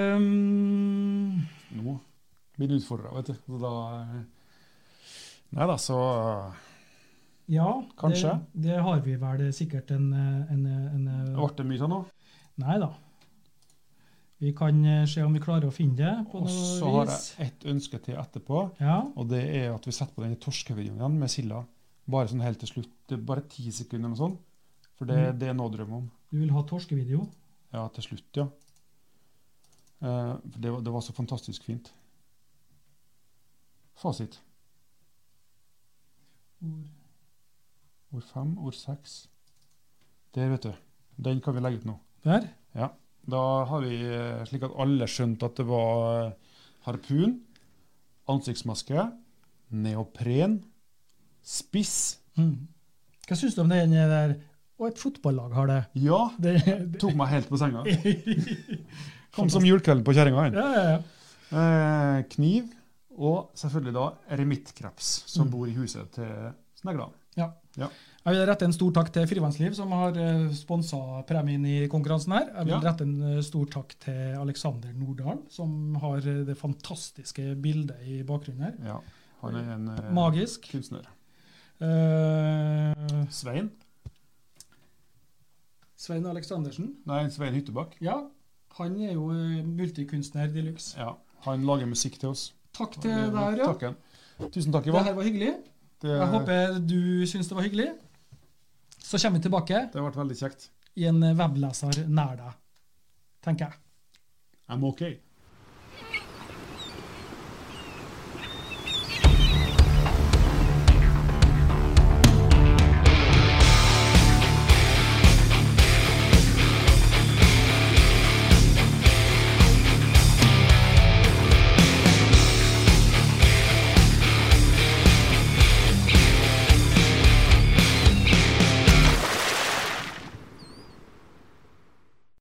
Speaker 2: Ehm,
Speaker 1: Nå blir du utfordra, vet du. Så da eh, Nei da, så eh,
Speaker 2: ja,
Speaker 1: Kanskje.
Speaker 2: Det, det har vi vel sikkert en, eh, en, eh, en, eh,
Speaker 1: ble det mye av nå.
Speaker 2: Nei da. Vi kan eh, se om vi klarer å finne det på
Speaker 1: Og så
Speaker 2: noe
Speaker 1: har
Speaker 2: vis.
Speaker 1: jeg ett ønske til etterpå.
Speaker 2: Ja.
Speaker 1: Og det er at vi setter på den torskevideoen igjen med silda. Bare sånn helt til slutt. Det er bare ti sekunder eller noe sånt. For det,
Speaker 2: Mm.
Speaker 1: det er noe å drømme om.
Speaker 2: Du vil ha torskevideo?
Speaker 1: Ja, til slutt, ja. Eh, for det, var- det var så fantastisk fint. Fasit. Ord fem, ord seks. Der, vet du. Den kan vi legge ut nå.
Speaker 2: Der?
Speaker 1: Da har vi eh, slik at alle skjønte at det var eh, harpun, ansiktsmaske, neopren, spiss
Speaker 2: Mm. Hva syns du om den der Og et fotballag har det.
Speaker 1: Ja!
Speaker 2: det, *laughs* det.
Speaker 1: Tok meg helt på senga. Kom
Speaker 2: Fantastisk.
Speaker 1: som julekvelden på kjerringa. han.
Speaker 2: Ja, ja, ja.
Speaker 1: Eh, kniv, og selvfølgelig da eremittkreps,
Speaker 2: Mm.
Speaker 1: som bor i huset til snegla.
Speaker 2: Jeg vil rette en stor takk til Frivannsliv, som har sponsa premien i konkurransen her. Jeg vil
Speaker 1: Ja.
Speaker 2: rette en eh, stor takk til Alexander Nordahl, som har eh, det fantastiske bildet i bakgrunnen her.
Speaker 1: Ja, han er en eh,
Speaker 2: Magisk.
Speaker 1: kunstner.
Speaker 2: Eh,
Speaker 1: Svein?
Speaker 2: Svein Aleksandersen.
Speaker 1: Nei, Svein Hyttebakk.
Speaker 2: Ja, Han er jo eh, multikunstner de luxe.
Speaker 1: Ja, Han lager musikk til oss.
Speaker 2: Takk
Speaker 1: Det
Speaker 2: til
Speaker 1: var
Speaker 2: deg, ja.
Speaker 1: takken. Tusen takk,
Speaker 2: Det
Speaker 1: Ivan.
Speaker 2: her var hyggelig.
Speaker 1: Det,
Speaker 2: Jeg håper du syns det var hyggelig. Så kommer vi tilbake
Speaker 1: det har vært veldig kjekt.
Speaker 2: i en webleser nær deg, tenker jeg.
Speaker 1: I'm okay.